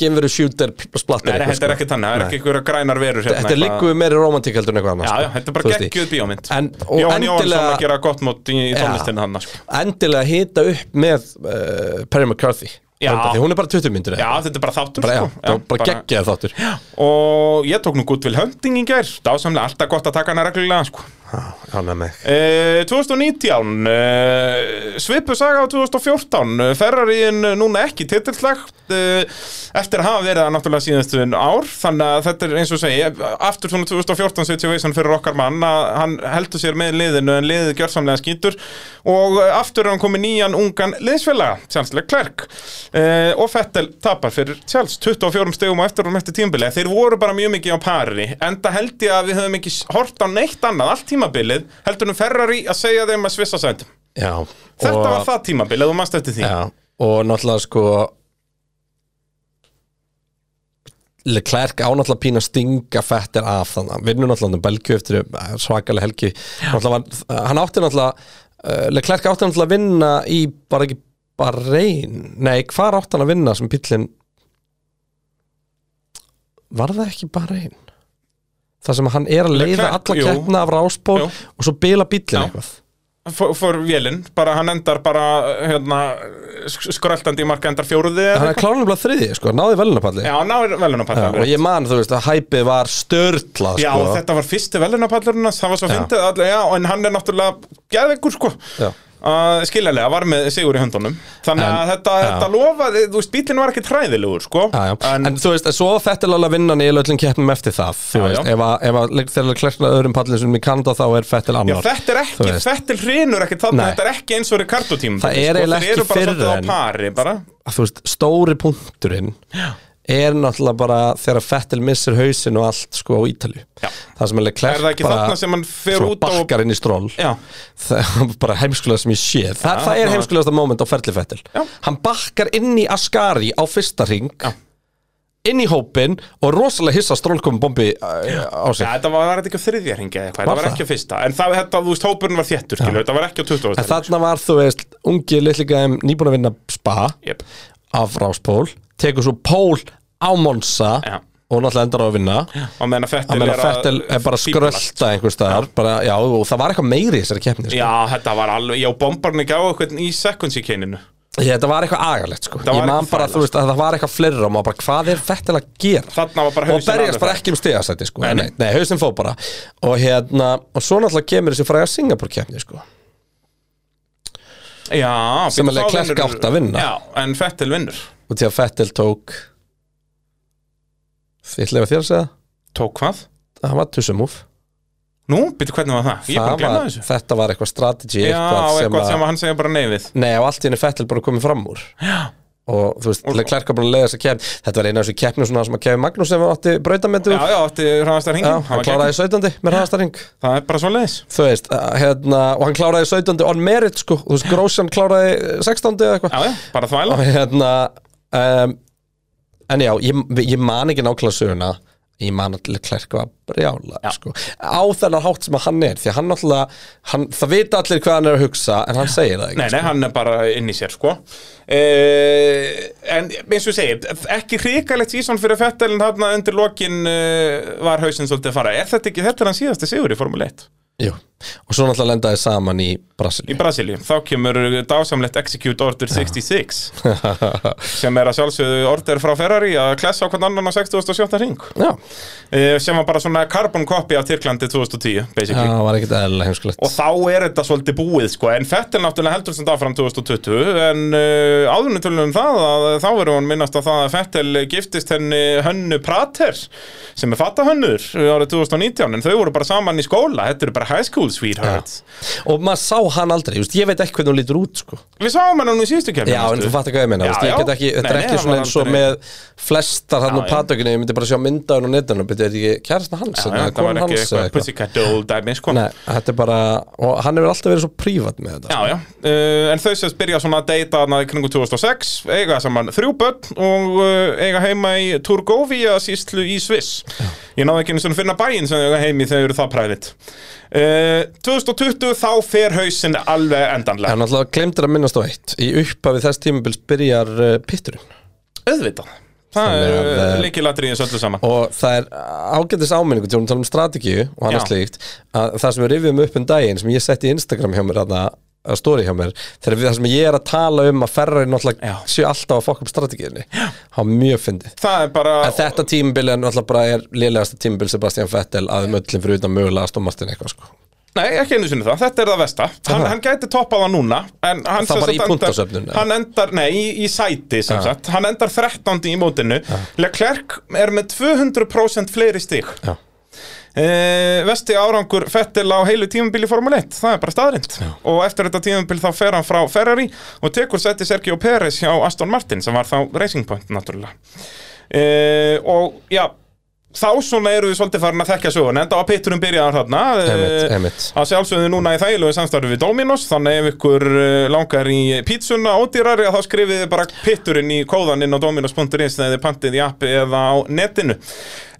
Genveru shooter, splatter Nei, nei, eitthvað, þetta er sko. ekki þannig, það er Nei. ekki einhverja grænar verur hérna, Þetta sko, er eitthvað- líkuð meiri romantík heldur en eitthvað annars Já, já, þetta er bara geggjuð bíómynd En- og Jóhann Jóhannsson endilega- að gera gott mót í í Já. tónlistinu hann, sko Endilega hita upp með uh, Perry McCarthy Já. Reyndar, Því hún er bara 20 myndir Já, þetta er bara þáttur, bara, já, sko já, bara geggjað þáttur já, Og ég tók nú Goodwill Hunting í gær Dásamlega, alltaf gott að taka hana reglulega, sko já, með mig Uh, 2019 uh, svipu saga á 2014 uh, Ferrariin uh, núna ekki titilslag uh, eftir að hafa verið það náttúrulega síðastu ár þannig að þetta er eins og segi aftur svona 2014 situation fyrir okkar mann að hann heldur sér með liðinu en liðið gjörsamlega skýtur og uh, aftur er hann komið nýjan ungan liðsfélaga sjálfslega Klerk uh, og Fettel tapar fyrir sjálfs 24 stegum og eftir og eftir tímabilið þeir voru bara mjög mikið á pari enda held ég að við höfum ekki hort á neitt annað allt tímabilið heldur en Ferrari að segja þeim að svissa sætum já, Þetta og- var það tímabil, eða þú manst eftir því Já, og náttúrulega sko Leclerc á náttúrulega pín að stinga fettir af þannig hann vinnur náttúrulega um Belgju eftir eh, svakalega eh, helgi Náttúrulega var, hann átti náttúrulega eh, Leclerc átti náttúrulega að vinna í bara ekki Bahrein Nei, hvar átt hann að vinna sem bíllinn Var það ekki Bahrein? Það sem hann er að leiða Leclerc, alla jú. keppna af ráspól Jú. og svo bila bíllinn Já. eitthvað fór, fór vélinn, bara hann endar bara hérna, sk- skröltandi í marka endar fjóruði eða Hann eitthvað. er klárlega þriði, sko, náði velunapalli Já, náður Já, og velunapallar ég man, þú veist, að hæpið var störtla Já, sko. þetta var fyrsti velunapallurinn hans, það var svo Já. fyndið allir, já, en hann er náttúrulega geðveikur sko Já. Uh, skiljalega, var með sigur í höndunum þannig En- að þetta, já. þetta lofaði, þú veist, bílinn var ekki træðilegur sko, Já, já. En, en þú veist, en svo þetta er alveg að vinna nýja öllum keppnum eftir það þú Já, veist, já. ef að, ef að þegar klærkna öðrum pallin sem í Kanada þá er Fettil Já, annar þetta er þú ekki, veist. þetta er hrinur ekki þannig, Nei. þetta er ekki eins og Ricardo tíma Það er eiginlega Þeir eru ekki bara fyrr svolítið á en- pari bara að þú veist, stóri punkturinn er náttúrulega bara þegar Fettil missir hausin og allt sko á Ítalju Já. það sem er Er það klærk ekki þarna sem hann fer út og bakkar inn í stról Já. það er bara heimskulega sem ég sé Þa, Já, það er já. heimskulegasta moment á Ferli Fettil Já. hann bakkar inn í Ascari á fyrsta ring Já. inn í hópin og rosalega hissa stról komum bombi uh, á sig Já, þetta var, var þetta ekki á þriðja ringi eða eitthvað, Var þetta var það? ekki á fyrsta En það, þetta, þú veist, hópurinn var þéttur, skilju, þetta var ekki á 20. En þarna var, þú veist, ungi litligæðum nýbúin að vinna spa Jep. af ráspól, tekur svo pól á Monsa Já. og náttúrulega endar á að vinna Á meðan að Fettil að meina Fettel er bara að fíflast. skrölda einhvers staðar, bara, já, og það var eitthvað meiri í þessari keppni, sko. Já, þetta var alveg, já, bombarni gá eitthvað í sekunds í kyninu Ég, þetta var eitthvað agalegt, sko, var ég man eitthvað bara, þú veist, að það var eitthvað fleira og maður bara, hvað er Fettel að gera? Þarna var bara og hausinn berjast alveg bara þar. ekki um stigasæti, sko, nei, nei, hausinn fó bara og hérna, og svo náttúrulega kemur þessi fræga Singapur keppni, sko, Já, Sem að býttu, þá Leclerc vinnur- átti að vinna. Já, en Fettil vinnur og til að Fettel tók Þið ætlaði að þér að segja það? Tók hvað? það var tussumúf Nú, byrju, hvernig var það? Ég er bara að glemma var, þessu þetta var eitthvað strategy Já, eitthvað sem, eitthvað sem að, að hann segja bara nei við nei og allt í henni Fettel bara komið fram úr já. og þú veist, Leclerc var búin að leiða þess að keppni þetta var eina af þessu keppni svona sem að Kevin Magnús sem átti brautametu Já, já, átti hraðast að já, ringa hann kláraði 17. með hraðastaring Það er bara svo leiðis þú veist, að, hérna, og hann kláraði 17. on merit sko, þú veist, Grósjan kláraði 16. eða eitthvað Já, já, bara þvæla og hérna um, en já, ég, ég man ekki nákvæmlega söguna ég man að Leclerc var brjála sko. á þennan hátt sem að hann er því að hann náttúrulega, hann, það vita allir hvað hann er að hugsa en hann segir það ekki sko. Nei, nei, hann er bara inn í sér, sko uh, En eins og ég segi, ekki hrikalegt sísón fyrir Fettel en þarna undir lokin uh, var hausinn svolítið að fara Er þetta ekki, þetta er hans síðasti sigur í Formule 1 Jú. og svo náttúrulega lendaði saman í Brasilíu Í Brasilíu, þá kemur dásamlegt Execute Order 66 sem er að sjálfsögðu order frá Ferrari að klessa á hvern annan á 60.7. ring já, uh, sem var bara svona carbon copy af Tyrklandi 2010, basically það var ekkert eðlilega heimskulegt og þá er þetta svolítið búið sko. en Fettel náttúrulega heldur sem dagfram 2020 en uh, áðurinn tölum um það að þá verður hann minnast að það að Fettel giftist henni Hönnu Prater sem er fattahönnur árið 2019 en þau voru bara saman í skóla þetta eru bara high school sweethearts og maður sá hann aldrei, just, ég veit ekki hvernig hún lítur út sko. við sáum hann hann í síðustu kemur já, en þú fattar hvað ég meina Já, já, já. ég get ekki, þetta er Nei, nei, ekki hann svona var eins og aldrei- með flestar hann Já, á já. patökunni, ég myndi bara sjá myndaðun og netan og byrja, er þetta ekki kærastan hans Já, eða þetta var konan ekki hans eða eitthvað pussycat doll dæmi sko. Nei, þetta er bara, og hann hefur alltaf verið svo prívat með þetta sko. Já, já, uh, en þau sést byrja svona að deyta þarna í kringu 2006, eiga saman þrjú börn og uh, eiga heima í Turgovia síslu í Sviss Ég náði ekki einu svona finna bæinn sem þau eiga heimi þegar þau eru það præðitt uh, 2020 þá fer hausinn alveg endanlega En alltaf glemtir að minnast á eitt Í upphafi þess tímabils byrjar uh, pitturinn Auðvitað, það Þannig er að, uh, eh, líkilatri í þessu öllu saman Og það er ágætis áminningu til að tala um strategíu og annars Já. slíkt að það sem við rifjum upp um daginn sem ég setti í Instagram hjá mér að stóri hjá mér þegar við, það sem ég er að tala um að ferra náttúrulega Já. séu alltaf að fokka upp strategíunni Há mjög fyndið Það er bara En þetta tímabil er náttúrulega bara er lélegasta tímabil Sebastian Vettel að um öllum fyrir utan mögulega að stómastin eitthvað sko Nei, ekki einu sinni það, þetta er það versta Hann, Aha. hann gæti toppað það núna en Það hann sem bara sagt í punktasöfnun, eða? Hann endar, nei, í, í sæti sem sagt Hann endar 13. í mótinu Leclerc er með 200% fleiri stig Já. Eh, vesti árangur Fettil á heilu tímabili Formule 1, það er bara staðrind og eftir þetta tímabil þá fer hann frá Ferrari og tekur sætti Sergio Perez hjá Aston Martin sem var þá Racing Point náttúrulega uh, Eh, og já þá svona eru þið svolítið farin að þekka sögun enda á pitturum byrjaðar þarna Einmitt, eh, einmitt. að sjálfsögðu núna í þægilegu samstarfi við Dominos þannig ef ykkur eh, langar í pítsuna ódýrari að þá skrifið þið bara pitturinn í kóðan inn á dominos.is þegar þið pantið í appi eða á netinu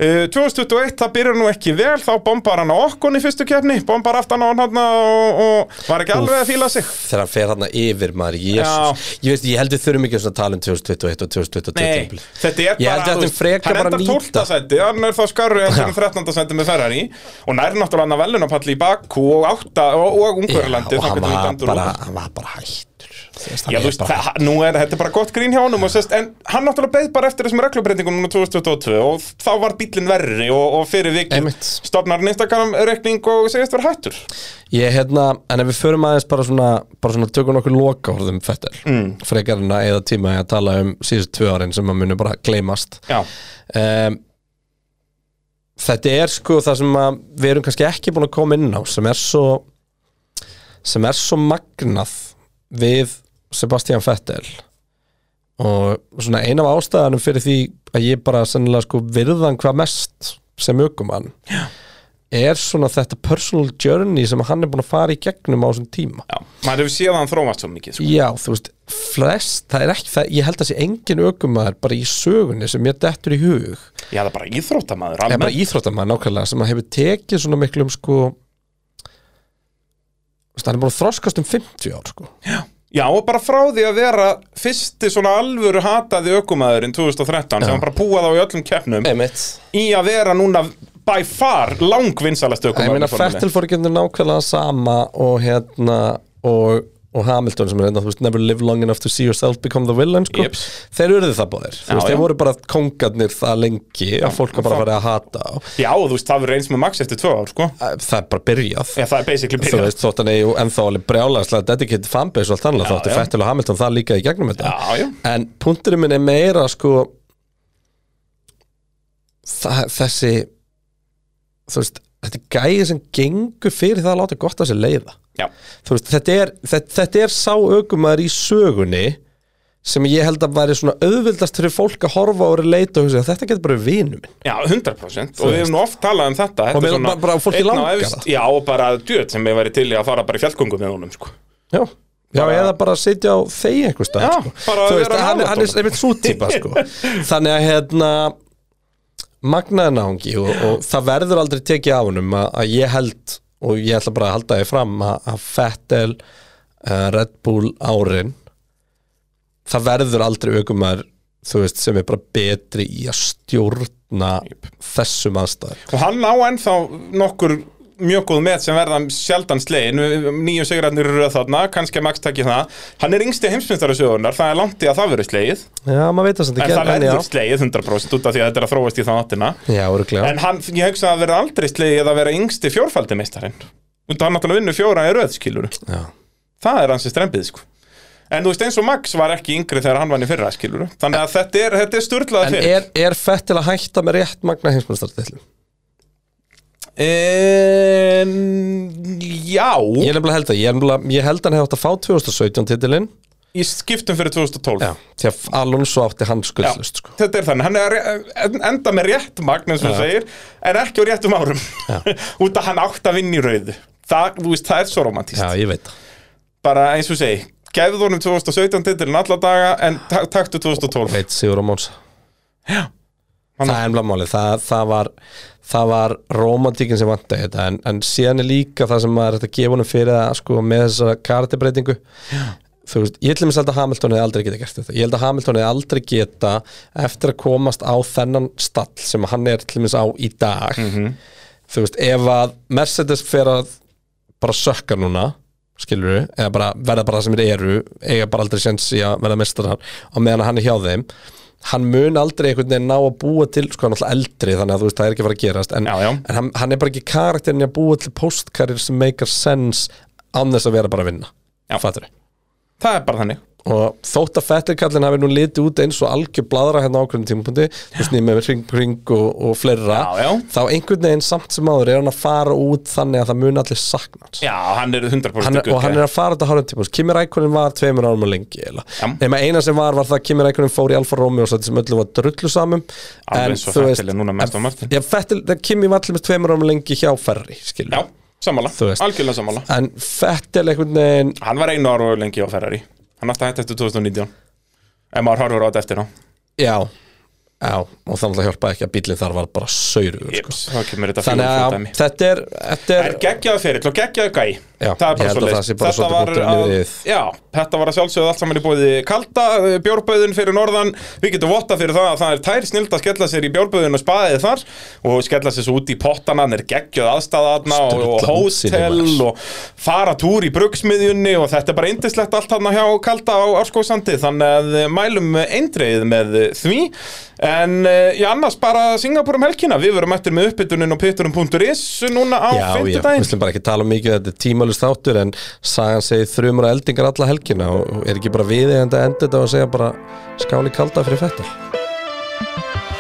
Eh, 2021 það byrjar nú ekki vel þá bombar hann á okkon í fyrstu keppni bombar aftan á hann þarna og, og var ekki alveg að fíla sig þegar hann fer hann yfir maður Jesus. ég veist, ég held við þurfum ekki að svona tala um 2021 og 2022 Nei, tímabil. þetta er bara ég held að þú þetta veist, er frekar Hann bara endar 12. nýta seti, hann er þá skarri Já. eftir um 13. seti með Ferrari og nær náttúrulega hann að velunapalli í Bakú og, átta, og, og Ungverlandi og hann var, bara, bara hann var bara hættur Þú veist, hann Já, er þú veist, bara- það, nú er þetta er bara gott grín hjá honum og sest, en hann náttúrulega beið bara eftir þessum reglubreitingum núna 2022 og þá var bílinn verri og, og fyrir vikið Einmitt. stofnar hann Instagram-reikning og segist vera hættur Ég hérna, en ef við förum aðeins bara svona, bara svona tökum nokkur loka orðum fettel mm. frekar en að eða tíma í að tala um síðustu tvö árin sem maður muni bara gleymast Já, um, Þetta er sko það sem að við erum kannski ekki búin að koma inn á sem er svo sem er svo magnað við Sebastian Vettel og svona ein af ástæðanum fyrir því að ég bara sennilega sko virðan hvað mest sem aukumann Já. er svona þetta personal journey sem hann er búin að fara í gegnum á þessum tíma já, maður hefur séð að hann þrómast svo mikið sko. Já, þú veist, flest, það er ekki það, ég held að sé engin aukumaður bara í sögunni sem ég dettur í hug Já, það er bara íþróttamaður Já, bara almennt. íþróttamann nákvæmlega sem að hefur tekið svona miklum sko þú veist, hann er búin að þroskast um 50 ár sko. Já, og bara frá því að vera fyrsti svona alvöru hataði ökumæðurinn 2013 sem hann bara púaði á í öllum keppnum Einmitt í að vera núna by far langvinsalast Ég meina ökumæðurinn Fettil fór ekki nákvæmlega sama og hérna og, og Hamilton sem er hérna, þú veist, never live long enough to see yourself become the villain sko. Jeps. Þeir urðu það báðir, Já, þú veist, já. þeir voru bara kongarnir það lengi að fólk var bara að fara að hata á Já, og þú veist, það verður eins með Max eftir tvö ár, sko Það er bara byrjað Já, það er basically Þú byrjað veist, þótt hann eigi ennþá alveg brjálagslega dedicated fanbase og allt annað, Já, þótti já. Fettil og Hamilton það líka í gegnum þetta Já, já, En punkturinn minn er meira sko það, þessi þú veist, þetta er gæði sem gengur fyrir það að láta gott að sér leiða já, þú veist, þetta er, þetta, þetta er sá aukumæður í sögunni sem ég held að væri svona auðvildast fyrir fólk að horfa og leita og hugsa, þetta getur bara vinnu minn já, 100% Og við hefum nú oft talað um þetta, þetta Og er meina bara- bara fólki einn á langar efst- það. Já, og bara djöð sem ég væri til í að fara bara í fjallgöngu með honum, sko Já, já eða bara sitja á þegi einhver stað Já, sko. bara Þú veist, vera hann, nálægt hann er honum. einmitt svo típa sko. Þannig að hérna magnaði náungi og, og það verður aldrei tekið af honum að, að ég held og ég ætla bara að halda því fram að, að Fettel uh, Red Bull árin það verður aldrei aukumar þú veist sem er bara betri í að stjórna þessum aðstæður Og hann á ennþá nokkur mjög góð met sem verða sjaldan slegin nýju sigrarnir eru röð þarna, kannski að Max takki það hann er yngsti heimsmyndarasögunar, það er langt í að það verður slegið Já, maður veit það sem en þetta það en verður já, slegið 100% út af því að þetta er að þróast í það áttina já, örugglega. en hann, ég hugsa að það verður aldrei slegið að vera yngsti fjórfaldimeistarinn út af hann náttúrulega vinnu fjóra í röð skilur Já. það er hans í strempið sko en þú veist eins og Max var ekki yngri þegar hann vann í fyrra skilur þannig að þetta er, þetta er sturlaða En fyrir er, er Fettil að hætta með rétt magna heimsmyndstartillum? en, já Ég er nefnilega held að, ég, er nefnilega, ég held að hann hefði átt að fá 2017 titilinn í skiptum fyrir 2012 Því að Alonso átti hann skuldlust sko. þetta er þannig, hann er að re- enda með rétt magn eins og þú segir, en ekki á réttum árum út að hann átt að vinna í rauðu það, þú veist, það er svo romantíst Já, ég veit það bara eins og þú segir, gefðu honum 2017 titilin alla daga en ta taktu 2012 Veit Sigur og Mónsa Hann- Það er nefnilega málið, það, það var það var romantíkin sem vant að þetta en, en síðan er líka það sem maður er hægt að gefa honum fyrir að sko með þessa karatibreitingu þú veist, ég ætlum að held að Hamilton hefði aldrei geta gert þetta ég held að Hamilton hefði aldrei geta eftir að komast á þennan stall sem hann er til dæmis á í dag þú veist, ef að Mercedes fer að bara sökka núna skilur við, eða bara verða bara það sem þeir eru eiga bara aldrei sens í að verða mestarar og meðan hann er hjá þeim hann mun aldrei einhvern veginn ná að búa til sko hann er alltaf eldri þannig að þú veist það er ekki að fara að gerast en, Já, já. en hann, hann er bara ekki karakterin í að búa til postkarir sem meikar sens án þess að vera bara að vinna Já. Fattarðu? það er bara þannig og þótt að fettirkallin hafi nú litið út eins og algjör bladra hérna á ákveðin tímapunkti þú snýð með ring, ring og, og fleira Já, já. þá einhvern veginn samt sem áður er hann að fara út þannig að það mun allir sakna hans Já, hann er 100% hann, gull, og hann ja. er að fara þetta hálfum tíma Kimi Rækonin var tveimur árum og lengi eiginlega. Já. nema eina sem var var það að Kimi Rækonin fór í Alfa Romeo og sem öllu var drullu samum Alveg eins og Vettel er núna með Aston Martin. já, Fettil, Kimi var allir með tveimur árum og lengi hjá Ferri skilur. Já, sammála, Þú veist. algjörlega sammála en Fettil einhvern veginn Hann var einu ára og lengi á Ferrari Hann átti að hætta eftir 2019 Ef maður horfur á þetta eftir á já, já, og þannig að hjálpa ekki að bílinn þar var bara saurugur sko. Jips, þá kemur þetta þannig að fjóðum þetta er, þetta Það er geggjaðu fyrir og geggjaðu gæ Já, Það er ég bara held að svo það sé bara svolítið punkturinn yfir í þið. Já, þetta var að sjálfsögðu allt saman í bóði kalda eh, Bjórbauðin fyrir norðan Við getum votta fyrir það að það er tær snild að skella sér í bjórbauðin og spaðið þar og skella sér svo út í pottana hann er geggjöð aðstæðaðna og, og Sturla útsýni, hótel maður. og fara túr í brugsmiðjunni og þetta er bara indislegt allt hann hjá kalda á Árskóðsandi þannig að eh, mælum eindreið með eh, því en eh, já, annars bara Singapur um helgina, við verum eftir með uppbytunin og pitturum.is núna á Já, já, við fimmtudaginn slum bara ekki tala um mikið þetta er tímalust þáttur en sagan segir þrjumur að eldingar alla helgina og og er ekki bara við eða enda þetta og segja bara skáli kalda fyrir fettil